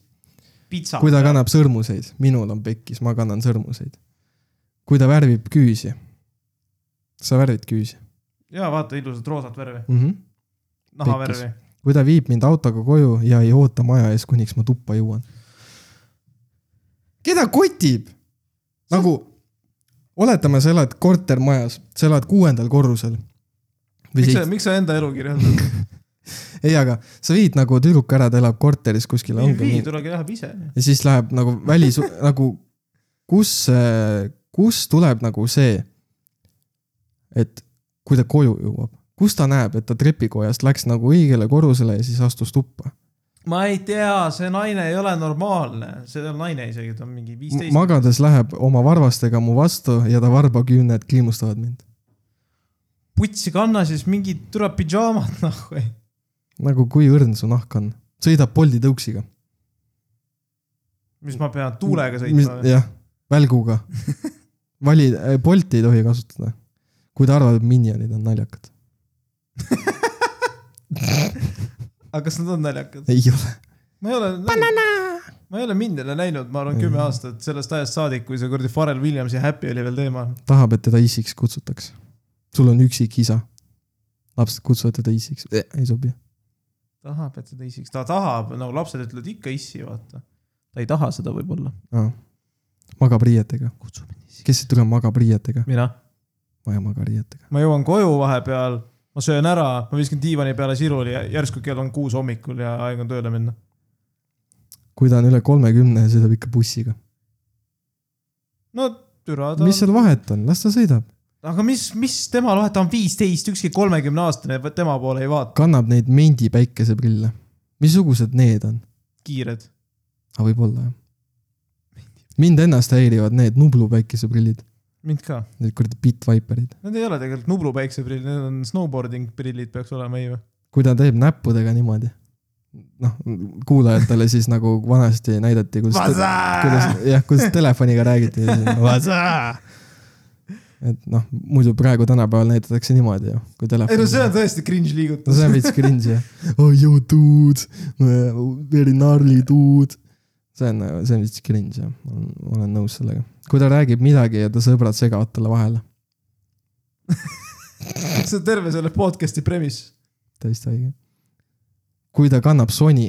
Speaker 1: pitsa .
Speaker 2: kui ta kannab sõrmuseid , minul on pekkis , ma kannan sõrmuseid . kui ta värvib küüsi , sa värvid küüsi
Speaker 1: ja vaata ilusat roosat värvi ,
Speaker 2: mm . -hmm.
Speaker 1: nahavärvi .
Speaker 2: kui ta viib mind autoga koju ja ei oota maja ees , kuniks ma tuppa jõuan . keda kotib ? nagu oletame , sa elad kortermajas , sa elad kuuendal korrusel .
Speaker 1: miks sa , miks sa enda elu kirjeldad ?
Speaker 2: ei , aga sa viid nagu tüdruk ära , ta elab korteris kuskil .
Speaker 1: ei vii , tulge läheb ise .
Speaker 2: ja siis läheb nagu välis , <laughs> nagu kus , kus tuleb nagu see , et kui ta koju jõuab , kus ta näeb , et ta trepikojast läks nagu õigele korrusele ja siis astus tuppa .
Speaker 1: ma ei tea , see naine ei ole normaalne , see ei ole naine isegi , ta on mingi viisteist .
Speaker 2: magades läheb oma varvastega mu vastu ja ta varbaküüned kliimustavad mind .
Speaker 1: putsi kanna siis mingid türa <laughs> pidžaamad nahku .
Speaker 2: nagu kui õrn su nahk on , sõidab Bolti tõuksiga .
Speaker 1: mis ma pean tuulega sõitma või ?
Speaker 2: jah ,
Speaker 1: <laughs>
Speaker 2: välguga . vali , Bolti ei tohi kasutada , kui ta arvab , et minionid on
Speaker 1: <laughs>
Speaker 2: naljakad .
Speaker 1: aga kas nad on naljakad ?
Speaker 2: ei ole .
Speaker 1: ma ei ole , ma ei ole Mindele näinud , ma arvan kümme aastat sellest ajast saadik , kui see kuradi Pharrell Williamsi Happy oli veel teema .
Speaker 2: tahab , et teda isiks kutsutaks . sul on üksik isa . lapsed kutsuvad teda isiks , ei sobi .
Speaker 1: tahab , et seda isiks , ta tahab , nagu lapsed ütlevad ikka issi , vaata . ta ei taha seda võib-olla .
Speaker 2: magab riietega ,
Speaker 1: kutsu mind isiks .
Speaker 2: kes tuleb , magab riietega ,
Speaker 1: mina ?
Speaker 2: ma ei maga riietega .
Speaker 1: ma jõuan koju vahepeal , ma söön ära , ma viskan diivani peale siruli ja järsku kell on kuus hommikul ja aeg on tööle minna .
Speaker 2: kui ta on üle kolmekümne ja sõidab ikka bussiga ,
Speaker 1: no türa ta
Speaker 2: mis . seal vahet on , las ta sõidab ,
Speaker 1: aga mis , mis tema lohet , ta on viisteist , ükski kolmekümne aastane tema poole ei vaata ,
Speaker 2: kannab neid mendi päikeseprille . missugused need on ?
Speaker 1: kiired .
Speaker 2: aga võib-olla jah . mind ennast häirivad need Nublu päikeseprillid ,
Speaker 1: mind ka ,
Speaker 2: need kuradi Bitviperid .
Speaker 1: need ei ole tegelikult Nublu päikseprillid , need on snowboarding prillid peaks olema , ei või ?
Speaker 2: kui ta teeb näppudega niimoodi , noh , kuulajatele siis nagu vanasti näidati , kuidas , kuidas
Speaker 1: kuidas ?
Speaker 2: jah , kuidas telefoniga
Speaker 1: <laughs>
Speaker 2: räägiti . et noh , muidu praegu tänapäeval näidatakse niimoodi ju , kui
Speaker 1: ei
Speaker 2: telefon .
Speaker 1: no see on tõesti cringe
Speaker 2: no
Speaker 1: liigutus
Speaker 2: see on veits cringe <laughs> jah . Oh you dude , very gnarly dude . see on , see on veits cringe jah , ma olen nõus sellega . kui ta räägib midagi ja ta sõbrad segavad talle vahele ,
Speaker 1: see on terve selle podcast'i premise .
Speaker 2: täiesti õige . kui ta kannab soni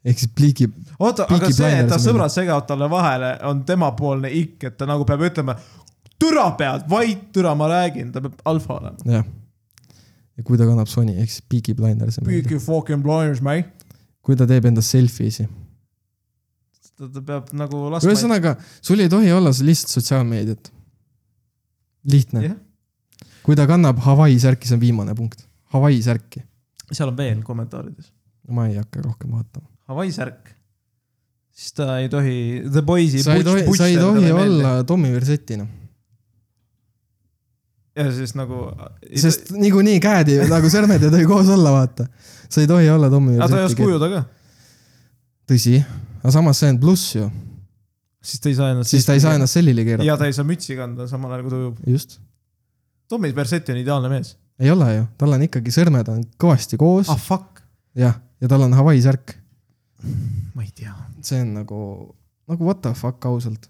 Speaker 2: ehk siis pliigi ,
Speaker 1: oota ,
Speaker 2: Peaky
Speaker 1: aga see , et ta
Speaker 2: Blinders
Speaker 1: sõbrad segavad talle vahele , on temapoolne ikk , et ta nagu peab ütlema türa pealt , vait türa , ma räägin , ta peab alfa olema .
Speaker 2: jah . ja kui ta kannab soni ehk siis Peaky Blinders .
Speaker 1: Peaky fucking blinders , mate .
Speaker 2: kui ta teeb endast selfie'si
Speaker 1: ta ta peab nagu laskma .
Speaker 2: ühesõnaga , sul ei tohi olla s- lihtsalt sotsiaalmeediat . lihtne ,
Speaker 1: jah ,
Speaker 2: kui ta kannab Hawaii särki , see on viimane punkt , Hawaii särki ,
Speaker 1: seal on veel kommentaarides .
Speaker 2: ma ei hakka rohkem vaatama .
Speaker 1: Hawaii särk . siis ta ei tohi , The Boys'i .
Speaker 2: sa ei tohi , sa ei tohi olla Tommy noh. Versettina ,
Speaker 1: ja siis nagu .
Speaker 2: sest niikuinii käed
Speaker 1: <laughs>
Speaker 2: ei , nagu sõrmed ei tohi koos olla , vaata . sa ei tohi olla Tommy
Speaker 1: aga ta ei oska
Speaker 2: Versetti ,
Speaker 1: ujuda ka ,
Speaker 2: tõsi , aga samas see on pluss ju ,
Speaker 1: siis ta ei saa ennast .
Speaker 2: siis ta ei saa . ennast sellile keerata ,
Speaker 1: ja ta ei saa mütsi kanda samal ajal , kui ta ujub .
Speaker 2: just .
Speaker 1: Tommy Versetti on ideaalne mees .
Speaker 2: ei ole ju , tal on ikkagi sõrmed on kõvasti koos
Speaker 1: ah , fuck ,
Speaker 2: jah , ja tal on Hawaii särk ,
Speaker 1: ma ei tea
Speaker 2: see on nagu , nagu what the fuck ausalt ,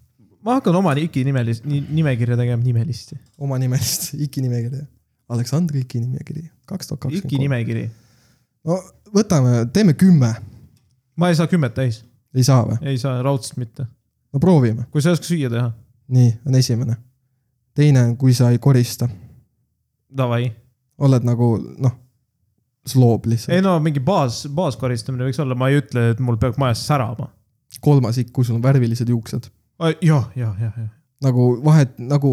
Speaker 1: ma hakkan oma Iki nimelist , nimekirja tegema , nimelisti .
Speaker 2: oma nimelist <laughs> Iki nimekirja . Aleksandr Iki nimekiri , kaks tuhat
Speaker 1: Iki
Speaker 2: kakskümmend kolm .
Speaker 1: nimekiri .
Speaker 2: no võtame , teeme kümme ,
Speaker 1: ma ei saa kümmet täis ,
Speaker 2: ei saa või ?
Speaker 1: ei saa raudselt mitte .
Speaker 2: no proovime ,
Speaker 1: kui sa ei oska süüa teha ,
Speaker 2: nii on esimene . teine on , kui sa ei korista ,
Speaker 1: davai .
Speaker 2: oled nagu noh , sloob lihtsalt .
Speaker 1: ei no mingi baas , baaskoristamine võiks olla , ma ei ütle , et mul peab majas särama .
Speaker 2: kolmas ikk , kui sul on värvilised juuksed ,
Speaker 1: jah , jah , jah , jah .
Speaker 2: nagu vahet nagu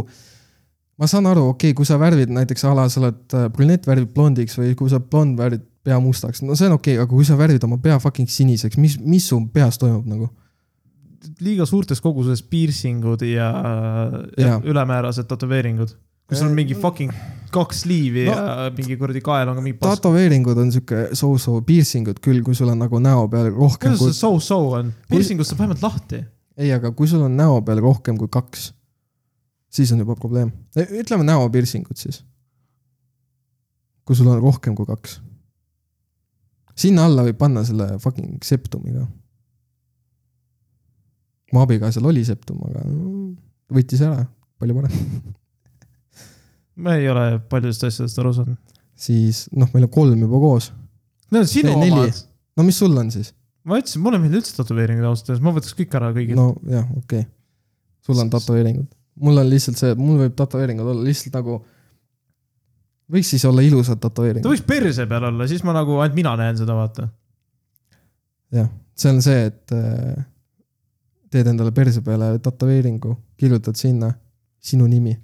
Speaker 2: ma saan aru , okei okay, , kui sa värvid näiteks a la sa oled äh, brünett värvib blondiks või kui sa blond värvid pea mustaks , no see on okei okay, , aga kui sa värvid oma pea fucking siniseks , mis , mis su peas toimub nagu ?
Speaker 1: liiga suurtes koguses piercing'ud ja, ja.
Speaker 2: Jaa.
Speaker 1: ülemäärased tätoveeringud . kui sul on mingi fucking kaks liivi
Speaker 2: No.
Speaker 1: no, ja mingi kuradi kael on ka mingi pask .
Speaker 2: tätoveeringud on siuke so-so , piirsingud küll , kui sul on nagu näo peal rohkem
Speaker 1: kuidas
Speaker 2: kui
Speaker 1: see , so-so on ? piercingust saab vähemalt lahti .
Speaker 2: ei , aga kui sul on näo peal rohkem kui kaks , siis on juba probleem . ütleme näopiirsingud siis . kui sul on rohkem kui kaks . sinna alla võib panna selle fucking septumi ka . mu abikaasal oli septum , aga no, võttis ära , palju parem .
Speaker 1: ma ei ole paljudest asjadest aru saanud .
Speaker 2: siis noh , meil on kolm juba koos .
Speaker 1: Need on sinu
Speaker 2: Ei, neli.
Speaker 1: omad .
Speaker 2: no mis sul on siis ?
Speaker 1: ma ütlesin , mulle ei meeldi üldse tätoveeringud ausalt öeldes , ma võtaks kõik ära kõigilt no. .
Speaker 2: no jah , okei okay. . sul on tätoveeringud . mul on lihtsalt see , mul võib tätoveeringud olla lihtsalt nagu , võiks siis olla ilusad tätoveeringud
Speaker 1: ta . võiks perse peal olla , siis ma nagu , ainult mina näen seda , vaata .
Speaker 2: jah , see on see , et äh, teed endale perse peale tätoveeringu , kirjutad sinna sinu nimi .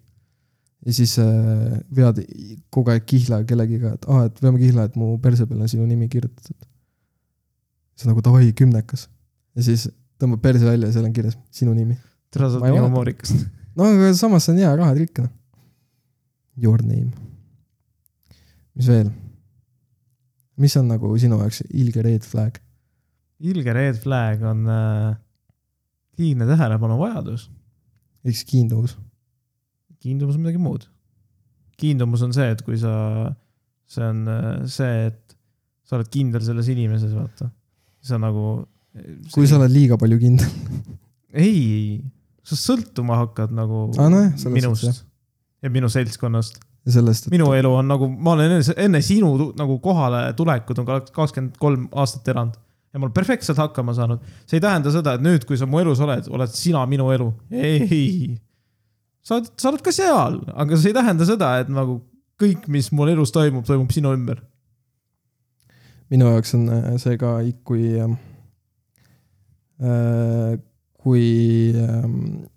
Speaker 2: ja siis äh, vead i- kogu aeg kihla kellegiga , et aa , et veame kihla , et mu perse peale on sinu nimi kirjutatud . see on nagu davai , kümnekas . ja siis tõmbab perse välja ja seal on kirjas sinu nimi .
Speaker 1: tere , sa
Speaker 2: Ma
Speaker 1: oled nii
Speaker 2: ei mäleta.
Speaker 1: homoorikas .
Speaker 2: no aga samas see on hea rahatrikk , noh . Your name . mis veel ? mis on nagu sinu jaoks ilge red flag ?
Speaker 1: ilge red flag on äh, liigne tähelepanu vajadus .
Speaker 2: eks kiinduvus .
Speaker 1: kiindumus on midagi muud . kiindumus on see , et kui sa , see on äh, see , et sa oled kindel selles inimeses , vaata . sa nagu .
Speaker 2: kui sa oled liiga palju kindel . <laughs>
Speaker 1: ei , sa sõltuma hakkad nagu
Speaker 2: Aa, Ah, nojah, selles suhtes,
Speaker 1: minust ja minu seltskonnast .
Speaker 2: ja sellest , et
Speaker 1: minu elu on nagu , ma olen enne, enne sinu tu- nagu kohale tulekut on kakskümmend kolm aastat elanud ja ma olen perfektselt hakkama saanud . see ei tähenda seda , et nüüd , kui sa mu elus oled , oled sina minu elu . ei , sa oled , sa oled ka seal , aga see ei tähenda seda , et nagu kõik , mis mul elus toimub , toimub sinu ümber .
Speaker 2: minu jaoks on äh, see ka , kui ähm, äh, , kui ähm,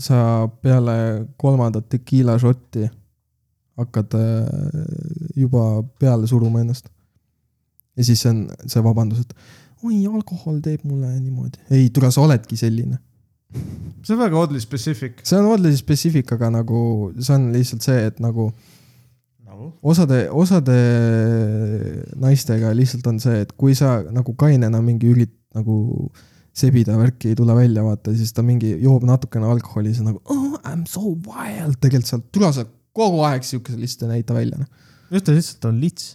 Speaker 2: sa peale kolmandat tekiila šotti hakkad äh, juba peale suruma ennast . ja siis on see vabandus , et oi , alkohol teeb mulle niimoodi . ei , tule , sa oledki selline .
Speaker 1: see on väga oddly specific .
Speaker 2: see on oodlase spetsiifikaga nagu , see on lihtsalt see , et nagu
Speaker 1: nagu ?
Speaker 2: osade , osade naistega lihtsalt on see , et kui sa nagu kainena mingi ürit- , nagu sebida värki ei tule välja , vaata , siis ta mingi joob natukene alkoholi , siis on nagu oh, I m so wild , tegelikult sa , tule sa kogu aeg siukese lihtsalt ei näita välja , noh .
Speaker 1: just , ta lihtsalt on lits .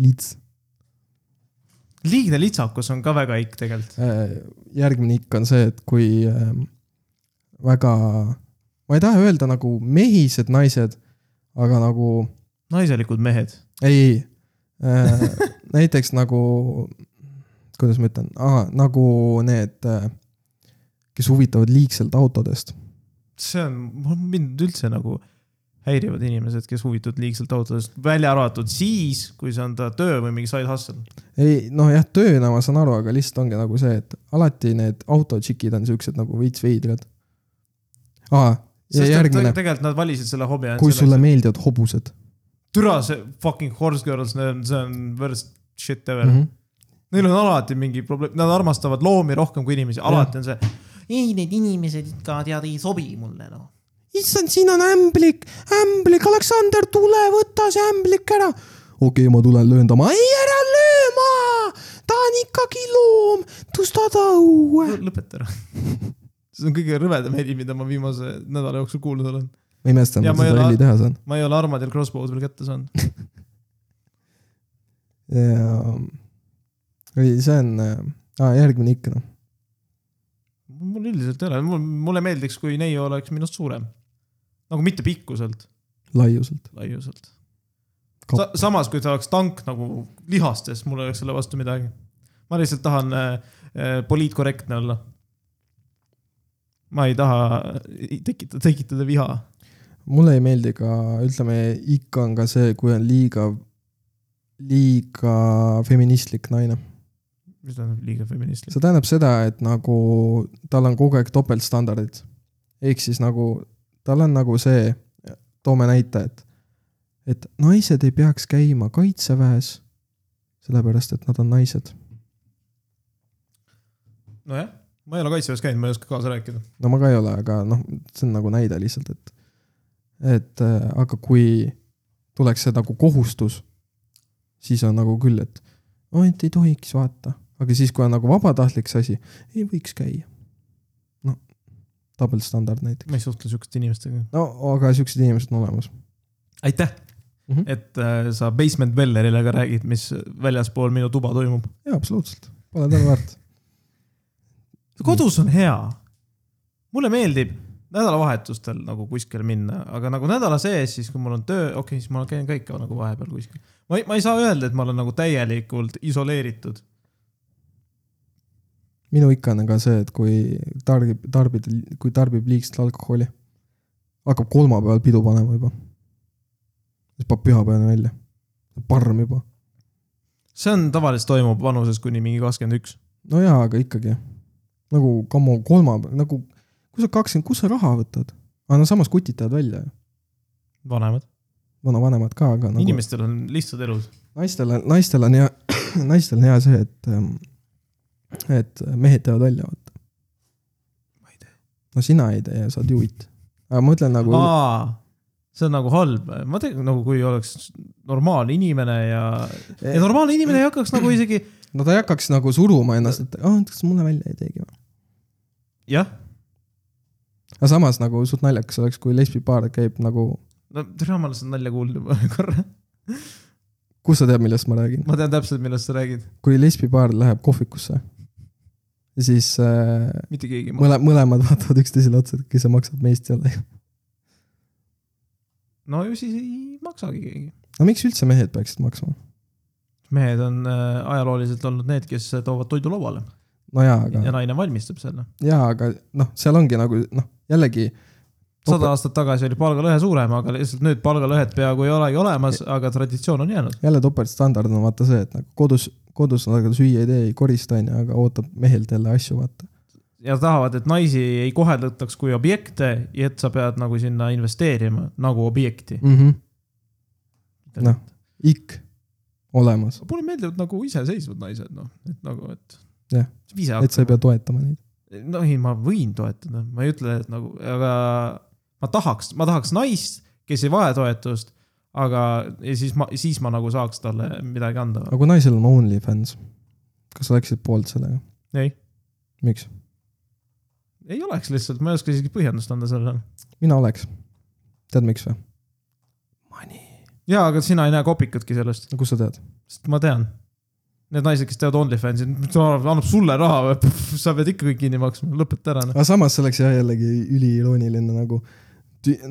Speaker 2: lits .
Speaker 1: liigne litsakus on ka väga ikk tegelikult .
Speaker 2: Äh, järgmine ikk on see , et kui ähm, väga , ma ei taha öelda nagu mehised naised , aga nagu
Speaker 1: naiselikud mehed .
Speaker 2: ei , ei , näiteks nagu , kuidas ma ütlen , nagu need , kes huvitavad liigselt autodest .
Speaker 1: see on , mind üldse nagu häirivad inimesed , kes huvitavad liigselt autodest , välja arvatud siis , kui see on ta töö või mingi side hustle .
Speaker 2: ei , noh jah , tööna ma saan aru , aga lihtsalt ongi nagu see , et alati need autotšikid on siuksed nagu veits veidrad . aa , ja
Speaker 1: sest et
Speaker 2: järgmine ,
Speaker 1: tegelikult nad valisid selle hobi
Speaker 2: kui
Speaker 1: ainult
Speaker 2: sulle
Speaker 1: selleks ,
Speaker 2: meeldivad hobused
Speaker 1: et türa see fucking horse girls , see on , see on worst shit ever
Speaker 2: mm .
Speaker 1: mm . -hmm.
Speaker 2: -hmm.
Speaker 1: Neil on alati mingi probleem , nad armastavad loomi rohkem kui inimesi , alati on see .
Speaker 3: ei , need inimesed ikka tead ei sobi mulle noh .
Speaker 2: issand , siin on ämblik , ämblik , Aleksander , tule võta see ämblik ära . okei okay, , ma tulen löön ta maha , ei ära löö maha , ta on ikkagi loom , tõsta ta õue .
Speaker 1: lõpeta ära . <laughs> see on kõige rõvedam heli , mida ma viimase nädala jooksul kuulnud olen .
Speaker 2: ma imestan ,
Speaker 1: Ja
Speaker 2: et
Speaker 1: ma ei
Speaker 2: seda
Speaker 1: ole-
Speaker 2: heli teha saan .
Speaker 1: ma ei ole Armadel Crossbow'd veel kätte saanud .
Speaker 2: ähm, ei , see on äh, , järgmine ikka noh ,
Speaker 1: mul üldiselt ei ole , mul , mulle meeldiks , kui neiu oleks minust suurem . nagu mitte pikkuselt ,
Speaker 2: laiuselt .
Speaker 1: laiuselt
Speaker 2: Kapp.
Speaker 1: Sa, . samas , kui ta oleks tank nagu lihastes , mul ei oleks selle vastu midagi . ma lihtsalt tahan äh, äh, poliitkorrektne olla . ma ei taha äh, tekitada , tekitada viha .
Speaker 2: mulle ei meeldi ka , ütleme ikka on ka see , kui on liiga , liiga feministlik naine .
Speaker 1: mis tähendab liiga feministlik .
Speaker 2: see tähendab seda , et nagu tal on kogu aeg topeltstandardid . ehk siis nagu tal on nagu see , toome näite , et , et naised ei peaks käima kaitseväes , sellepärast et nad on naised .
Speaker 1: nojah , ma ei ole kaitseväes käinud , ma ei oska kaasa rääkida .
Speaker 2: no ma ka ei ole , aga noh , see on nagu näide lihtsalt , et et äh, aga kui tuleks see nagu kohustus , siis on nagu küll , et no et ei tohiks vaata , aga siis , kui on nagu vabatahtlik see asi , ei võiks käia . no topeltstandard näiteks ,
Speaker 1: ma ei suhtle siukeste inimestega .
Speaker 2: no aga siuksed inimesed on olemas .
Speaker 1: aitäh mm ,
Speaker 2: Mhm.
Speaker 1: -hmm. et äh, sa basement Vellerile ka räägid , mis väljaspool minu tuba toimub .
Speaker 2: jaa , absoluutselt , pole tänu väärt .
Speaker 1: kodus on hea . mulle meeldib nädalavahetustel nagu kuskile minna , aga nagu nädala sees , siis kui mul on töö , okei okay, , siis ma käin ka ikka nagu vahepeal kuskil . ma ei , ma ei saa öelda , et ma olen nagu täielikult isoleeritud .
Speaker 2: minu ikka on aga see , et kui tarbib , tarbid , kui tarbib liigselt alkoholi , hakkab kolmapäeval pidu panema juba . siis paneb pühapäevani välja , parm juba .
Speaker 1: see on tavaliselt toimub vanuses kuni mingi kakskümmend üks .
Speaker 2: no jaa , aga ikkagi nagu kammo kolmapäev , nagu kui sa kakskümmend , kus sa raha võtad ? aga no samas kutitavad välja ju ,
Speaker 1: vanemad
Speaker 2: vanavanemad ka , aga
Speaker 1: nagu... ,
Speaker 2: nagu
Speaker 1: inimestel on lihtsad elud .
Speaker 2: naistel on , naistel on hea , <clears throat> naistel on hea see , et , et mehed teevad välja , vaata .
Speaker 1: Ma ei
Speaker 2: tee . no sina ei tee , sa oled juit . aga ma ütlen nagu ,
Speaker 1: aa , see on nagu halb , ma tean nagu kui oleks normaalne inimene ja, ja normaalne inimene ei hakkaks nagu isegi
Speaker 2: no ta ei hakkaks nagu suruma ennast , et aa , kas mulle välja ei teegi või .
Speaker 1: jah ,
Speaker 2: aga samas nagu suht naljakas oleks , kui lesbipaar käib nagu ,
Speaker 1: no tere , ma olen seda nalja kuulnud juba <laughs> korra ,
Speaker 2: kus sa tead , millest ma räägin ,
Speaker 1: ma tean täpselt , millest sa räägid ,
Speaker 2: kui lesbipaar läheb kohvikusse , siis äh,
Speaker 1: mitte keegi .
Speaker 2: mõle- , mõlemad <laughs> vaatavad üksteisele otsa , et kes see maksab meist jälle .
Speaker 1: no ju siis ei maksagi keegi .
Speaker 2: no miks üldse mehed peaksid maksma ?
Speaker 1: mehed on äh, ajalooliselt olnud need , kes toovad toidu lauale
Speaker 2: no jaa ,
Speaker 1: ja
Speaker 2: aga ,
Speaker 1: naine valmistab selle .
Speaker 2: jaa , aga noh , seal ongi nagu noh , jällegi
Speaker 1: sada aastat tagasi oli palgalõhe suurem , aga lihtsalt nüüd palgalõhet peaaegu ei olegi olemas , aga traditsioon on jäänud .
Speaker 2: jälle topeltstandard on vaata see , et nagu kodus , kodus nad aga süüa ei tee , ei korista onju , aga ootab mehelt jälle asju , vaata .
Speaker 1: ja tahavad , et naisi ei koheldutaks kui objekte , et sa pead nagu sinna investeerima nagu objekti .
Speaker 2: mm . -hmm. Noh. ikk olemas ,
Speaker 1: mulle meeldivad nagu iseseisvad naised , noh , et nagu , et .
Speaker 2: Jah. .
Speaker 1: ise
Speaker 2: et sa ei
Speaker 1: hakkama .
Speaker 2: pea toetama neid .
Speaker 1: no ei , ma võin toetada , ma ei ütle , et nagu , aga ma tahaks , ma tahaks naist , kes ei vaja toetust , aga ja siis ma , siis ma nagu saaks talle midagi anda .
Speaker 2: aga kui naisel on OnlyFans , kas sa oleksid poolt sellega ?
Speaker 1: ei ,
Speaker 2: miks ?
Speaker 1: ei oleks lihtsalt , ma ei oska isegi põhjendust anda sellele .
Speaker 2: mina oleks . tead , miks või ? Money .
Speaker 1: jaa , aga sina ei näe kopikatki sellest ,
Speaker 2: no kust sa tead ?
Speaker 1: sest ma tean . Need naised , kes teevad OnlyFansi , annab sulle raha või , sa pead ikka kõik kinni maksma , lõpeta ära noh .
Speaker 2: aga samas see oleks jah jällegi üliirooniline nagu ,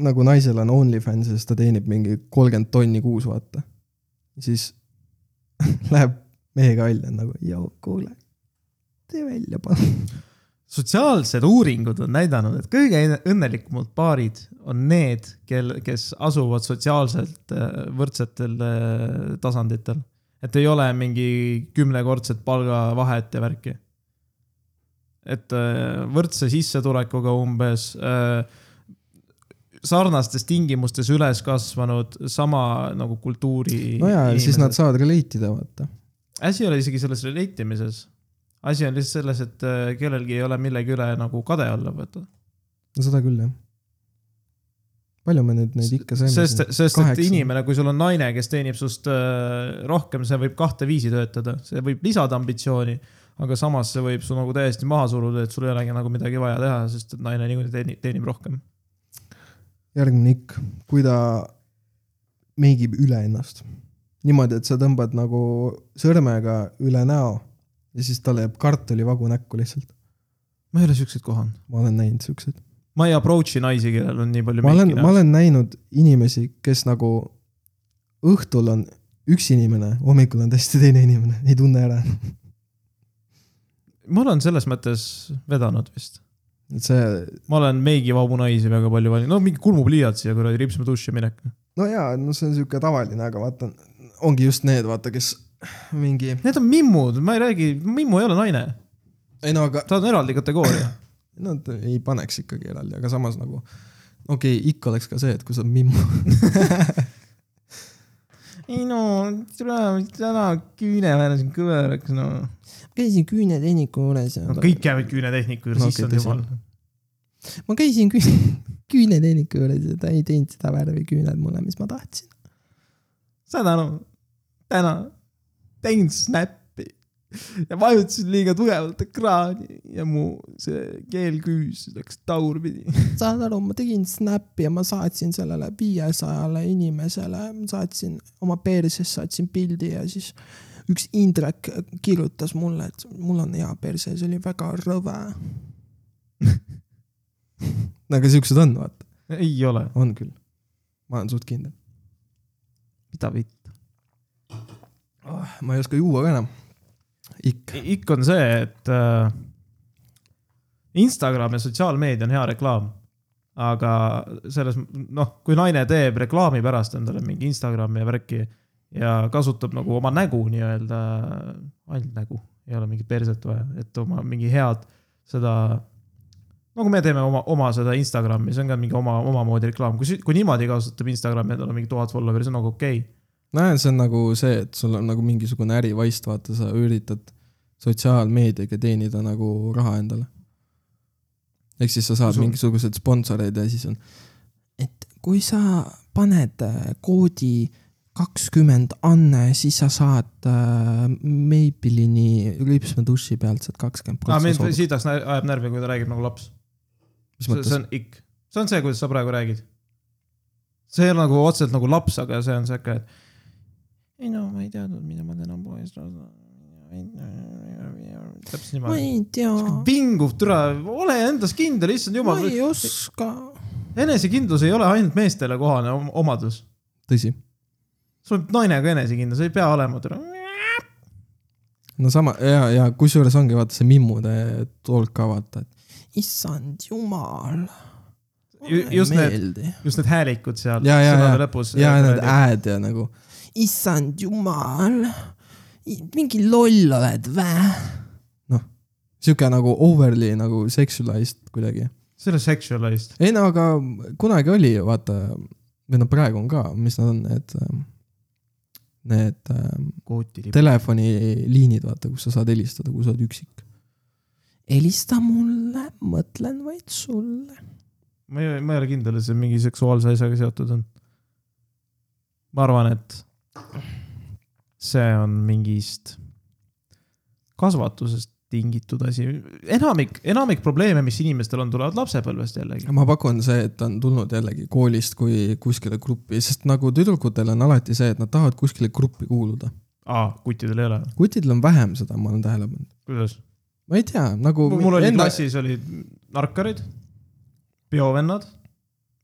Speaker 2: nagu naisel on OnlyFans ja siis ta teenib mingi kolmkümmend tonni kuus , vaata . siis <laughs> läheb mehega välja nagu , joo , kuule , tee välja palun .
Speaker 1: sotsiaalsed uuringud on näidanud , et kõige õnnelikumad paarid on need , kel , kes asuvad sotsiaalselt äh, võrdsetel äh, tasanditel . et ei ole mingi kümnekordset palgavahet ja värki . et äh, võrdse sissetulekuga umbes äh, sarnastes tingimustes üles kasvanud sama nagu kultuuri .
Speaker 2: no jaa , siis nad saavad relate ida , vaata .
Speaker 1: asi ei ole isegi selles relate imises . asi on lihtsalt selles , et äh, kellelgi ei ole millegi üle nagu kade alla võtta .
Speaker 2: no seda küll , jah . palju me nüüd neid ikka saime ?
Speaker 1: sest , sest et
Speaker 2: Kaheksa.
Speaker 1: inimene , kui sul on naine , kes teenib sinust äh, rohkem , see võib kahte viisi töötada , see võib lisada ambitsiooni , aga samas see võib su nagu täiesti maha suruda , et sul ei olegi nagu midagi vaja teha , sest et naine niikuinii teenib , teenib rohkem .
Speaker 2: järgmine ikk , kui ta meigib üle ennast . niimoodi , et sa tõmbad nagu sõrmega üle näo ja siis talle jääb kartulivagu näkku lihtsalt .
Speaker 1: ma ei ole siukseid kohanud .
Speaker 2: ma olen näinud siukseid .
Speaker 1: ma ei approach'i naisi , kellel on nii palju
Speaker 2: ma olen , ma
Speaker 1: meiki .
Speaker 2: olen näinud inimesi , kes nagu õhtul on üks inimene , hommikul on täiesti teine inimene , ei tunne ära .
Speaker 1: ma olen selles mõttes vedanud vist .
Speaker 2: et see ,
Speaker 1: ma olen meigivabu naisi väga palju valinud , no mingi kulmupliiatsi ja kuradi ripsme duši minek .
Speaker 2: no jaa , no see on sihuke tavaline , aga vaata , ongi just need , vaata , kes mingi ,
Speaker 1: Need on mimmud , ma ei räägi , mimmu ei ole naine ,
Speaker 2: ei no aga ,
Speaker 1: ta on eraldi kategooria .
Speaker 2: nad ei paneks ikkagi eraldi , aga samas nagu , okei okay, , ikka oleks ka see , et kui sa oled mimmu ,
Speaker 1: <clears throat> ei no , täna küüneväär on siin kõveraks , no .
Speaker 2: käisin küünetehniku juures ja
Speaker 1: no kõik jäävad küünetehniku juurde
Speaker 2: No
Speaker 1: no, , siis on
Speaker 2: okei, tõsi.
Speaker 1: jumal .
Speaker 2: <laughs> ma käisin küün- , küüneteeniku juures ja ta ei teinud seda värvi küüned mulle , mis ma tahtsin .
Speaker 1: saad aru , täna tegin snappi ja vajutasin liiga tugevalt ekraani ja mu see keelküüs läks tagurpidi .
Speaker 2: saad aru , ma tegin snappi ja ma saatsin sellele viiesajale inimesele , saatsin oma persest saatsin pildi ja siis üks Indrek kirjutas mulle , et mul on hea perse , see oli väga rõve . no aga siuksed on , vaata ,
Speaker 1: ei ole ,
Speaker 2: on küll . ma olen suht kindel
Speaker 1: mida vitt .
Speaker 2: oh, . ma ei oska juua ka enam . ikka .
Speaker 1: ikka on see , et äh, Instagram ja sotsiaalmeedia on hea reklaam . aga selles , noh , kui naine teeb reklaami pärast endale mingi Instagrami ja värki ja kasutab nagu oma nägu nii-öelda , ainult nägu , ei ole mingit perset vaja , et oma mingi head seda . nagu me teeme oma , oma seda Instagrami , see on ka mingi oma , omamoodi reklaam , kui , kui niimoodi kasutab Instagrami , et tal on mingi tuhat follower'i , see on nagu okei okay. .
Speaker 2: nojah , see on nagu see , et sul on nagu mingisugune ärivaist , vaata , sa üritad sotsiaalmeediaga teenida nagu raha endale . ehk siis sa saad
Speaker 1: Sul-
Speaker 2: sul... mingisuguseid sponsoreid ja siis on , et kui sa paned äh, koodi kakskümmend Anne , siis sa saad äh, Maybellini ripsmeduši pealt saad kakskümmend
Speaker 1: aga Ah, mind
Speaker 2: protsenti .
Speaker 1: siitast nä- ajab närvi , kui ta räägib nagu laps .
Speaker 2: mis
Speaker 1: see, see
Speaker 2: mõttes
Speaker 1: on ? ikk , see on see , kuidas sa praegu räägid . see ei ole nagu otseselt nagu laps , aga see on siuke , et ei no ma ei teadnud , mida ma täna poest ostan . täpselt
Speaker 2: ma
Speaker 1: niimoodi .
Speaker 2: ei tea ,
Speaker 1: vinguv türa , ole endas kindel , issand
Speaker 2: ma
Speaker 1: jumal ,
Speaker 2: ei oska .
Speaker 1: enesekindlus ei ole ainult meestele kohane om- omadus .
Speaker 2: tõsi ,
Speaker 1: sul on naine ka enesekindlus , ei pea olema türa .
Speaker 2: no sama ja , ja kusjuures ongi vaata see mimmude tolk ka vaata , et issand jumal
Speaker 1: Ju- just need-
Speaker 2: need .
Speaker 1: just need häälikud seal
Speaker 2: Ja, ja,
Speaker 1: sõnade lõpus .
Speaker 2: ja need hääd ja nagu , issand jumal , mingi loll oled vä ? noh , sihuke nagu overly nagu sexualized kuidagi .
Speaker 1: see ei ole sexualized .
Speaker 2: ei no aga kunagi oli ju vaata , või no praegu on ka , mis nad on , need , need ähm,
Speaker 1: kvootilipp .
Speaker 2: telefoniliinid , vaata , kus sa saad helistada , kui sa oled üksik . helista mulle , mõtlen vaid sulle .
Speaker 1: ma ei , ma ei ole kindel , et see mingi seksuaalse asjaga seotud on . ma arvan , et see on mingist kasvatusest tingitud asi . enamik , enamik probleeme , mis inimestel on , tulevad lapsepõlvest jällegi .
Speaker 2: ma pakun see , et ta on tulnud jällegi koolist kui kuskile gruppi , sest nagu tüdrukutel on alati see , et nad tahavad kuskile gruppi kuuluda .
Speaker 1: aa , kuttidel ei ole ,
Speaker 2: kutidel on vähem seda , ma olen tähele pannud .
Speaker 1: kuidas ?
Speaker 2: ma ei tea , nagu .
Speaker 1: mul oli enda... . klassis olid narkarid , biovennad ,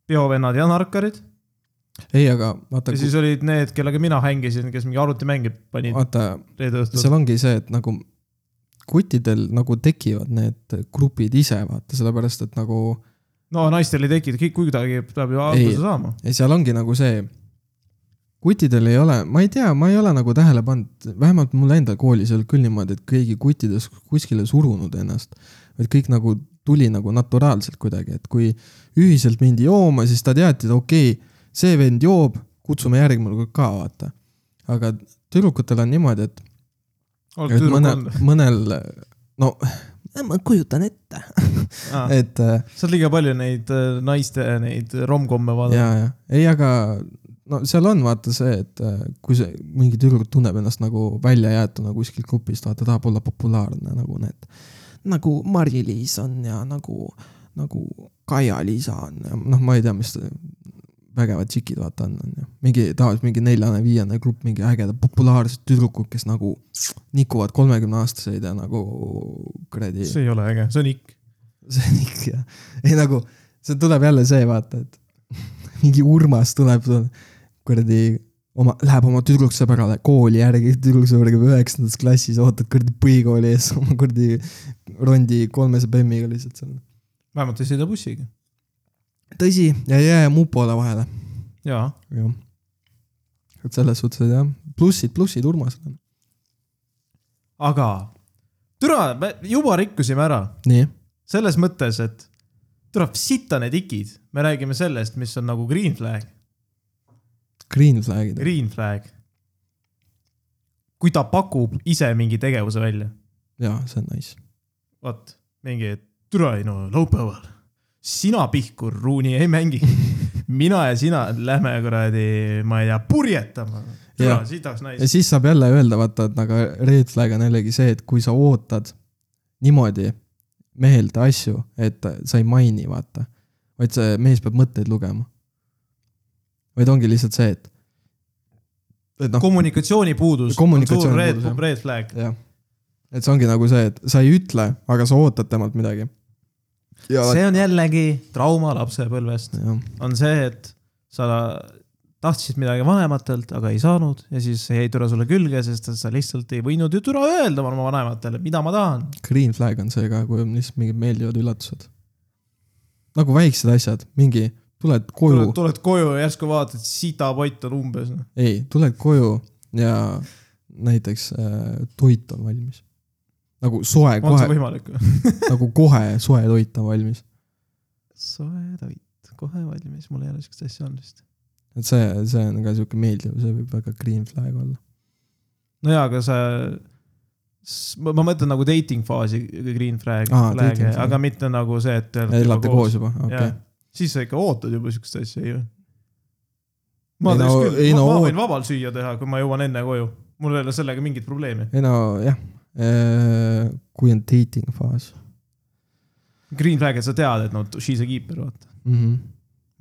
Speaker 1: biovennad ja narkarid
Speaker 2: ei , aga vaata
Speaker 1: ja , siis olid need , kellega mina hängisin , kes mingi arvutimänge panid
Speaker 2: vaata ,
Speaker 1: reede õhtul .
Speaker 2: seal ongi see , et nagu kutidel nagu tekivad need grupid ise , vaata , sellepärast et nagu
Speaker 1: no naistel ei tekkinud , kuidagi peab ju alguse saama .
Speaker 2: ja seal ongi nagu see , kuttidel ei ole , ma ei tea , ma ei ole nagu tähele pannud , vähemalt mul enda koolis ei olnud küll niimoodi , et keegi kuttides kuskile surunud ennast . et kõik nagu tuli nagu naturaalselt kuidagi , et kui ühiselt mindi jooma , siis ta teati , et okei okay, , see vend joob , kutsume järgmine kord ka , vaata . aga tüdrukutel on niimoodi , et ,
Speaker 1: oled
Speaker 2: et
Speaker 1: tüdruk
Speaker 2: mõnel
Speaker 1: olnud ?,
Speaker 2: mõnel no ma kujutan ette ,
Speaker 1: Ah.
Speaker 2: et äh,
Speaker 1: sa oled liiga palju neid äh, naiste neid romkomme vaadanud .
Speaker 2: ja , ja ei , aga no seal on vaata see , et äh, kui see mingi tüdruk tunneb ennast nagu väljajäetuna kuskilt grupist , vaata tahab olla populaarne nagu need . nagu Mari-Liis on ja nagu , nagu Kaia-Liisa on ja noh , ma ei tea , mis ta- vägevad tšikid vaata on , on ju . mingi tavaliselt mingi neljane-viiene grupp mingi ägedad populaarsed tüdrukud , kes nagu nikuvad kolmekümneaastaseid ja nagu kuradi .
Speaker 1: see ei ole äge , see on ikk .
Speaker 2: <laughs> see on ikka , ei nagu , see tuleb jälle see , vaata , et <laughs> mingi Urmas tuleb kuradi oma , läheb oma tüdruksõbrale kooli järgi , tüdruksõber käib üheksandas klassis , ootab kuradi põhikooli ees <laughs> oma kuradi rondi kolmese bemmiga lihtsalt seal .
Speaker 1: vähemalt ei sõida bussiga .
Speaker 2: tõsi , ja ei jää mupole vahele .
Speaker 1: jaa .
Speaker 2: jah . et selles suhtes , et jah , plussid , plussid Urmasel on .
Speaker 1: aga türa , me juba rikkusime ära
Speaker 2: nii ,
Speaker 1: selles mõttes , et türa , sita need ikid . me räägime sellest , mis on nagu green flag ,
Speaker 2: green flag'id .
Speaker 1: green flag . kui ta pakub ise mingi tegevuse välja ,
Speaker 2: jaa , see on nice .
Speaker 1: vot mingi , et türa ei no laupäeval , sina , Pihkur , Ruuni ei mängi . mina ja sina lähme kuradi , ma ei tea , purjetama .
Speaker 2: Jah.
Speaker 1: sitaks
Speaker 2: ja
Speaker 1: naist .
Speaker 2: siis saab jälle öelda , vaata , et aga red flag on jällegi see , et kui sa ootad niimoodi mehelt asju , et sa ei maini , vaata . vaid see mees peab mõtteid lugema . vaid ongi lihtsalt see , et , et noh ,
Speaker 1: kommunikatsiooni puudus .
Speaker 2: Kommunikatsiooni
Speaker 1: red,
Speaker 2: puudus, jah.
Speaker 1: red flag .
Speaker 2: jah . et see ongi nagu see , et sa ei ütle , aga sa ootad temalt midagi . ja ,
Speaker 1: see on jällegi trauma lapsepõlvest ,
Speaker 2: jah ,
Speaker 1: on see , et sa tahtsid midagi vanematelt , aga ei saanud ja siis jäi türa sulle külge , sest et sa lihtsalt ei võinud ju türa öelda oma vanematele , mida ma tahan .
Speaker 2: green flag on see ka , kui on lihtsalt mingid meeldivad üllatused . nagu väiksed asjad , mingi tuled koju
Speaker 1: tuled , tuled koju ja järsku vaatad , sitapott on umbes . noh.
Speaker 2: ei , tuled koju ja näiteks äh, toit on valmis . nagu soe
Speaker 1: on see
Speaker 2: kohe ,
Speaker 1: võimalik ?
Speaker 2: nagu kohe soe toit on valmis .
Speaker 1: soe toit , kohe valmis , mul ei ole siukest asja olnud vist .
Speaker 2: et see , see on ka sihuke meeldiv , see võib väga green flag olla .
Speaker 1: no jaa , aga sa , ma ma mõtlen nagu dating faasi green flag
Speaker 2: Aa, , dating faasi.
Speaker 1: aga mitte nagu see , et .
Speaker 2: elate koos juba , okei .
Speaker 1: siis sa ikka ootad juba siukest asja ju .
Speaker 2: Ei
Speaker 1: ma teeks
Speaker 2: no-
Speaker 1: küll ,
Speaker 2: ei
Speaker 1: ma,
Speaker 2: no
Speaker 1: ma
Speaker 2: oot-
Speaker 1: võin vabalt süüa teha , kui ma jõuan enne koju . mul ei ole sellega mingit probleemi .
Speaker 2: ei no jah , kui on dating faas
Speaker 1: Green flag , et sa tead , et no she's a keeper , vaata .
Speaker 2: mm . -hmm.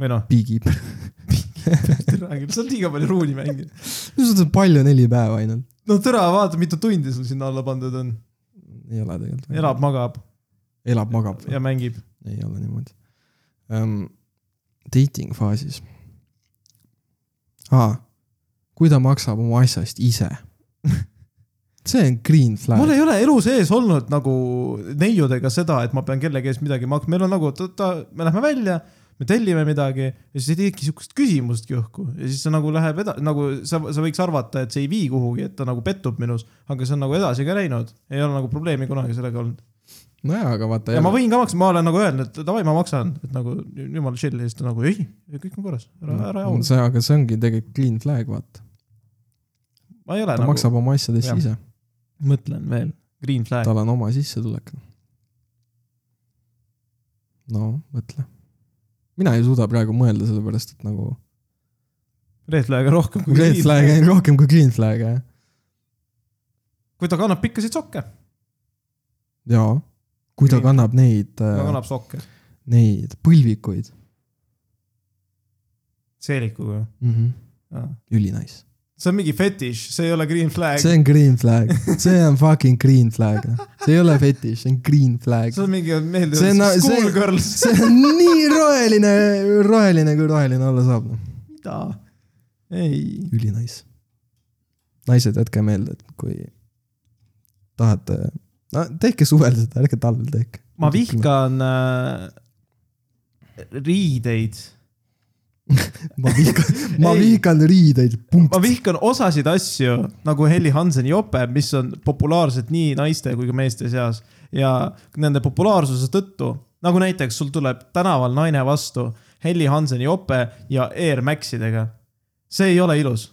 Speaker 1: või noh , <laughs>
Speaker 2: Bigib . <laughs>
Speaker 1: sa oled liiga palju ruuni mänginud .
Speaker 2: no seda on palju , neli päeva ainult .
Speaker 1: no tere , vaata , mitu tundi sul sinna alla pandud on .
Speaker 2: ei ole tegelikult .
Speaker 1: elab , magab
Speaker 2: elab , magab .
Speaker 1: ja mängib .
Speaker 2: ei ole niimoodi um, . Dating faasis ah, . kui ta maksab oma asja eest ise . <laughs> see on green
Speaker 1: mul
Speaker 2: flag .
Speaker 1: ei ole elu sees olnud nagu neiudega seda , et ma pean kellegi eest midagi maksma , meil on nagu , et oota , me lähme välja , me tellime midagi ja siis ei teeki sihukest küsimustki õhku ja siis see nagu läheb edasi , nagu sa , sa võiks arvata , et see ei vii kuhugi , et ta nagu pettub minus , aga see on nagu edasi ka läinud , ei ole nagu probleemi kunagi sellega olnud .
Speaker 2: nojah , aga vaata
Speaker 1: ja ma . võin ka maksta , ma olen nagu öelnud , et davai , ma maksan , et nagu jumal chill ja siis ta nagu ei , kõik on korras , ära ,
Speaker 2: Mm.
Speaker 1: ära jaula .
Speaker 2: see , aga see ongi tegelikult green flag , vaata .
Speaker 1: ma ei ole
Speaker 2: ta
Speaker 1: nagu ,
Speaker 2: nagu... maksab oma asjade eest
Speaker 1: jah.
Speaker 2: ise ,
Speaker 1: mõtlen veel , green flag ,
Speaker 2: tal on oma sissetulek . no mõtle . mina ei suuda praegu mõelda , sellepärast et nagu
Speaker 1: red flag'e rohkem kui
Speaker 2: red
Speaker 1: green
Speaker 2: flag on rohkem kui green flag , jah .
Speaker 1: kui ta kannab pikkasid sokke ,
Speaker 2: jaa . kui ta
Speaker 1: Green-
Speaker 2: kannab neid ,
Speaker 1: ta kannab sokke ,
Speaker 2: neid põlvikuid
Speaker 1: seelikuga
Speaker 2: mm . -hmm.
Speaker 1: Jaa.
Speaker 2: ülinais .
Speaker 1: see on mingi fetiš , see ei ole green flag ,
Speaker 2: see on green flag , see on fucking green flag , see ei ole fetiš , see on green flag
Speaker 1: see . on mingi meeldiv
Speaker 2: See on- see-
Speaker 1: schoolgirls .
Speaker 2: see on nii roheline , roheline kui roheline olla saab , noh ,
Speaker 1: mida ? ei ,
Speaker 2: ülinais . naised , jätke meelde , et kui tahate , no tehke suvel seda , ärge talvel tehke .
Speaker 1: ma . vihkan äh, riideid ,
Speaker 2: ma vihkan , ma
Speaker 1: Ei.
Speaker 2: vihkan riideid , punkt
Speaker 1: ma . vihkan osasid asju nagu Heli Hanseni jope , mis on populaarsed nii naiste kui ka meeste seas ja nende populaarsuse tõttu , nagu näiteks sul tuleb tänaval naine vastu Heli Hanseni jope ja Air Maxidega . see ei ole ilus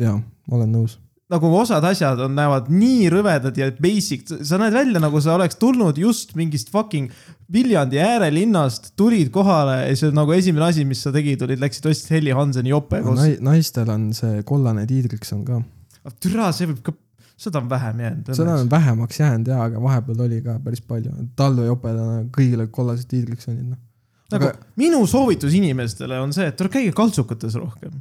Speaker 2: jaa , ma olen nõus .
Speaker 1: nagu osad asjad on , näevad nii rõvedad ja basic , sa näed välja , nagu sa oleks tulnud just mingist fucking Viljandi äärelinnast , tulid kohale ja see on nagu esimene asi , mis sa tegid , olid , läksid ostsid Heli Hanseni jope koos .
Speaker 2: naistel on see kollane tiidriks on ka ,
Speaker 1: türa , see võib ka , seda on vähem jäänud .
Speaker 2: seda on vähemaks jäänud jaa , aga vahepeal oli ka päris palju , talvejoped on kõigile kollased tiidriks on , noh .
Speaker 1: nagu,
Speaker 2: aga-
Speaker 1: minu soovitus inimestele on see , et tuleb käia kaltsukates rohkem .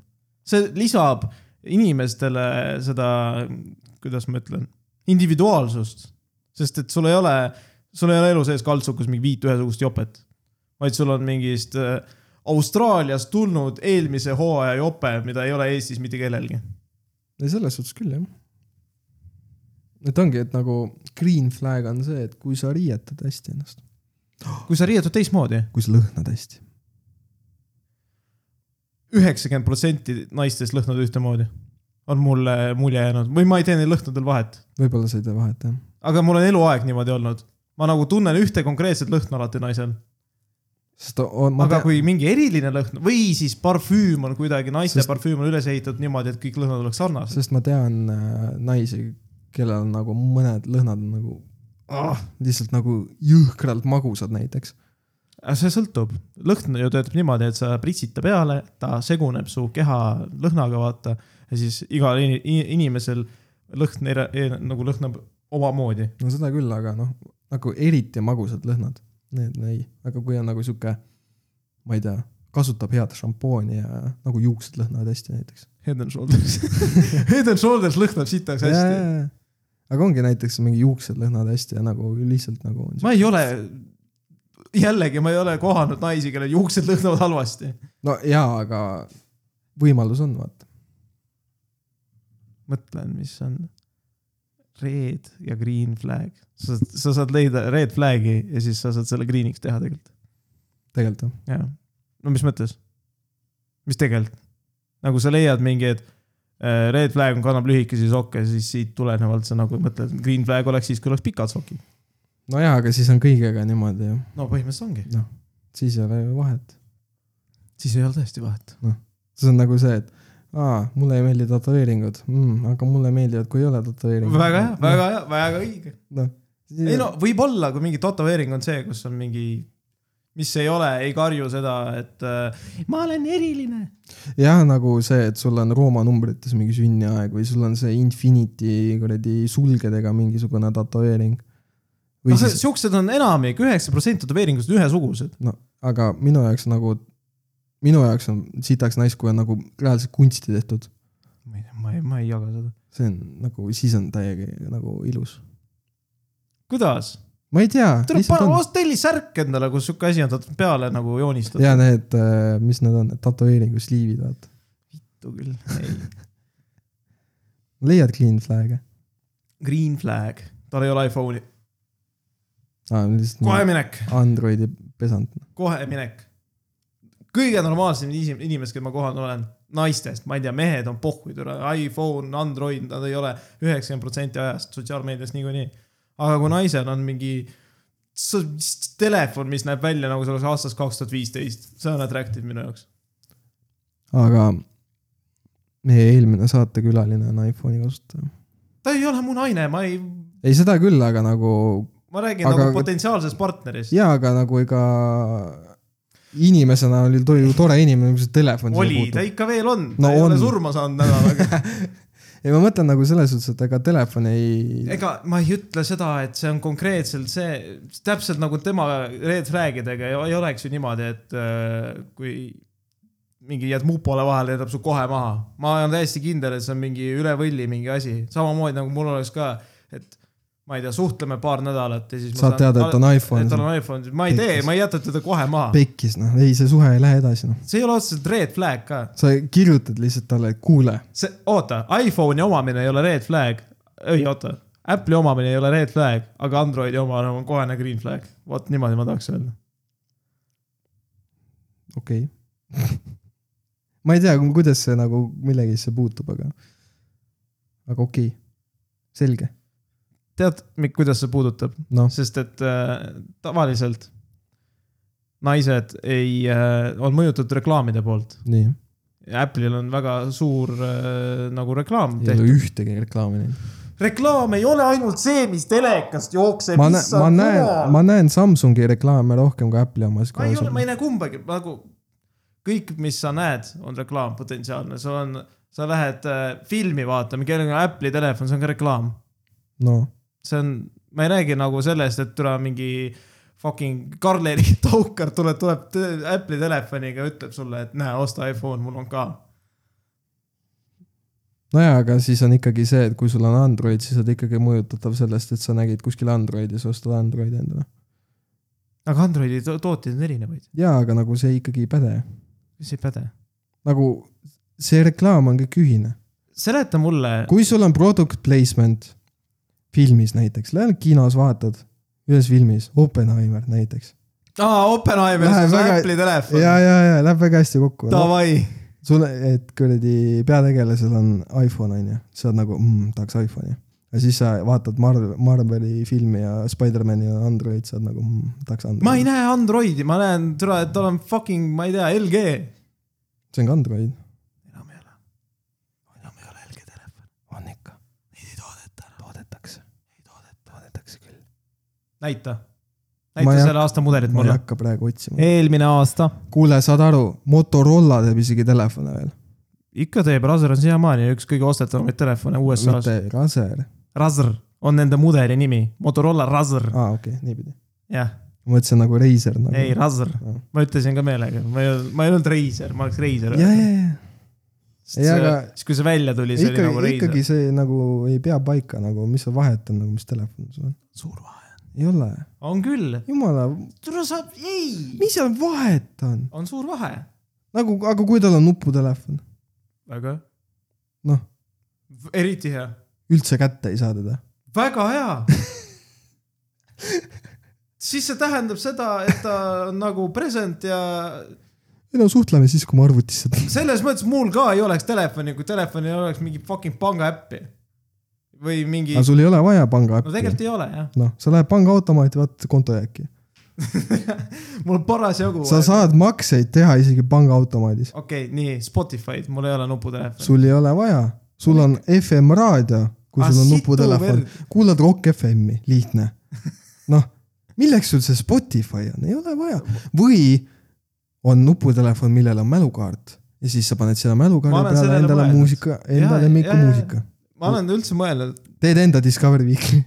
Speaker 1: see lisab inimestele seda , kuidas ma ütlen , individuaalsust . sest et sul ei ole , sul ei ole elu sees kaltsukas mingi viit ühesugust jopet . vaid sul on mingist äh, Austraaliast tulnud eelmise hooaja jope , mida ei ole Eestis mitte kellelgi .
Speaker 2: ei , selles suhtes küll , jah . et ongi , et nagu green flag on see , et kui sa riietad hästi ennast .
Speaker 1: kui sa riietud teistmoodi ,
Speaker 2: kui sa lõhnad hästi .
Speaker 1: üheksakümmend protsenti naistest lõhnad ühtemoodi . on mulle mulje jäänud või ma ei tee neil lõhnadel vahet
Speaker 2: võib-olla sa ei tee vahet , jah .
Speaker 1: aga mul on eluaeg niimoodi olnud . ma nagu tunnen ühte konkreetset lõhna alati naisel ,
Speaker 2: sest on, ma
Speaker 1: aga
Speaker 2: tean ,
Speaker 1: kui mingi eriline lõhn või siis parfüüm on kuidagi , naiste
Speaker 2: Sest-
Speaker 1: Sest... parfüüm on üles ehitatud niimoodi , et kõik lõhnad oleks sarnased .
Speaker 2: sest ma tean äh, naisi , kellel on nagu mõned lõhnad on nagu ah, lihtsalt nagu jõhkralt magusad näiteks .
Speaker 1: see sõltub , lõhn ju töötab niimoodi , et sa pritsid ta peale , ta seguneb su keha lõhnaga , vaata . ja siis igal ini- i- inimesel lõhn era- e- nagu lõhnab omamoodi .
Speaker 2: no seda küll , aga noh , nagu eriti magusad lõhnad , need ei , aga kui on nagu sihuke , ma ei tea , kasutab head šampooni ja nagu juuksed lõhnavad hästi näiteks .
Speaker 1: Head and <laughs> shoulders . Head and shoulders lõhnab sitaks hästi .
Speaker 2: aga ongi näiteks mingi juuksed lõhnavad hästi ja nagu lihtsalt nagu .
Speaker 1: ma ei ole , jällegi ma ei ole kohanud naisi , kellel juuksed lõhnavad halvasti .
Speaker 2: no jaa , aga võimalus on , vaata .
Speaker 1: mõtlen , mis on red ja green flag . sa , sa saad leida red flag'i ja siis sa saad selle green'iks teha tegelikult ,
Speaker 2: tegelikult jah .
Speaker 1: jah . no mis mõttes ? mis tegelikult ? nagu sa leiad mingi , et äh, red flag kannab lühikesi sokke , siis siit tulenevalt sa nagu mõtled , green flag oleks siis , kui oleks pikad sokid .
Speaker 2: no jaa , aga siis on kõigega niimoodi ju ,
Speaker 1: no põhimõtteliselt ongi .
Speaker 2: siis ei ole ju vahet .
Speaker 1: siis ei ole tõesti vahet .
Speaker 2: see on nagu see , et aa , mulle ei meeldi tätoveeringud mm, , aga mulle meeldivad , kui ei ole tätoveeringuid .
Speaker 1: väga hea , väga hea , väga õige .
Speaker 2: noh .
Speaker 1: ei no võib-olla , kui mingi tätoveering on see , kus on mingi , mis ei ole , ei karju seda , et äh, ma olen eriline
Speaker 2: jah , nagu see , et sul on Rooma numbrites mingi sünniaeg või sul on see infinity kuradi sulgedega mingisugune tätoveering . või
Speaker 1: noh ,
Speaker 2: siis ,
Speaker 1: siuksed on enamik , üheksa protsenti tätoveeringust on ühesugused .
Speaker 2: no aga minu jaoks nagu , minu jaoks on sitaks nice , kui on nagu reaalselt kunsti tehtud .
Speaker 1: ma ei tea , ma ei , ma ei jaga seda .
Speaker 2: see on nagu , siis on täiega nagu ilus .
Speaker 1: kuidas ?
Speaker 2: ma ei tea .
Speaker 1: tuleb panna , telli särk endale , kus sihuke asi on tatt- peale nagu joonistatud .
Speaker 2: ja need , mis need on , tätoveeringu sliivid , vaata .
Speaker 1: vittu küll , ei .
Speaker 2: leiad clean flag'e
Speaker 1: Green flag , tal ei ole iPhone'i ,
Speaker 2: ah, ?
Speaker 1: kohe
Speaker 2: lihtsalt nagu
Speaker 1: minek ,
Speaker 2: Androidi pesand .
Speaker 1: kohe minek . kõige normaalsem inim- inimene , kes ma kohanud olen , naistest , ma ei tea , mehed on pohhuid üle , iPhone , Android , nad ei ole üheksakümmend protsenti ajast sotsiaalmeedias niikuinii . aga kui naisel on mingi s- telefon , mis näeb välja nagu see oleks aastast kaks tuhat viisteist , see on attractive minu jaoks .
Speaker 2: aga meie eelmine saatekülaline on iPhone'i kasutaja .
Speaker 1: ta ei ole mu naine , ma ei ,
Speaker 2: ei , seda küll , aga nagu
Speaker 1: ma räägin
Speaker 2: Aga-
Speaker 1: aga... nagu potentsiaalsest partnerist .
Speaker 2: jaa , aga nagu ega inimesena oli ta ju tore inimene , kui see telefon
Speaker 1: oli , ta . ikka veel on no, ,
Speaker 2: No
Speaker 1: ta ei on.
Speaker 2: on.
Speaker 1: ole surma saanud nädalaga .
Speaker 2: ei , ma mõtlen nagu selles suhtes , et ega telefon ei ,
Speaker 1: ega ma ei ütle seda , et see on konkreetselt see , täpselt nagu tema red flag idega ei, ei oleks ju niimoodi , et äh, kui mingi jääd mupole vahele , jätab su kohe maha . ma olen täiesti kindel , et see on mingi üle võlli mingi asi , samamoodi nagu mul oleks ka , et ma ei tea , suhtleme paar nädalat ja siis .
Speaker 2: saad teada , et on
Speaker 1: et tal
Speaker 2: iPhone ,
Speaker 1: on iPhone , ma ei tee , ma ei jäta teda kohe maha .
Speaker 2: pekkis noh , ei see suhe ei lähe edasi noh .
Speaker 1: see ei ole otseselt red flag ka
Speaker 2: sa kirjutad lihtsalt talle , et kuule ,
Speaker 1: see , oota , iPhone'i omamine ei ole red flag , ei oota , Apple'i omamine ei ole red flag , aga Androidi omamine on kohene green flag , vot niimoodi ma tahaks öelda .
Speaker 2: okei <laughs> okay. . ma ei tea , kuidas see nagu millegisse puutub , aga , aga okei okay. , selge ,
Speaker 1: tead , kuidas see puudutab ,
Speaker 2: noh ,
Speaker 1: sest et äh, tavaliselt naised ei äh, , on mõjutatud reklaamide poolt .
Speaker 2: nii .
Speaker 1: Apple'il on väga suur äh, nagu reklaam
Speaker 2: ei
Speaker 1: tehtud .
Speaker 2: ole ühtegi reklaami näinud .
Speaker 1: reklaam ei ole ainult see , mis telekast jookseb .
Speaker 2: ma näen , ma näen , ma näen Samsungi reklaame rohkem kui Apple'i omas .
Speaker 1: ma ei ole , ma ei näe kumbagi , nagu kõik , mis sa näed , on reklaam potentsiaalne , sul on , sa lähed äh, filmi vaatama , kellel on Apple'i telefon , see on ka reklaam .
Speaker 2: no
Speaker 1: see on , ma ei räägi nagu sellest , et tule mingi fucking Karl-Eri <laughs> Taukar tuleb , tuleb tõ- Apple'i telefoniga , ütleb sulle , et näe , osta iPhone , mul on ka .
Speaker 2: nojaa , aga siis on ikkagi see , et kui sul on Android , siis oled ikkagi mõjutatav sellest , et sa nägid kuskil Androidis , ostad Androidi endale .
Speaker 1: aga Androidi to- tooteid on erinevaid ,
Speaker 2: jaa , aga nagu see ikkagi ei päde .
Speaker 1: mis ei päde .
Speaker 2: nagu see reklaam on kõik ühine .
Speaker 1: seleta mulle ,
Speaker 2: kui sul on product placement filmis näiteks , lähed kinos vaatad , ühes filmis , Oppenheimer näiteks .
Speaker 1: aa , Oppenheimer ,
Speaker 2: Läheb
Speaker 1: see on
Speaker 2: väga-
Speaker 1: Apple'i telefon
Speaker 2: ja ,, ja , ja läheb väga hästi kokku .
Speaker 1: davai .
Speaker 2: sul , et kuradi peategelasel on iPhone on ju , sa oled nagu mmm, , tahaks iPhone'i . ja siis sa vaatad Marvel , Marveli filmi ja Spider-manil on Android , sa oled nagu mmm, , tahaks Android .
Speaker 1: ma ei näe Androidi , ma näen , tule , tal on fucking , ma ei tea , LG
Speaker 2: see on ka Android .
Speaker 1: enam ei ole . enam ei ole LG telefon .
Speaker 2: on ikka . Neid ei toodeta . toodetakse . ei toodeta . toodetakse küll .
Speaker 1: näita . näita
Speaker 2: ei
Speaker 1: selle aasta mudelit
Speaker 2: ma ei
Speaker 1: mulle .
Speaker 2: hakka praegu otsima .
Speaker 1: eelmine aasta
Speaker 2: kuule , saad aru , Motorola teeb isegi telefone veel ,
Speaker 1: ikka teeb , Razer on siiamaani üks kõige ostetavamaid telefone USA-s .
Speaker 2: mitte Razer .
Speaker 1: Razer on nende mudeli nimi , Motorola Razer ,
Speaker 2: aa , okei okay, , niipidi .
Speaker 1: jah ,
Speaker 2: ma mõtlesin nagu Razer nagu .
Speaker 1: ei Razer , ma ütlesin ka meelega , ma ei öelnud , ma ei öelnud Razer , ma oleks Razer
Speaker 2: ja , ja , ja ei, aga-
Speaker 1: siis kui see välja tuli , see oli
Speaker 2: ikkagi
Speaker 1: nagu , Razer
Speaker 2: ikkagi . see nagu ei pea paika nagu , mis see vahet on nagu , mis telefon sul on .
Speaker 1: suur vahe .
Speaker 2: ei ole ,
Speaker 1: on küll ,
Speaker 2: jumala ,
Speaker 3: tule saab , ei .
Speaker 2: mis seal vahet on ?
Speaker 1: on suur vahe ,
Speaker 2: nagu , aga kui tal on nuputelefon ,
Speaker 1: väga ,
Speaker 2: noh ,
Speaker 1: eriti hea ,
Speaker 2: üldse kätte ei saa teda .
Speaker 1: väga hea . siis see tähendab seda , et ta on nagu present ja
Speaker 2: ei no suhtleme siis , kui ma arvutisse teen .
Speaker 1: selles mõttes mul ka ei oleks telefoni , kui telefonil oleks mingi fucking pangaäppi või mingi
Speaker 2: aga , sul ei ole vaja
Speaker 1: no
Speaker 2: pangaäppi .
Speaker 1: tegelikult ei ole jah ,
Speaker 2: noh , sa lähed pangaautomaati , vaatad konto jääki .
Speaker 1: mul on parasjagu .
Speaker 2: sa saad makseid teha isegi pangaautomaadis .
Speaker 1: okei okay, , nii Spotify'd , mul ei ole nuputelefoni .
Speaker 2: sul ei ole vaja , sul on FM raadio , kui
Speaker 1: Ah,
Speaker 2: sul on
Speaker 1: situ
Speaker 2: nuputelefon
Speaker 1: verd. ,
Speaker 2: kuulad Rock FM-i , lihtne . noh , milleks sul see Spotify on , ei ole vaja või on nuputelefon , millel on mälukaart ja siis sa paned selle
Speaker 1: Ma
Speaker 2: mälukaardi
Speaker 1: olen
Speaker 2: peale
Speaker 1: sellele
Speaker 2: endale
Speaker 1: mõelnud.
Speaker 2: muusika , enda
Speaker 1: Jaa,
Speaker 2: lemmiku
Speaker 1: jaa, jaa.
Speaker 2: muusika .
Speaker 1: ma olen üldse mõelnud ,
Speaker 2: teed enda Discovery Weekly .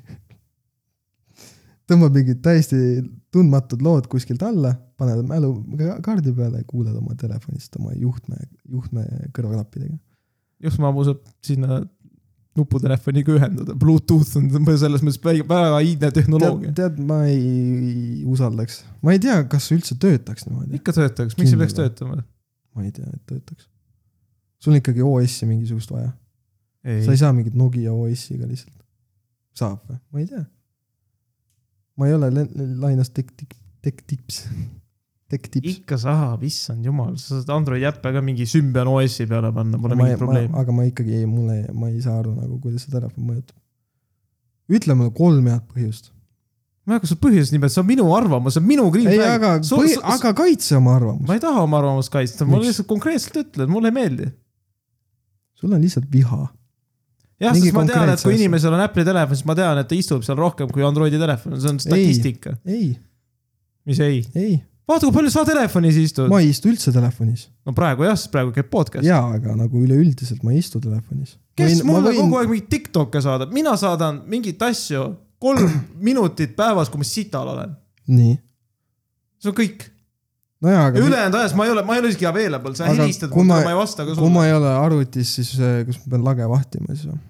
Speaker 2: tõmbad mingid täiesti tundmatud lood kuskilt alla , paned mälukaardi peale ja kuulad oma telefonist oma juhtme , juhtme kõrvaklappidega .
Speaker 1: Jusmaa muuseb sinna nuputelefoniga ühendada , Bluetooth on selles mõttes väga- väga iidne tehnoloogia .
Speaker 2: tead , ma ei usaldaks , ma ei tea , kas see üldse töötaks niimoodi ,
Speaker 1: ikka töötaks , miks ei peaks
Speaker 2: Kindel või?
Speaker 1: töötama ?
Speaker 2: ma ei tea , et töötaks . sul on ikkagi OS-i mingisugust vaja , sa
Speaker 1: ei
Speaker 2: ei , saa mingit Nokia OS-iga lihtsalt . saab või , ma ei tea . ma ei ole len- Lainas Tech Tips , Tech Tips , Tech Tips .
Speaker 1: ikka saab , issand jumal , sa saad Androidi äppe ka mingi sümbion OS-i peale panna , pole
Speaker 2: Ma ei-
Speaker 1: mingit probleemi .
Speaker 2: ma- aga ma ikkagi ei , mulle , ma ei saa aru nagu , kuidas see telefon mõjutab . ütle mulle kolm head põhjust .
Speaker 1: ma ei hakka su põhjust nimelt , see on minu arvamus , see on minu green
Speaker 2: ei ,
Speaker 1: flag .
Speaker 2: aga , aga kaitse oma arvamust .
Speaker 1: ma ei taha oma arvamust kaitsta , ma
Speaker 2: Miks?
Speaker 1: lihtsalt konkreetselt ütlen , mulle ei meeldi .
Speaker 2: sul on lihtsalt viha .
Speaker 1: jah ,
Speaker 2: Mingi
Speaker 1: sest ma tean , et
Speaker 2: konkreetse
Speaker 1: kui
Speaker 2: asja.
Speaker 1: inimesel on Apple'i telefon , siis ma tean , et ta istub seal rohkem kui Androidi telefon , see on statistika .
Speaker 2: ei ,
Speaker 1: mis ei ,
Speaker 2: ei ,
Speaker 1: vaata kui palju sa telefonis istud .
Speaker 2: ma ei istu üldse telefonis .
Speaker 1: no praegu jah , sest praegu käib podcast .
Speaker 2: jaa , aga nagu üleüldiselt ma ei istu telefonis .
Speaker 1: kes mulle võin... kogu aeg mingeid Tiktok'e saadab , mina saadan mingeid asju kolm <clears throat> minutit päevas , kui ma sital olen .
Speaker 2: nii ,
Speaker 1: see on kõik .
Speaker 2: nojaa , aga .
Speaker 1: ülejäänud ajas ma ei ole , ma ei ole isegi available , sa
Speaker 2: Aga
Speaker 1: helistad
Speaker 2: kui
Speaker 1: mulle ,
Speaker 2: ma-
Speaker 1: ma ei vasta ka
Speaker 2: kui
Speaker 1: sulle .
Speaker 2: ma ei ole arvutis , siis äh, kas ma pean lage vahtima siis või ?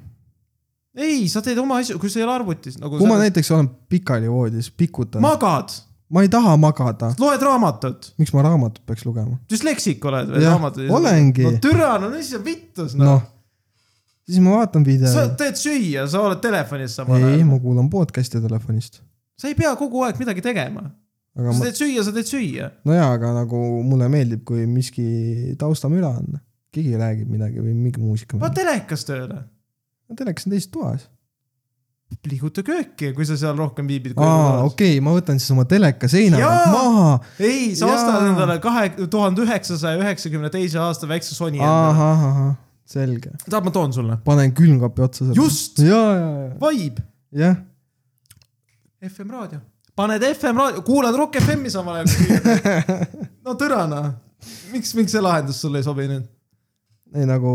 Speaker 1: ei , sa teed oma asju , kui sa ei ole arvutis nagu .
Speaker 2: kui ma näiteks olen pikali voodis , pikutan ma... ,
Speaker 1: magad ,
Speaker 2: ma ei taha magada .
Speaker 1: loed raamatut ,
Speaker 2: miks ma raamatut peaks lugema ?
Speaker 1: düsleksik oled või
Speaker 2: Jah,
Speaker 1: raamatut ei saa-
Speaker 2: olengi.
Speaker 1: no türa , no mis see vittus noh no.
Speaker 2: noh , siis ma vaatan video .
Speaker 1: sa teed süüa , sa oled telefonis samal
Speaker 2: ei ,
Speaker 1: ajal .
Speaker 2: ma kuulan podcast'e telefonist .
Speaker 1: sa ei pea kogu aeg midagi tegema .
Speaker 2: aga
Speaker 1: sa
Speaker 2: ma ,
Speaker 1: teed süüa , sa teed süüa .
Speaker 2: nojaa , aga nagu mulle meeldib , kui miski taustamüra on . keegi räägib midagi või mingi muusika .
Speaker 1: pane telekas tööle .
Speaker 2: telekas on teises toas .
Speaker 1: liiguta kööki , kui sa seal rohkem viibid .
Speaker 2: aa , okei , ma võtan siis oma teleka seina
Speaker 1: Jaa!
Speaker 2: pealt maha .
Speaker 1: ei , sa ostad
Speaker 2: Jaa.
Speaker 1: endale kahe , tuhande üheksasaja üheksakümne teise aasta väikse Sony endale .
Speaker 2: ahah , ahah , selge .
Speaker 1: tahad , ma toon sulle ?
Speaker 2: panen külmkapi otsa selle .
Speaker 1: just ,
Speaker 2: ja , ja , ja ,
Speaker 1: Vibe ,
Speaker 2: jah .
Speaker 1: FM raadio . paned FM raadio , kuulad Rock FM-i samal ajal . no tõrana , miks , miks see lahendus sulle ei sobi nüüd ?
Speaker 2: ei nagu ,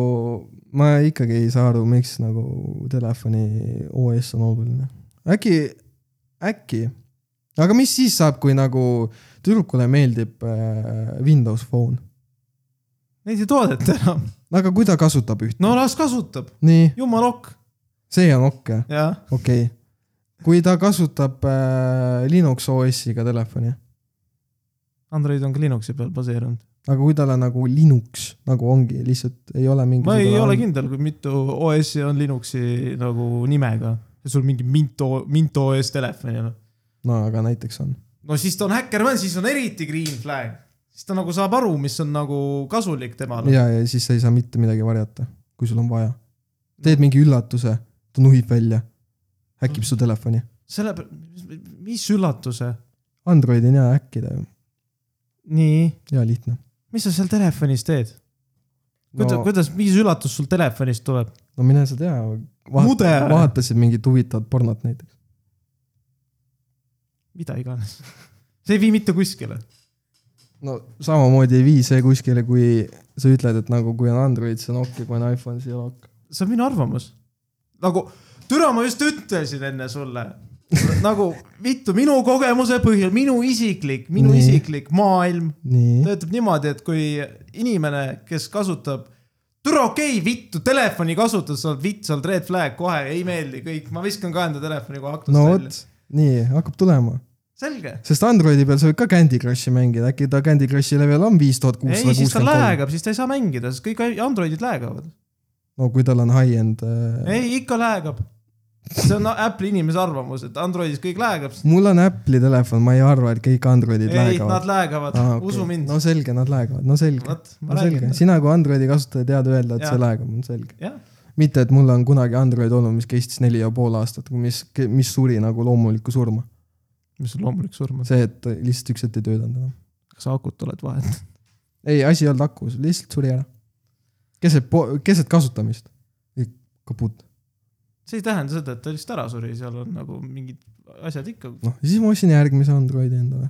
Speaker 2: ma ikkagi ei saa aru , miks nagu telefoni OS on oluline . äkki , äkki , aga mis siis saab , kui nagu tüdrukule meeldib äh, Windows Phone ,
Speaker 1: Neid ei toodeta enam .
Speaker 2: aga kui ta kasutab üht ,
Speaker 1: no las kasutab ,
Speaker 2: nii ,
Speaker 1: jumal ok ,
Speaker 2: see on okei ,
Speaker 1: jah .
Speaker 2: okei . kui ta kasutab äh, Linux OS-iga telefoni ,
Speaker 1: Android on ka Linuxi peal baseerunud .
Speaker 2: aga kui tal on nagu Linux , nagu ongi lihtsalt ei ole mingi .
Speaker 1: ma ei ole . kindel , kui mitu OS-i on Linuxi nagu nimega . sul mingi Mint , Mint OS telefoni on
Speaker 2: no aga näiteks on ,
Speaker 1: no siis ta on häkkermann , siis on eriti green flag . siis ta nagu saab aru , mis on nagu kasulik temale .
Speaker 2: ja , ja siis sa ei saa mitte midagi varjata , kui sul on vaja . teed mingi üllatuse , ta nuhib välja , häkib
Speaker 1: Mm.
Speaker 2: su telefoni .
Speaker 1: selle , mis üllatuse .
Speaker 2: Android on hea häkkida ju ,
Speaker 1: nii ,
Speaker 2: hea lihtne .
Speaker 1: mis sa seal telefonis teed ? kuidas no. ,
Speaker 2: no,
Speaker 1: kuidas , mis üllatus sul telefonist tuleb ?
Speaker 2: no mine sa tea ,
Speaker 1: Mude.
Speaker 2: vaatasid mingit huvitavat pornot näiteks .
Speaker 1: mida iganes . see ei vii mitte kuskile .
Speaker 2: no samamoodi ei vii see kuskile , kui sa ütled , et nagu kui on Android , siis on okei , kui on iPhone , siis ei ole okei .
Speaker 1: see on minu arvamus . nagu , türa , ma just ütlesin enne sulle . nagu vittu , minu kogemuse põhjal , minu isiklik , minu
Speaker 2: Nii.
Speaker 1: Nii. isiklik maailm
Speaker 2: nii ,
Speaker 1: töötab niimoodi , et kui inimene , kes kasutab , türa okei okay, , vittu , telefoni kasutus on vitt , sa oled red flag kohe , ei meeldi kõik , ma viskan ka enda telefoni kohe aknast
Speaker 2: no
Speaker 1: välja .
Speaker 2: vot , nii hakkab tulema ,
Speaker 1: selge .
Speaker 2: sest Androidi peal sa võid ka Candy Crushi mängida , äkki ta Candy Crushi level on viis tuhat
Speaker 1: ei , siis
Speaker 2: kuussada
Speaker 1: ta
Speaker 2: kuuskümmend kolm .
Speaker 1: läägab , siis ta ei saa mängida , sest kõik Androidid läägavad .
Speaker 2: no kui tal on high-end äh... .
Speaker 1: ei , ikka läägab . see on Apple'i inimese arvamus , et Androidis kõik läägab .
Speaker 2: mul on Apple'i telefon , ma ei arva , et kõik Androidid
Speaker 1: ei , nad
Speaker 2: läägavad .
Speaker 1: läägavad ah, , okay. usu mind
Speaker 2: no . selge , nad läägavad , no selge .
Speaker 1: vot ,
Speaker 2: no
Speaker 1: ma
Speaker 2: selge ,
Speaker 1: räägin .
Speaker 2: sina kui Androidi kasutaja tead öelda , et
Speaker 1: Jah.
Speaker 2: see läägab , on selge .
Speaker 1: jah ,
Speaker 2: mitte , et mul on kunagi Android olnud , mis kestis neli ja pool aastat , mis , mis suri nagu loomulikku surma .
Speaker 1: mis on loomulik surm ,
Speaker 2: see , et lihtsalt üks hetk ei töötanud enam .
Speaker 1: kas akut oled vahet ?
Speaker 2: ei , asi ei olnud akus , lihtsalt suri ära . keset , keset kasutamist . kaput .
Speaker 1: see ei tähenda seda , et ta lihtsalt ära suri , seal on nagu mingid asjad ikka .
Speaker 2: noh , ja siis ma ostsin järgmise Androidi endale .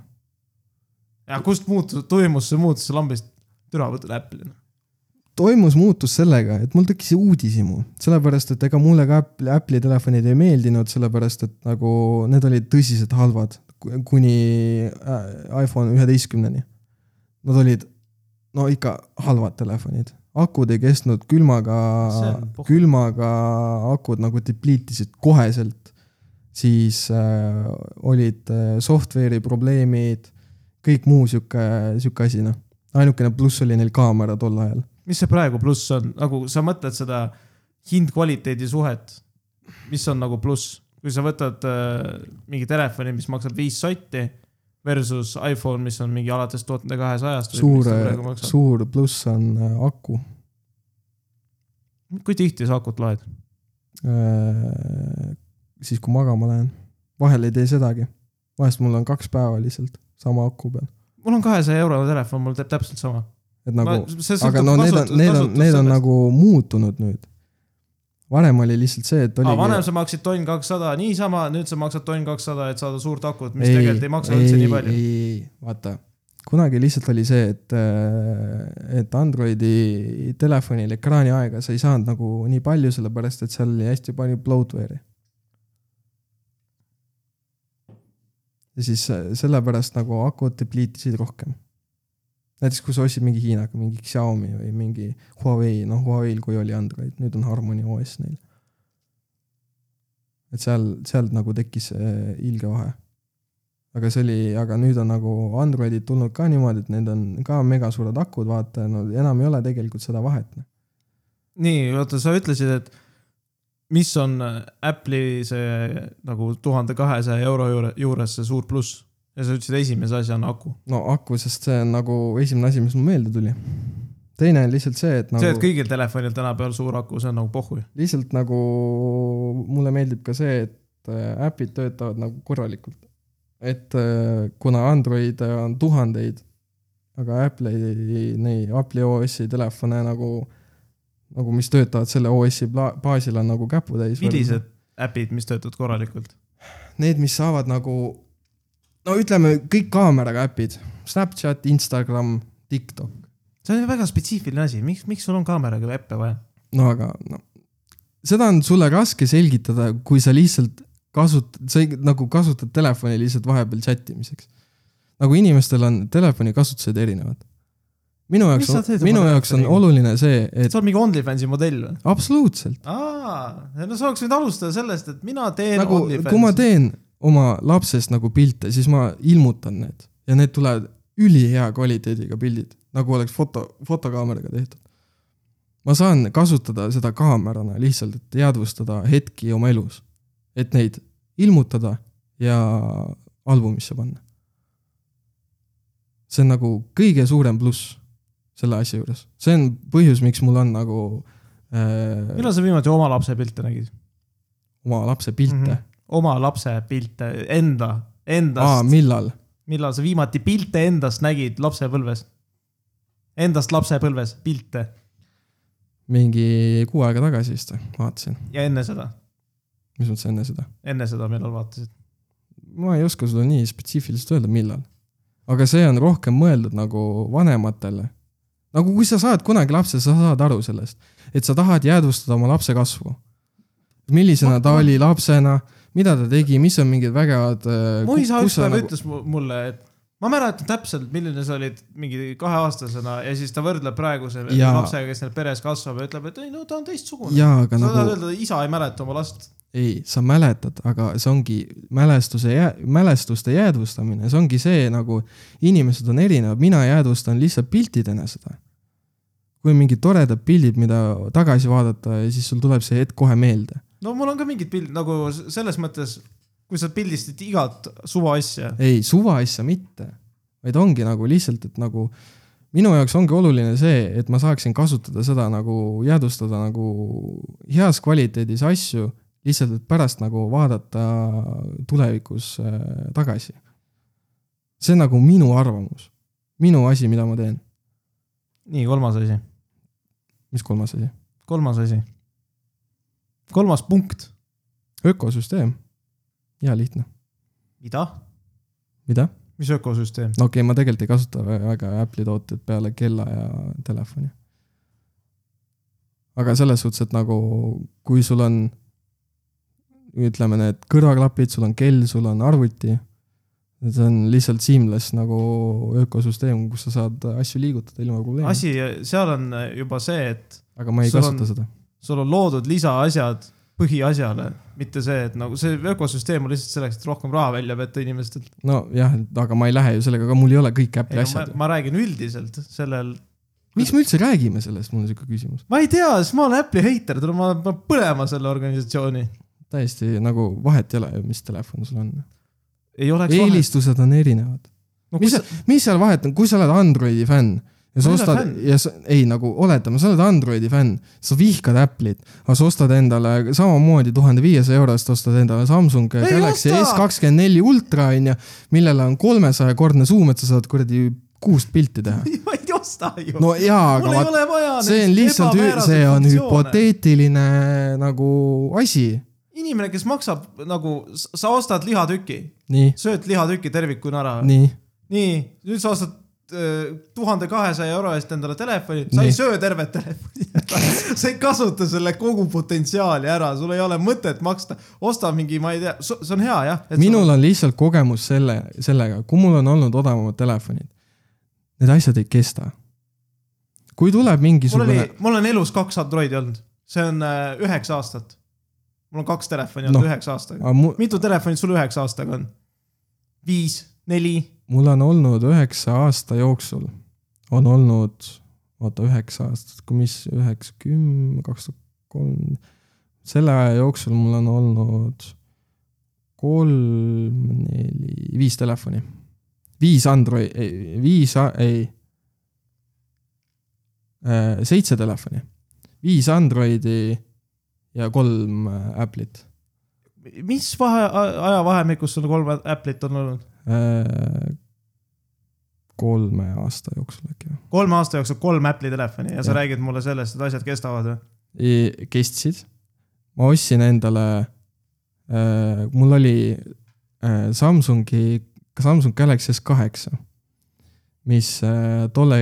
Speaker 1: ja kust muutus , toimus see muutus lambist türa võtnud Apple'i ?
Speaker 2: toimus muutus sellega , et mul tekkis uudishimu , sellepärast et ega mulle ka Apple , Apple'i telefonid ei meeldinud , sellepärast et nagu need olid tõsiselt halvad ku- kuni äh, iPhone üheteistkümneni . Nad olid no ikka halvad telefonid , akud ei kestnud külmaga
Speaker 1: See on , pohhu.
Speaker 2: külmaga akud nagu deplete isid koheselt . siis äh, olid äh, software'i probleemid , kõik muu sihuke , sihuke asi noh , ainukene pluss oli neil kaamera tol ajal .
Speaker 1: mis see praegu pluss on , nagu sa mõtled seda hind-kvaliteedi suhet , mis on nagu pluss , kui sa võtad äh, mingi telefoni , mis maksab viis sotti versus iPhone , mis on mingi alates tuhande kahesajast .
Speaker 2: suur , suur pluss on äh, aku .
Speaker 1: kui tihti sa akut loed ?
Speaker 2: Äh, siis kui magama lähen , vahel ei tee sedagi , vahest mul on kaks päeva lihtsalt sama aku peal ,
Speaker 1: mul on kahesaja eurone telefon , mul teeb täpselt sama .
Speaker 2: et nagu no, , aga no need on , need on , need on . nagu muutunud nüüd . varem oli lihtsalt see , et
Speaker 1: Ah, vanem
Speaker 2: nagu oligi ,
Speaker 1: sa maksid tonn kakssada niisama , nüüd sa maksad tonn kakssada , et saada suurt akut , mis
Speaker 2: Ei,
Speaker 1: ei, tegelikult ei maksa üldse
Speaker 2: ei,
Speaker 1: nii palju .
Speaker 2: ei , ei , vaata , kunagi lihtsalt oli see , et , et Androidi telefonil ekraaniaega sa ei saanud nagu nii palju , sellepärast et seal oli hästi palju bloatware'i . ja siis äh, sellepärast nagu akud deplete isid rohkem . näiteks kui sa ostsid mingi Hiinaga , mingi Xiaomi või mingi Huawei , noh Huawei'l kui oli Android , nüüd on Harmony OS neil . et seal , seal nagu tekkis äh, ilge vahe aga see oli , aga nüüd on nagu Androidid tulnud ka niimoodi , et need on ka megasuured akud , vaata , no enam ei ole tegelikult seda vahet .
Speaker 1: nii , oota , sa ütlesid , et mis on äh, Apple'i see nagu tuhande kahesaja euro juure- juures see suur pluss ja sa ütlesid , esimese asjana aku nagu... .
Speaker 2: no aku , sest see on nagu esimene asi , mis mulle meelde tuli . teine on lihtsalt see , et
Speaker 1: see , et
Speaker 2: nagu ,
Speaker 1: kõigil telefonil tänapäeval suur aku , see on nagu pohhu .
Speaker 2: lihtsalt nagu mulle meeldib ka see , et äh, äpid töötavad nagu korralikult . et äh, kuna Android äh, on tuhandeid , aga Apple'i , neid Apple'i OS-i telefone nagu , nagu mis töötavad selle OS-i pla- baasil , on nagu käputäis .
Speaker 1: millised äpid , mis töötavad korralikult ?
Speaker 2: need , mis saavad nagu , no ütleme kõik kaameraga äpid , Snapchat , Instagram , TikTok ,
Speaker 1: see on ju väga spetsiifiline asi , miks , miks sul on kaameraga äppe vaja ?
Speaker 2: no aga no seda on sulle raske selgitada , kui sa lihtsalt kasutad , sa ei- nagu kasutad telefoni lihtsalt vahepeal chat imiseks . nagu inimestel on telefonikasutused erinevad . minu jaoks
Speaker 1: Mis sa teed , oma
Speaker 2: minu jaoks on
Speaker 1: telefoniga?
Speaker 2: oluline see , et
Speaker 1: sa oled mingi OnlyFansi modell või ?
Speaker 2: absoluutselt ,
Speaker 1: aa , no sa oleks võinud alustada sellest , et mina teen
Speaker 2: nagu kui ma
Speaker 1: OnlyFansi .
Speaker 2: teen oma lapsest nagu pilte , siis ma ilmutan need ja need tulevad ülihea kvaliteediga pildid , nagu oleks foto , fotokaameraga tehtud . ma saan kasutada seda kaamerana lihtsalt , et teadvustada hetki oma elus , et neid ilmutada ja albumisse panna . see on nagu kõige suurem pluss selle asja juures , see on põhjus , miks mul on nagu äh,
Speaker 1: millal sa viimati oma lapse pilte nägid ?
Speaker 2: oma lapse pilte mm .
Speaker 1: Mhm.
Speaker 2: -hmm.
Speaker 1: oma lapse pilte , enda , endast
Speaker 2: aa ,. millal ?
Speaker 1: millal sa viimati pilte endast nägid lapsepõlves ? Endast lapsepõlves pilte
Speaker 2: mingi kuu aega tagasi vist vaatasin ,
Speaker 1: ja enne seda ,
Speaker 2: mis mõttes enne seda ,
Speaker 1: enne seda millal vaatasid ?
Speaker 2: ma ei oska sulle nii spetsiifiliselt öelda , millal . aga see on rohkem mõeldud nagu vanematele . nagu kui sa saad kunagi lapse , sa saad aru sellest , et sa tahad jäädvustada oma lapse kasvu . millisena ta oli lapsena , mida ta tegi , mis on mingid vägevad . äh,
Speaker 1: mu isa ükspäev
Speaker 2: nagu-
Speaker 1: ütles mu- mulle , et ma mäletan täpselt , milline sa olid mingi kaheaastasena ja siis ta võrdleb praeguse
Speaker 2: Jaa.
Speaker 1: lapsega , kes neil peres kasvab ja ütleb , et ei no ta on teistsugune .
Speaker 2: jaa ,
Speaker 1: sa
Speaker 2: aga
Speaker 1: tahad
Speaker 2: nagu
Speaker 1: öelda , et isa ei mäleta oma last .
Speaker 2: ei , sa mäletad , aga see ongi mälestuse , mälestuste jäädvustamine , see ongi see nagu inimesed on erinevad , mina jäädvustan lihtsalt piltidena seda . kui on mingid toredad pildid , mida tagasi vaadata ja siis sul tuleb see hetk kohe meelde .
Speaker 1: no mul on ka mingid pildid nagu s- selles mõttes , kui sa pildistad igat suva asja .
Speaker 2: ei , suvaasja mitte , vaid ongi nagu lihtsalt , et nagu minu jaoks ongi oluline see , et ma saaksin kasutada seda nagu jäädvustada nagu heas kvaliteedis asju , lihtsalt , et pärast nagu vaadata tulevikus äh, tagasi . see on nagu minu arvamus , minu asi , mida ma teen .
Speaker 1: nii , kolmas asi ,
Speaker 2: mis kolmas asi ?
Speaker 1: kolmas asi . kolmas punkt .
Speaker 2: ökosüsteem . hea lihtne ,
Speaker 1: mida ?
Speaker 2: mida ?
Speaker 1: mis ökosüsteem ?
Speaker 2: no okei okay, , ma tegelikult ei kasuta vä- väga Apple'i tooteid peale kella ja telefoni . aga selles suhtes , et nagu kui sul on , ütleme need kõrvaklapid , sul on kell , sul on arvuti , see on lihtsalt seamless nagu ökosüsteem , kus sa saad asju liigutada ilma probleemi .
Speaker 1: asi , seal on äh, juba see , et
Speaker 2: aga ma ei
Speaker 1: sul
Speaker 2: kasuta
Speaker 1: on-
Speaker 2: seda .
Speaker 1: sul on loodud lisaasjad põhiasjale , mitte see , et nagu see ökosüsteem on lihtsalt selleks , et rohkem raha välja petta inimestelt .
Speaker 2: nojah , aga ma ei lähe ju sellega , aga mul ei ole kõik Apple'i
Speaker 1: Ma,
Speaker 2: asjad .
Speaker 1: ma räägin üldiselt sellel ,
Speaker 2: miks me üldse räägime sellest , mul on sihuke küsimus .
Speaker 1: ma ei tea , sest ma olen Apple'i heiter , tule ma pean põlema selle organisatsiooni .
Speaker 2: täiesti nagu vahet ei ole , mis telefon sul on .
Speaker 1: ei oleks vahet .
Speaker 2: eelistused on erinevad .
Speaker 1: No,
Speaker 2: mis
Speaker 1: mis...
Speaker 2: sa , mis seal vahet on , kui sa oled Androidi fänn ja sa
Speaker 1: Ma ei ole
Speaker 2: ostad
Speaker 1: fänn.
Speaker 2: ja sa , ei nagu oletame , sa oled Androidi fänn , sa vihkad Apple'it , aga sa ostad endale samamoodi tuhande viiesaja euro eest ostad endale Samsung
Speaker 1: Ei
Speaker 2: Galaxy
Speaker 1: osta!
Speaker 2: S kakskümmend neli ultra onju , millele on kolmesajakordne suum , et sa saad kuradi kuust pilti teha .
Speaker 1: <laughs> ma ei osta ju no, ,
Speaker 2: no jaa ,
Speaker 1: mul
Speaker 2: aga
Speaker 1: ei
Speaker 2: vaat
Speaker 1: ole vaja .
Speaker 2: see on lihtsalt , see on . hüpoteetiline nagu asi ,
Speaker 1: inimene , kes maksab nagu , sa ostad lihatüki ,
Speaker 2: nii ,
Speaker 1: sööd lihatüki tervikuna ära .
Speaker 2: nii
Speaker 1: nii , nüüd sa ostad tuhande kahesaja euro eest endale telefoni , sa
Speaker 2: Nii.
Speaker 1: ei söö tervet telefoni <laughs> ära , sa ei kasuta selle kogu potentsiaali ära , sul ei ole mõtet maksta , osta mingi , ma ei tea , see on hea jah .
Speaker 2: minul on lihtsalt kogemus selle , sellega , kui mul on olnud odavamad telefonid , need asjad ei kesta . kui
Speaker 1: mul
Speaker 2: tuleb
Speaker 1: oli
Speaker 2: mingisugune ,,
Speaker 1: mul on elus kaks Androidi olnud , see on äh, üheksa aastat . mul on kaks telefoni
Speaker 2: Noh.
Speaker 1: olnud üheksa aastaga .
Speaker 2: mul,
Speaker 1: mitu telefonit sul üheksa aastaga on ? viis , neli ,
Speaker 2: mul on olnud üheksa aasta jooksul , on olnud , oota üheksa aastat , kui mis üheksa , kümme , kaks tuhat kolm , selle aja jooksul mul on olnud kolm , neli , viis telefoni . viis Android , viis , ei . seitse telefoni , viis Androidi ja kolm äh, Apple'it .
Speaker 1: mis vahe , ajavahemikus sul kolm Apple'it on olnud ?
Speaker 2: Äh, kolme aasta jooksul äkki või ?
Speaker 1: kolme aasta jooksul kolm Apple'i telefoni ja sa
Speaker 2: Jah.
Speaker 1: ja. räägid mulle sellest , et asjad kestavad või ?
Speaker 2: I- kestsid . ma ostsin endale äh, , mul oli äh, Samsungi , Samsung Galaxy S8 , mis äh, tolle ,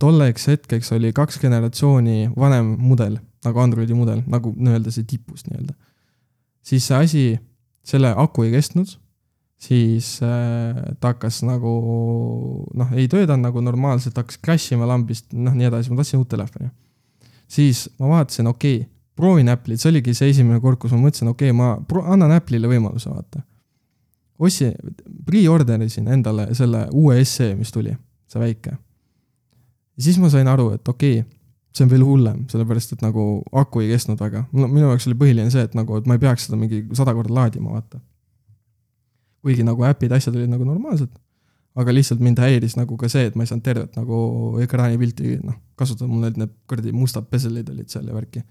Speaker 2: tolleks hetkeks oli kaks generatsiooni vanem mudel , nagu Androidi mudel , nagu nii-öelda see tipus nii-öelda . siis see asi , selle aku ei kestnud , siis äh, ta hakkas nagu noh , ei töötanud nagu normaalselt , hakkas crash ima lambist , noh nii edasi , ma tahtsin uut telefoni . siis ma vaatasin , okei okay, , proovin Apple'it , see oligi see esimene kord , kus ma mõtlesin , okei okay, , ma pro- annan Apple'ile võimaluse , vaata . ostsin , pre-order isin endale selle uue SE , mis tuli , see väike . ja siis ma sain aru , et okei okay, , see on veel hullem , sellepärast et nagu aku ei kestnud väga . no minu jaoks oli põhiline see , et nagu , et ma ei peaks seda mingi sada korda laadima , vaata . kuigi nagu äpid , asjad olid nagu normaalsed , aga lihtsalt mind häiris nagu ka see , et ma ei saanud tervet nagu ekraanipilti , noh , kasutada , mul olid need kuradi mustad peselid olid seal ja värki .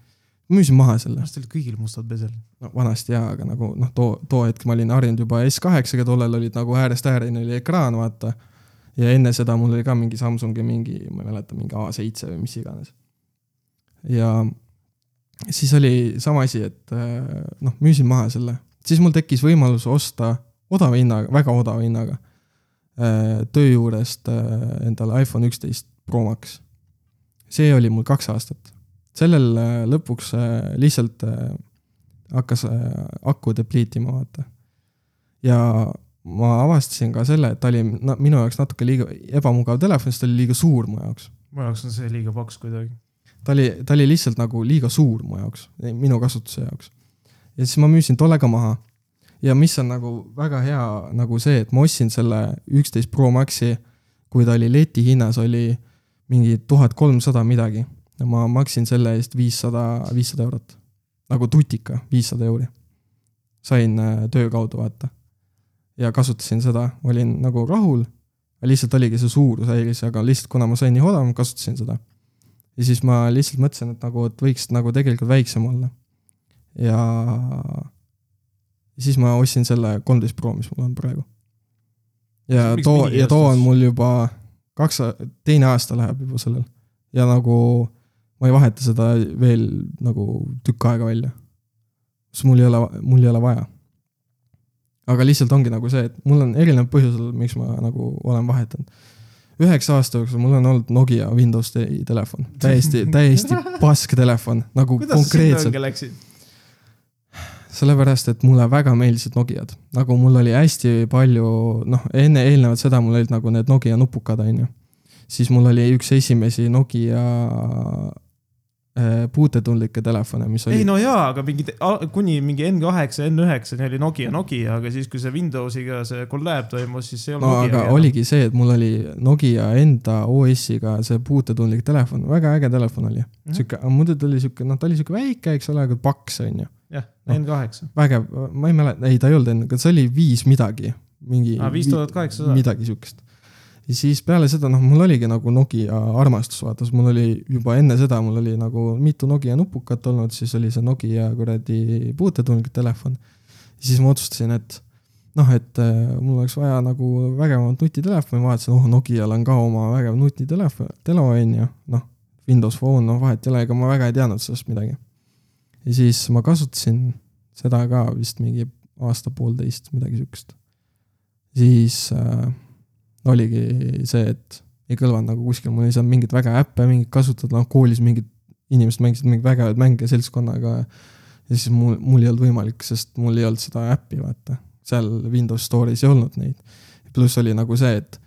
Speaker 2: müüsin maha selle .
Speaker 1: kas teil kõigil mustad pesel ?
Speaker 2: no vanasti jaa , aga nagu noh , too , too hetk ma olin harjunud juba S8-ga , tollel olid nagu äärest ääreni oli ekraan , vaata . ja enne seda mul oli ka mingi Samsungi mingi , ma ei mäleta , mingi A7 või mis iganes . ja siis oli sama asi , et äh, noh , müüsin maha selle , siis mul tekkis võimalus osta odava hinnaga , väga odava hinnaga . töö juurest äh, endale iPhone üksteist Pro Max . see oli mul kaks aastat . sellel äh, lõpuks äh, lihtsalt äh, hakkas äh, aku deplete ima , vaata . ja ma avastasin ka selle , et ta oli na, minu jaoks natuke liiga ebamugav telefon , sest ta oli liiga suur mu jaoks .
Speaker 1: mu jaoks on see liiga paks kuidagi .
Speaker 2: ta oli , ta oli lihtsalt nagu liiga suur mu jaoks , minu kasutuse jaoks . ja siis ma müüsin tolle ka maha . ja mis on nagu väga hea nagu see , et ma ostsin selle üksteist Pro Maxi , kui ta oli leti hinnas , oli mingi tuhat kolmsada midagi . ja ma maksin selle eest viissada , viissada eurot . nagu tutika , viissada euri . sain äh, töö kaudu , vaata . ja kasutasin seda , olin nagu rahul . lihtsalt oligi see suurus häiris , aga lihtsalt kuna ma sain nii odav , ma kasutasin seda ja siis ma lihtsalt mõtlesin , et nagu , et võiks nagu tegelikult väiksem olla . ja siis ma ostsin selle kolmteist Pro , mis mul on praegu . ja
Speaker 1: Miks
Speaker 2: too ,
Speaker 1: mingi
Speaker 2: ja too on
Speaker 1: astus?
Speaker 2: mul juba kaks , teine aasta läheb juba sellel . ja nagu ma ei vaheta seda veel nagu tükk aega välja . sest mul ei ole , mul ei ole vaja . aga lihtsalt ongi nagu see , et mul on erinev põhjusel , miks ma nagu olen vahetanud üheksa aasta jooksul mul on olnud Nokia Windows te- telefon , täiesti ,
Speaker 1: <laughs>
Speaker 2: täiesti pask telefon , nagu
Speaker 1: kuidas sa sinna
Speaker 2: konkreetselt ,
Speaker 1: õnge läksid ?
Speaker 2: sellepärast et mulle väga meeldisid Nokiad . nagu mul oli hästi palju , noh , enne , eelnevalt seda mul olid nagu need Nokia nupukad , on ju . siis mul oli üks esimesi Nokia äh, puutetundlikke telefone , mis oli
Speaker 1: ei no jaa , aga mingi , kuni mingi N8 , N9 oli Nokia , Nokia , aga siis , kui see Windowsiga see kolläb toimus , siis see ei
Speaker 2: no
Speaker 1: olnud
Speaker 2: aga
Speaker 1: Nokia .
Speaker 2: oligi see , et mul oli Nokia enda OS-iga see puutetundlik telefon , väga äge telefon oli mm
Speaker 1: Mhm.
Speaker 2: -hmm. . sihuke , muidu ta oli sihuke , noh , ta oli sihuke väike , eks ole , aga paks , on ju .
Speaker 1: jah ,
Speaker 2: noh.
Speaker 1: N8 .
Speaker 2: vägev , ma ei mäleta , ei ta ei olnud enne , aga see oli viis midagi , mingi .
Speaker 1: Aa, 5800.
Speaker 2: midagi siukest . ja siis peale seda , noh , mul oligi nagu Nokia armastus , vaata , sest mul oli juba enne seda , mul oli nagu mitu Nokia nupukat olnud , siis oli see Nokia kuradi puutetundlik telefon . siis ma otsustasin , et noh , et äh, mul oleks vaja nagu vägevamat nutitelefoni , vaatasin , oh , Nokial on ka oma vägev nutitelefon , telo on ju , noh . Windows Phone , noh vahet ei ole , ega ma väga ei teadnud sellest midagi . ja siis ma kasutasin seda ka vist mingi aasta-poolteist , midagi siukest . siis äh, oligi see , et ei kõlvanud nagu kuskil , mul ei saanud mingeid väga äppe mingit kasutada , noh koolis mingid inimesed mängisid mingeid vägevaid mänge seltskonnaga . ja siis mul , mul ei olnud võimalik , sest mul ei olnud seda äppi , vaata . seal Windows Store'is ei olnud neid . pluss oli nagu see , et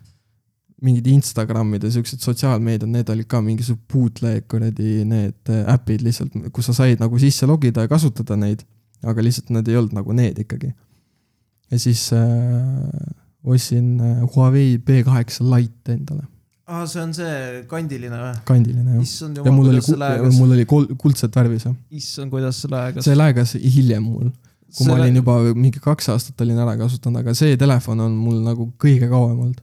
Speaker 2: mingid Instagramid ja siuksed sotsiaalmeediad , need olid ka mingi sihuke bootleg kuradi need äpid lihtsalt , kus sa said nagu sisse logida ja kasutada neid . aga lihtsalt need ei olnud nagu need ikkagi . ja siis äh, ostsin äh, Huawei P8 Lite endale ,
Speaker 1: aa , Ah, see on see kandiline või ?
Speaker 2: kandiline jah .
Speaker 1: issand
Speaker 2: ja mul
Speaker 1: jumal ,
Speaker 2: oli
Speaker 1: kuidas , see läägas ,
Speaker 2: mul oli kol- , kuldset värvi see .
Speaker 1: issand , kuidas see läägas .
Speaker 2: see läägas hiljem mul , kui ma olin juba mingi kaks aastat olin ära kasutanud , aga see telefon on mul nagu kõige kauem olnud .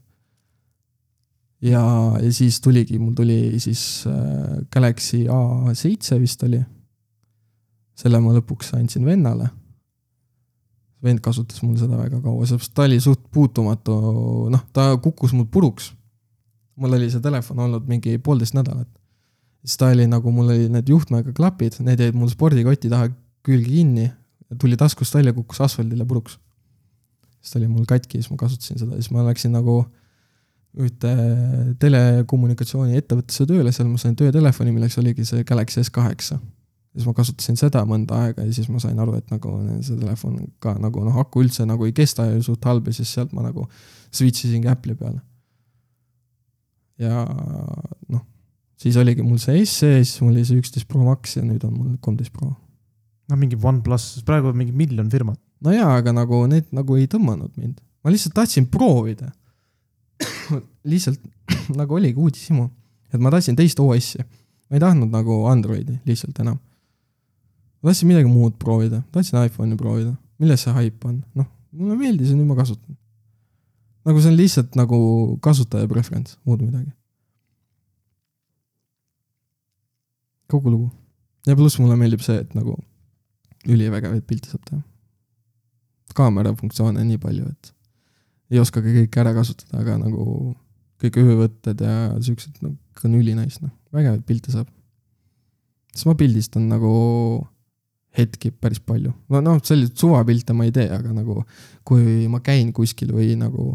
Speaker 2: ja , ja siis tuligi , mul tuli siis äh, Galaxy A7 vist oli . selle ma lõpuks andsin vennale . vend kasutas mul seda väga kaua , sellepärast ta oli suht puutumatu , noh , ta kukkus mul puruks . mul oli see telefon olnud mingi poolteist nädalat . siis ta oli nagu , mul oli need juhtmega klapid , need jäid mul spordikoti taha külge kinni , tuli taskust välja , kukkus asfaldile puruks . siis ta oli mul katki , siis ma kasutasin seda , siis ma läksin nagu ühte telekommunikatsiooniettevõttesse tööle , seal ma sain töötelefoni , milleks oligi see Galaxy S8 . siis ma kasutasin seda mõnda aega ja siis ma sain aru , et nagu see telefon ka nagu noh , aku üldse nagu ei kesta ja suht halb ja siis sealt ma nagu switch isingi Apple'i peale . ja noh , siis oligi mul see SE , siis mul oli see üksteist Pro Max ja nüüd on mul kolmteist Pro
Speaker 1: no mingi OnePlus , praegu on mingi miljon firmat .
Speaker 2: no jaa , aga nagu need nagu ei tõmmanud mind , ma lihtsalt tahtsin proovida . <coughs> lihtsalt <coughs> nagu oligi uudishimu , et ma tahtsin teist OS-i , ma ei tahtnud nagu Androidi lihtsalt enam . ma tahtsin midagi muud proovida , tahtsin iPhone'i proovida , milles see haip on , noh , mulle meeldis ja nüüd ma kasutan . nagu see on lihtsalt nagu kasutaja preference , muud midagi . kogu lugu ja pluss mulle meeldib see , et nagu ülivägevaid pilte saab teha kaamera funktsioone nii palju , et ei oskagi kõike ära kasutada , aga nagu kõik öövõtted ja siuksed , no noh, kõik on ülinais , noh , vägevaid pilte saab . siis ma pildistan nagu hetki päris palju . no noh , selliseid suvapilte ma ei tee , aga nagu kui ma käin kuskil või nagu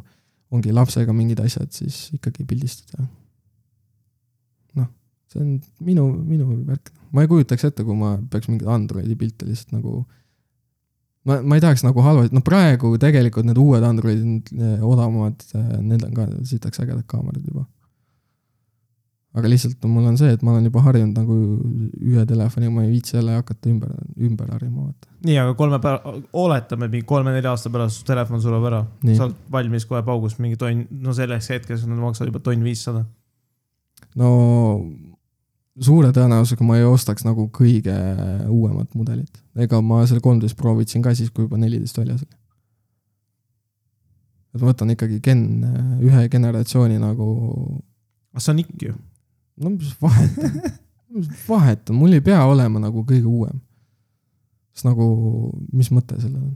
Speaker 2: ongi lapsega mingid asjad , siis ikkagi pildistada . noh , see on minu , minu värk . ma ei kujutaks ette , kui ma peaks mingeid Androidi pilte lihtsalt nagu ma , ma ei tahaks nagu halvaid , no praegu tegelikult need uued Androidid , need odavamad , need on ka sitaks ägedad kaamerad juba . aga lihtsalt mul on see , et ma olen juba harjunud nagu ühe telefoniga , ma ei viitsi jälle hakata ümber , ümber harjuma , vaata .
Speaker 1: nii , aga kolme päeva , oletame mingi kolme-nelja aasta pärast su telefon sureb ära .
Speaker 2: Nii.
Speaker 1: sa oled valmis kohe paugust mingi tonn , no selleks hetkeks nad maksavad juba tonn viissada .
Speaker 2: no suure tõenäosusega ma ei ostaks nagu kõige uuemat mudelit . ega ma selle kolmteist Pro võtsin ka siis , kui juba neliteist väljas oli . et ma võtan ikkagi gen , ühe generatsiooni nagu
Speaker 1: aga see on ikk ju .
Speaker 2: no mis vahet on , mis vahet on , mul ei pea olema nagu kõige uuem . sest nagu , mis mõte sellel on ?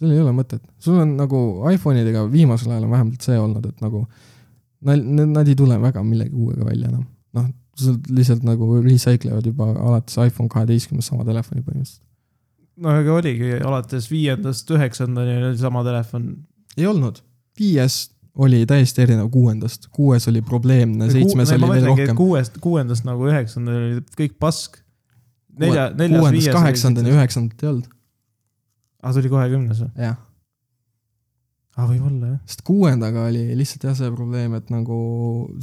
Speaker 2: sellel ei ole mõtet , sul on nagu iPhone idega viimasel ajal on vähemalt see olnud , et nagu nad , nad ei tule väga millegi uuega välja enam . noh , sul lihtsalt nagu recycle ivad juba alates iPhone kaheteistkümnest sama telefoni põhimõtteliselt .
Speaker 1: no aga oligi alates viiendast üheksandani oli sama telefon .
Speaker 2: ei olnud , viies oli täiesti erinev kuuendast , kuues oli probleemne , seitsmes oli veel rohkem .
Speaker 1: kuuest , kuuendast nagu üheksandani oli kõik pask . nelja , neljas ,
Speaker 2: kuuendast
Speaker 1: viies .
Speaker 2: kaheksandani , üheksandat ei olnud ,
Speaker 1: aa , see oli kohe kümnes või ?
Speaker 2: jah .
Speaker 1: aa , võib-olla jah .
Speaker 2: sest kuuendaga oli lihtsalt jah see probleem , et nagu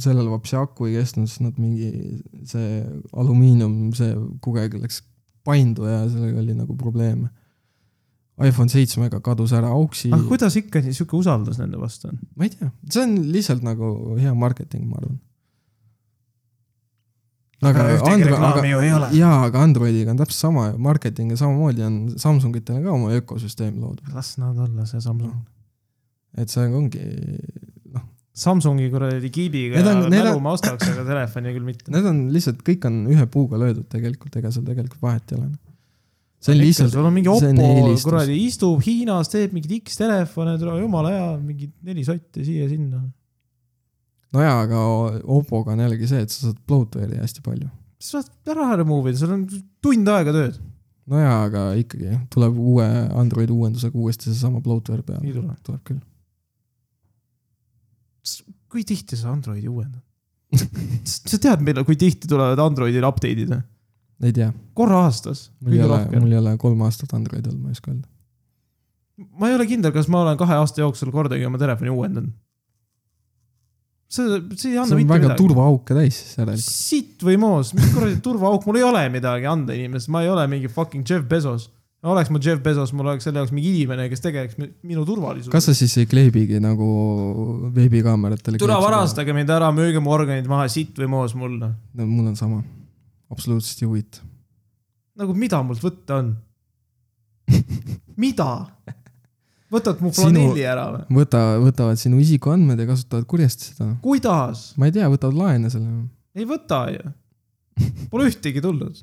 Speaker 2: sellel vaps see aku ei kestnud , sest nad mingi see alumiinium , see kogu aeg läks paindu ja sellega oli nagu probleeme . iPhone seitsmega kadus ära auksi ,
Speaker 1: aga kuidas ikka nii sihuke usaldus nende vastu on ?
Speaker 2: ma ei tea , see on lihtsalt nagu hea marketing , ma arvan . aga Andro- , aga
Speaker 1: ju ei ole .
Speaker 2: jaa , aga Androidiga on täpselt sama ju , marketing ja samamoodi on Samsungitel on ka oma ökosüsteem loodud ,
Speaker 1: las nad olla , see Samsung .
Speaker 2: et see ongi ,
Speaker 1: Samsungi kuradi kiibiga
Speaker 2: Need on-
Speaker 1: ja
Speaker 2: need on-
Speaker 1: mälu ma ostaks , aga telefoni küll mitte .
Speaker 2: need on lihtsalt , kõik on ühe puuga löödud tegelikult , ega seal tegelikult vahet ei ole . see on lihtsalt ,
Speaker 1: sul on mingi
Speaker 2: see on
Speaker 1: Oppo
Speaker 2: eelistus.
Speaker 1: kuradi istub Hiinas , teeb mingeid X-telefone , jumala hea , mingi neli sotti siia-sinna .
Speaker 2: nojaa , aga Oppoga on jällegi see , et sa saad bloatware'i hästi palju .
Speaker 1: siis saad ära remove ida , sul on tund aega tööd .
Speaker 2: nojaa , aga ikkagi tuleb uue Androidi uuendusega uuesti seesama bloatware
Speaker 1: ei
Speaker 2: peale .
Speaker 1: tule .
Speaker 2: tuleb küll .
Speaker 1: kui tihti sa Androidi
Speaker 2: <laughs>
Speaker 1: uuendad ? sa tead , millal , kui tihti tulevad Androidil update'id või ?
Speaker 2: ei tea ,
Speaker 1: korra aastas ,
Speaker 2: mul ei
Speaker 1: kõige
Speaker 2: ole ,
Speaker 1: rohkem .
Speaker 2: mul ei ole kolm aastat Androidi olnud , ma ei oska öelda .
Speaker 1: ma ei ole kindel , kas ma olen kahe aasta jooksul kordagi oma telefoni uuendanud . see , see ei anna
Speaker 2: see on
Speaker 1: mitte
Speaker 2: väga
Speaker 1: midagi .
Speaker 2: turvaauke täis siis järelikult .
Speaker 1: sitt või moos , mis kuradi turvaauk , mul ei ole midagi anda inimesele , ma ei ole mingi fucking Jeff Bezos . oleks ma Jeff Bezos , mul oleks selle jaoks mingi inimene , kes tegeleks mi- minu
Speaker 2: kas
Speaker 1: turvalisusega .
Speaker 2: sa siis ei kleebigi nagu veebikaameratele ?
Speaker 1: tule varastage mind ära , müüge mu organid maha , sitt või moos mulle .
Speaker 2: no mul on sama , absoluutselt ei huvita .
Speaker 1: nagu mida mult võtta
Speaker 2: <laughs>
Speaker 1: on ? mida ? võtad mu
Speaker 2: Sinu-
Speaker 1: flanelli ära või ?
Speaker 2: võta , võtavad sinu isikuandmed ja kasutavad kurjasti seda
Speaker 1: kuidas ?
Speaker 2: ma ei tea , võtavad laene selle .
Speaker 1: ei võta ju . Pole ühtegi tulnud .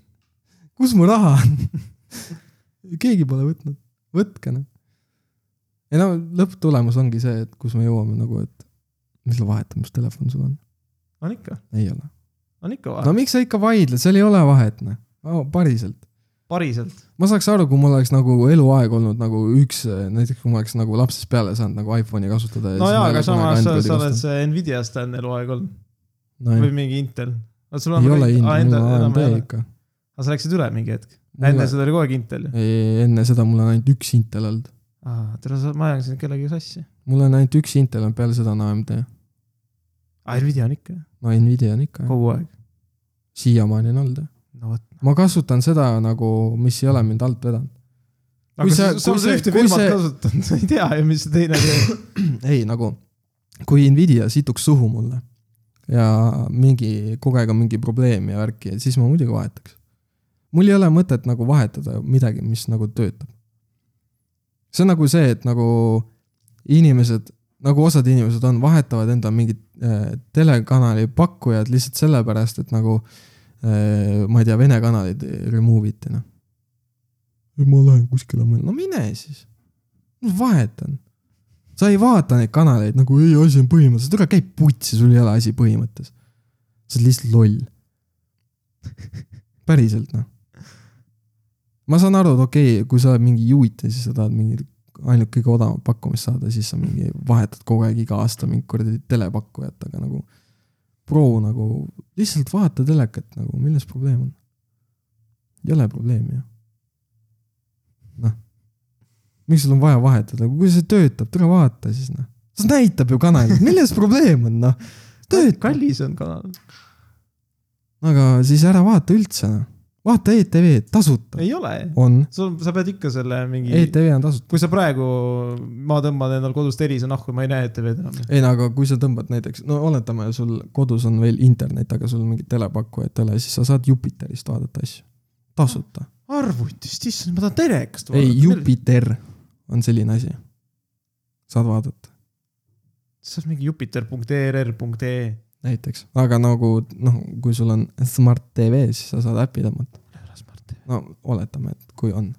Speaker 2: kus mu raha on ? <laughs> keegi pole võtnud , võtke noh . ei no lõpptulemus ongi see , et kus me jõuame nagu , et mis la- vahet on , mis telefon sul on ,
Speaker 1: on ikka ,
Speaker 2: ei ole .
Speaker 1: on ikka vahe
Speaker 2: no
Speaker 1: no. ,
Speaker 2: miks sa ikka vaidled , seal ei ole vahet noh no, , päriselt .
Speaker 1: päriselt .
Speaker 2: ma saaks aru , kui mul oleks nagu eluaeg olnud nagu üks , näiteks kui ma oleks nagu lapsest peale saanud nagu iPhone'i kasutada .
Speaker 1: no jaa , aga
Speaker 2: nagu
Speaker 1: samas sa, sa oled . see Nvidia stand eluaeg olnud
Speaker 2: no
Speaker 1: või ah,
Speaker 2: ei ,
Speaker 1: mingi Intel . ei
Speaker 2: ei ole hind , mul on AMD
Speaker 1: aga
Speaker 2: ikka .
Speaker 1: sa läksid üle mingi hetk , enne seda oli kogu aeg Intel ju .
Speaker 2: enne seda mul on ainult üks Intel olnud .
Speaker 1: tere , sa , ma ajan sind kellegagi sassi .
Speaker 2: mul on ainult üks Intel olnud , peale seda on AMD .
Speaker 1: aa , Nvidia on ikka ,
Speaker 2: no Nvidia on ikka ,
Speaker 1: kogu aeg .
Speaker 2: siiamaani on olnud .
Speaker 1: no vot .
Speaker 2: ma kasutan seda nagu , mis ei ole mind alt vedanud . Kui
Speaker 1: aga
Speaker 2: sa-
Speaker 1: sa , sa
Speaker 2: kui
Speaker 1: oled
Speaker 2: see-
Speaker 1: ühte
Speaker 2: kui
Speaker 1: firmat
Speaker 2: see-
Speaker 1: kasutanud , <laughs> sa ei tea ju , mis see teine teeb .
Speaker 2: <clears throat> ei nagu , kui Nvidia situks suhu mulle ja mingi , kogu aeg on mingi probleem ja värki , siis ma muidugi vahetaks . mul ei ole mõtet nagu vahetada midagi , mis nagu töötab . see on nagu see , et nagu inimesed , nagu osad inimesed on , vahetavad enda mingit äh, telekanali pakkujad lihtsalt sellepärast , et nagu äh, ma ei tea , Vene kanalid remove iti , noh . ma lähen kuskile mujale , no mine siis . vahetan . sa ei vaata neid kanaleid nagu ei , asi on põhimõttes , tule käi putsi , sul ei ole asi põhimõttes . sa oled lihtsalt loll . päriselt noh . ma saan aru , et okei okay, , kui sa oled mingi juuita , siis sa tahad mingi ainult kõige odavamat pakkumist saada , siis sa mingi vahetad kogu aeg iga aasta mingi kuradi telepakkujat , aga nagu . Pro nagu lihtsalt vaheta telekat nagu , milles probleem on ? ei ole probleemi ju . noh , miks sul on vaja vahetada , kui see töötab , tule vaata siis noh . see näitab ju kanalit , milles probleem on noh , töötab .
Speaker 1: kallis on kanal .
Speaker 2: aga siis ära vaata üldse noh , vaata ETV-d tasuta .
Speaker 1: ei ole ,
Speaker 2: on ,
Speaker 1: sul , sa pead ikka selle mingi ,
Speaker 2: ETV on tasuta .
Speaker 1: kui sa praegu , ma tõmban endal kodust helise nahku , ma ei näe ETV-d enam .
Speaker 2: ei no aga kui sa tõmbad näiteks , no oletame , sul kodus on veel internet , aga sul mingit telepakkujat ei ole , siis sa saad Jupiterist vaadata asju . tasuta .
Speaker 1: Ah, arvutist , issand , ma tahan telekast
Speaker 2: ei ,. Jupiter on selline asi . saad vaadata ,
Speaker 1: see on mingi E jupiter.err.ee .
Speaker 2: näiteks , aga nagu noh , kui sul on Smart TV , siis sa saad äppi tõmmata . no oletame , et kui on ,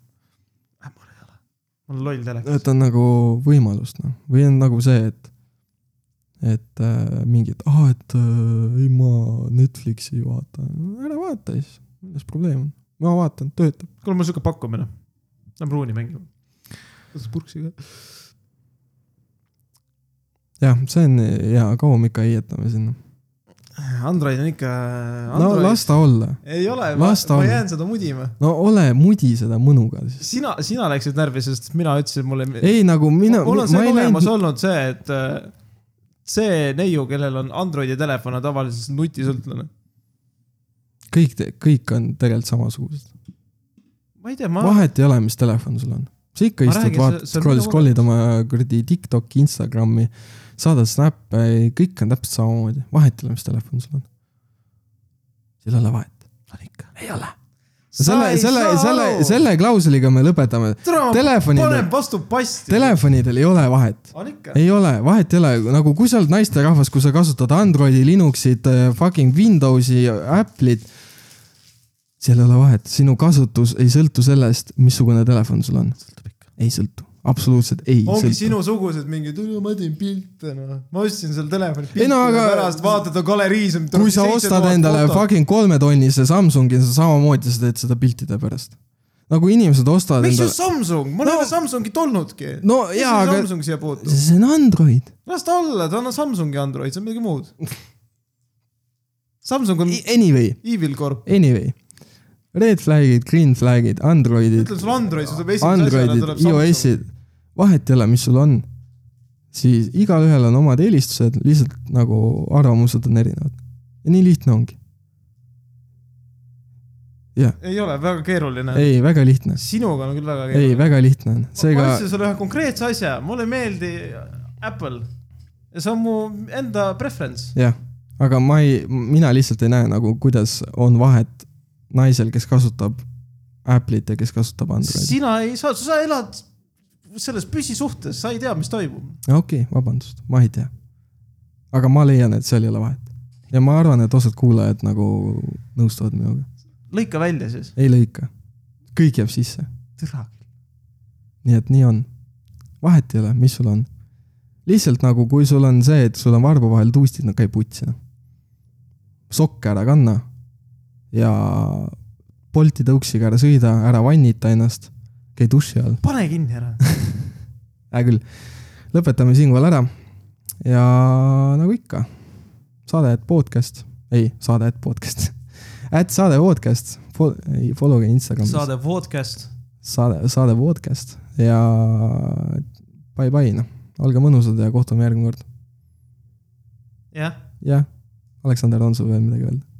Speaker 1: mul on loll telekas .
Speaker 2: et on nagu võimalust noh , või on nagu see , et et äh, mingid , aa , et äh, ei ma Netflixi ei vaata , ära vaata siis , milles probleem on , ma vaatan , töötab .
Speaker 1: kuule , mul on siuke pakkumine . Lähme ruuni mängima . kuidas purksiga ?
Speaker 2: jah , see on hea , kaua me ikka heietame sinna .
Speaker 1: Android on ikka .
Speaker 2: no las ta olla ,
Speaker 1: ei ole , ma,
Speaker 2: las ta
Speaker 1: ma
Speaker 2: olla.
Speaker 1: jään seda mudima .
Speaker 2: no ole mudi seda mõnuga siis .
Speaker 1: sina , sina läksid närvi , sest mina ütlesin , mulle .
Speaker 2: ei nagu mina ,
Speaker 1: mul on
Speaker 2: ma
Speaker 1: see
Speaker 2: ei
Speaker 1: kogemus
Speaker 2: läinud ,
Speaker 1: olnud see , et äh, see neiu , kellel on Androidi telefon , on tavaliselt nutisõltlane .
Speaker 2: kõik , kõik on tegelikult samasugused .
Speaker 1: ma ei tea , ma ,
Speaker 2: vahet ei ole , mis telefon sul on . sa
Speaker 1: Ma
Speaker 2: ikka istud ,
Speaker 1: räägin,
Speaker 2: vaatad ,
Speaker 1: see- see on
Speaker 2: scroll'id ,
Speaker 1: minu
Speaker 2: scroll'id oma kuradi Tiktoki , Instagrami , saadad snappe , kõik on täpselt samamoodi , vahet ei ole , mis telefon sul on . seal ei ole vahet . on ikka . ei ole . selle , selle , selle , selle klausliga me lõpetame .
Speaker 1: selle .
Speaker 2: telefonidel
Speaker 1: paneb , vastu pasti .
Speaker 2: telefonidel ei ole vahet .
Speaker 1: on ikka .
Speaker 2: ei ole , vahet ei ole , nagu kui sa oled naisterahvas , kui sa kasutad Androidi , Linuxit , fucking Windowsi , Apple'it . seal ei ole vahet , sinu kasutus ei sõltu sellest , missugune telefon sul on . ei sõltu , absoluutselt ei
Speaker 1: ongi
Speaker 2: sõltu .
Speaker 1: sinusugused mingid , ma teen pilte , noh . ma ostsin selle telefoni pilti
Speaker 2: Ei no aga-
Speaker 1: pärast , vaatad , on galeriis .
Speaker 2: kui sa ostad endale fucking kolmetonnise Samsungi , sa samamoodi sa teed seda piltide pärast . nagu inimesed ostavad
Speaker 1: miks just
Speaker 2: endale ,
Speaker 1: Samsung , mul ei
Speaker 2: No-
Speaker 1: ole Samsungit olnudki .
Speaker 2: No jaa, aga-
Speaker 1: Samsung siia puutub ?
Speaker 2: see on Android .
Speaker 1: las ta olla , ta on Samsungi Android , see on midagi
Speaker 2: <laughs>
Speaker 1: muud . Samsung on
Speaker 2: Anyway ,
Speaker 1: evil corp ,
Speaker 2: anyway , red flag'id , green flag'id , Androidid .
Speaker 1: ütleb sulle Android , siis tuleb esimese asjana
Speaker 2: Androidid
Speaker 1: tuleb , Samsung .
Speaker 2: iOS-id , vahet ei ole , mis sul on . siis igalühel on omad eelistused , lihtsalt nagu arvamused on erinevad . ja nii lihtne ongi .
Speaker 1: ei ole väga keeruline .
Speaker 2: ei , väga lihtne .
Speaker 1: sinuga on küll väga
Speaker 2: ei ,
Speaker 1: keeruline .
Speaker 2: väga lihtne on .
Speaker 1: ma
Speaker 2: seega ,
Speaker 1: ütlesin sulle ühe konkreetse asja , mulle ei meeldi Apple . ja see on mu enda preference .
Speaker 2: jah , aga ma ei , mina lihtsalt ei näe nagu , kuidas on vahet naisel , kes kasutab Apple'it ja kes kasutab Androidi .
Speaker 1: sina ei saa , sa elad selles püsisuhtes , sa ei tea , mis toimub .
Speaker 2: okei okay, , vabandust , ma ei tea . aga ma leian , et seal ei ole vahet . ja ma arvan , et osad kuulajad nagu nõustuvad minuga .
Speaker 1: lõika välja siis .
Speaker 2: ei lõika , kõik jääb sisse ,
Speaker 1: türa .
Speaker 2: nii et nii on . vahet ei ole , mis sul on . lihtsalt nagu , kui sul on see , et sul on varba vahel tuustid , no käi putsi noh . sokke ära kanna ja Bolti tõuksiga ära sõida , ära vannita ennast , käi duši all ,
Speaker 1: pane kinni ära .
Speaker 2: hea küll . lõpetame siinkohal ära ja nagu ikka , saade et podcast , ei , saade et podcast , <laughs> et saade podcast , follow ge Instagramis .
Speaker 1: saade podcast
Speaker 2: saade , saade podcast ja bye-bye , noh . olge mõnusad ja kohtume järgmine kord .
Speaker 1: jah ,
Speaker 2: jah , Aleksander Tonsov veel midagi öelda ?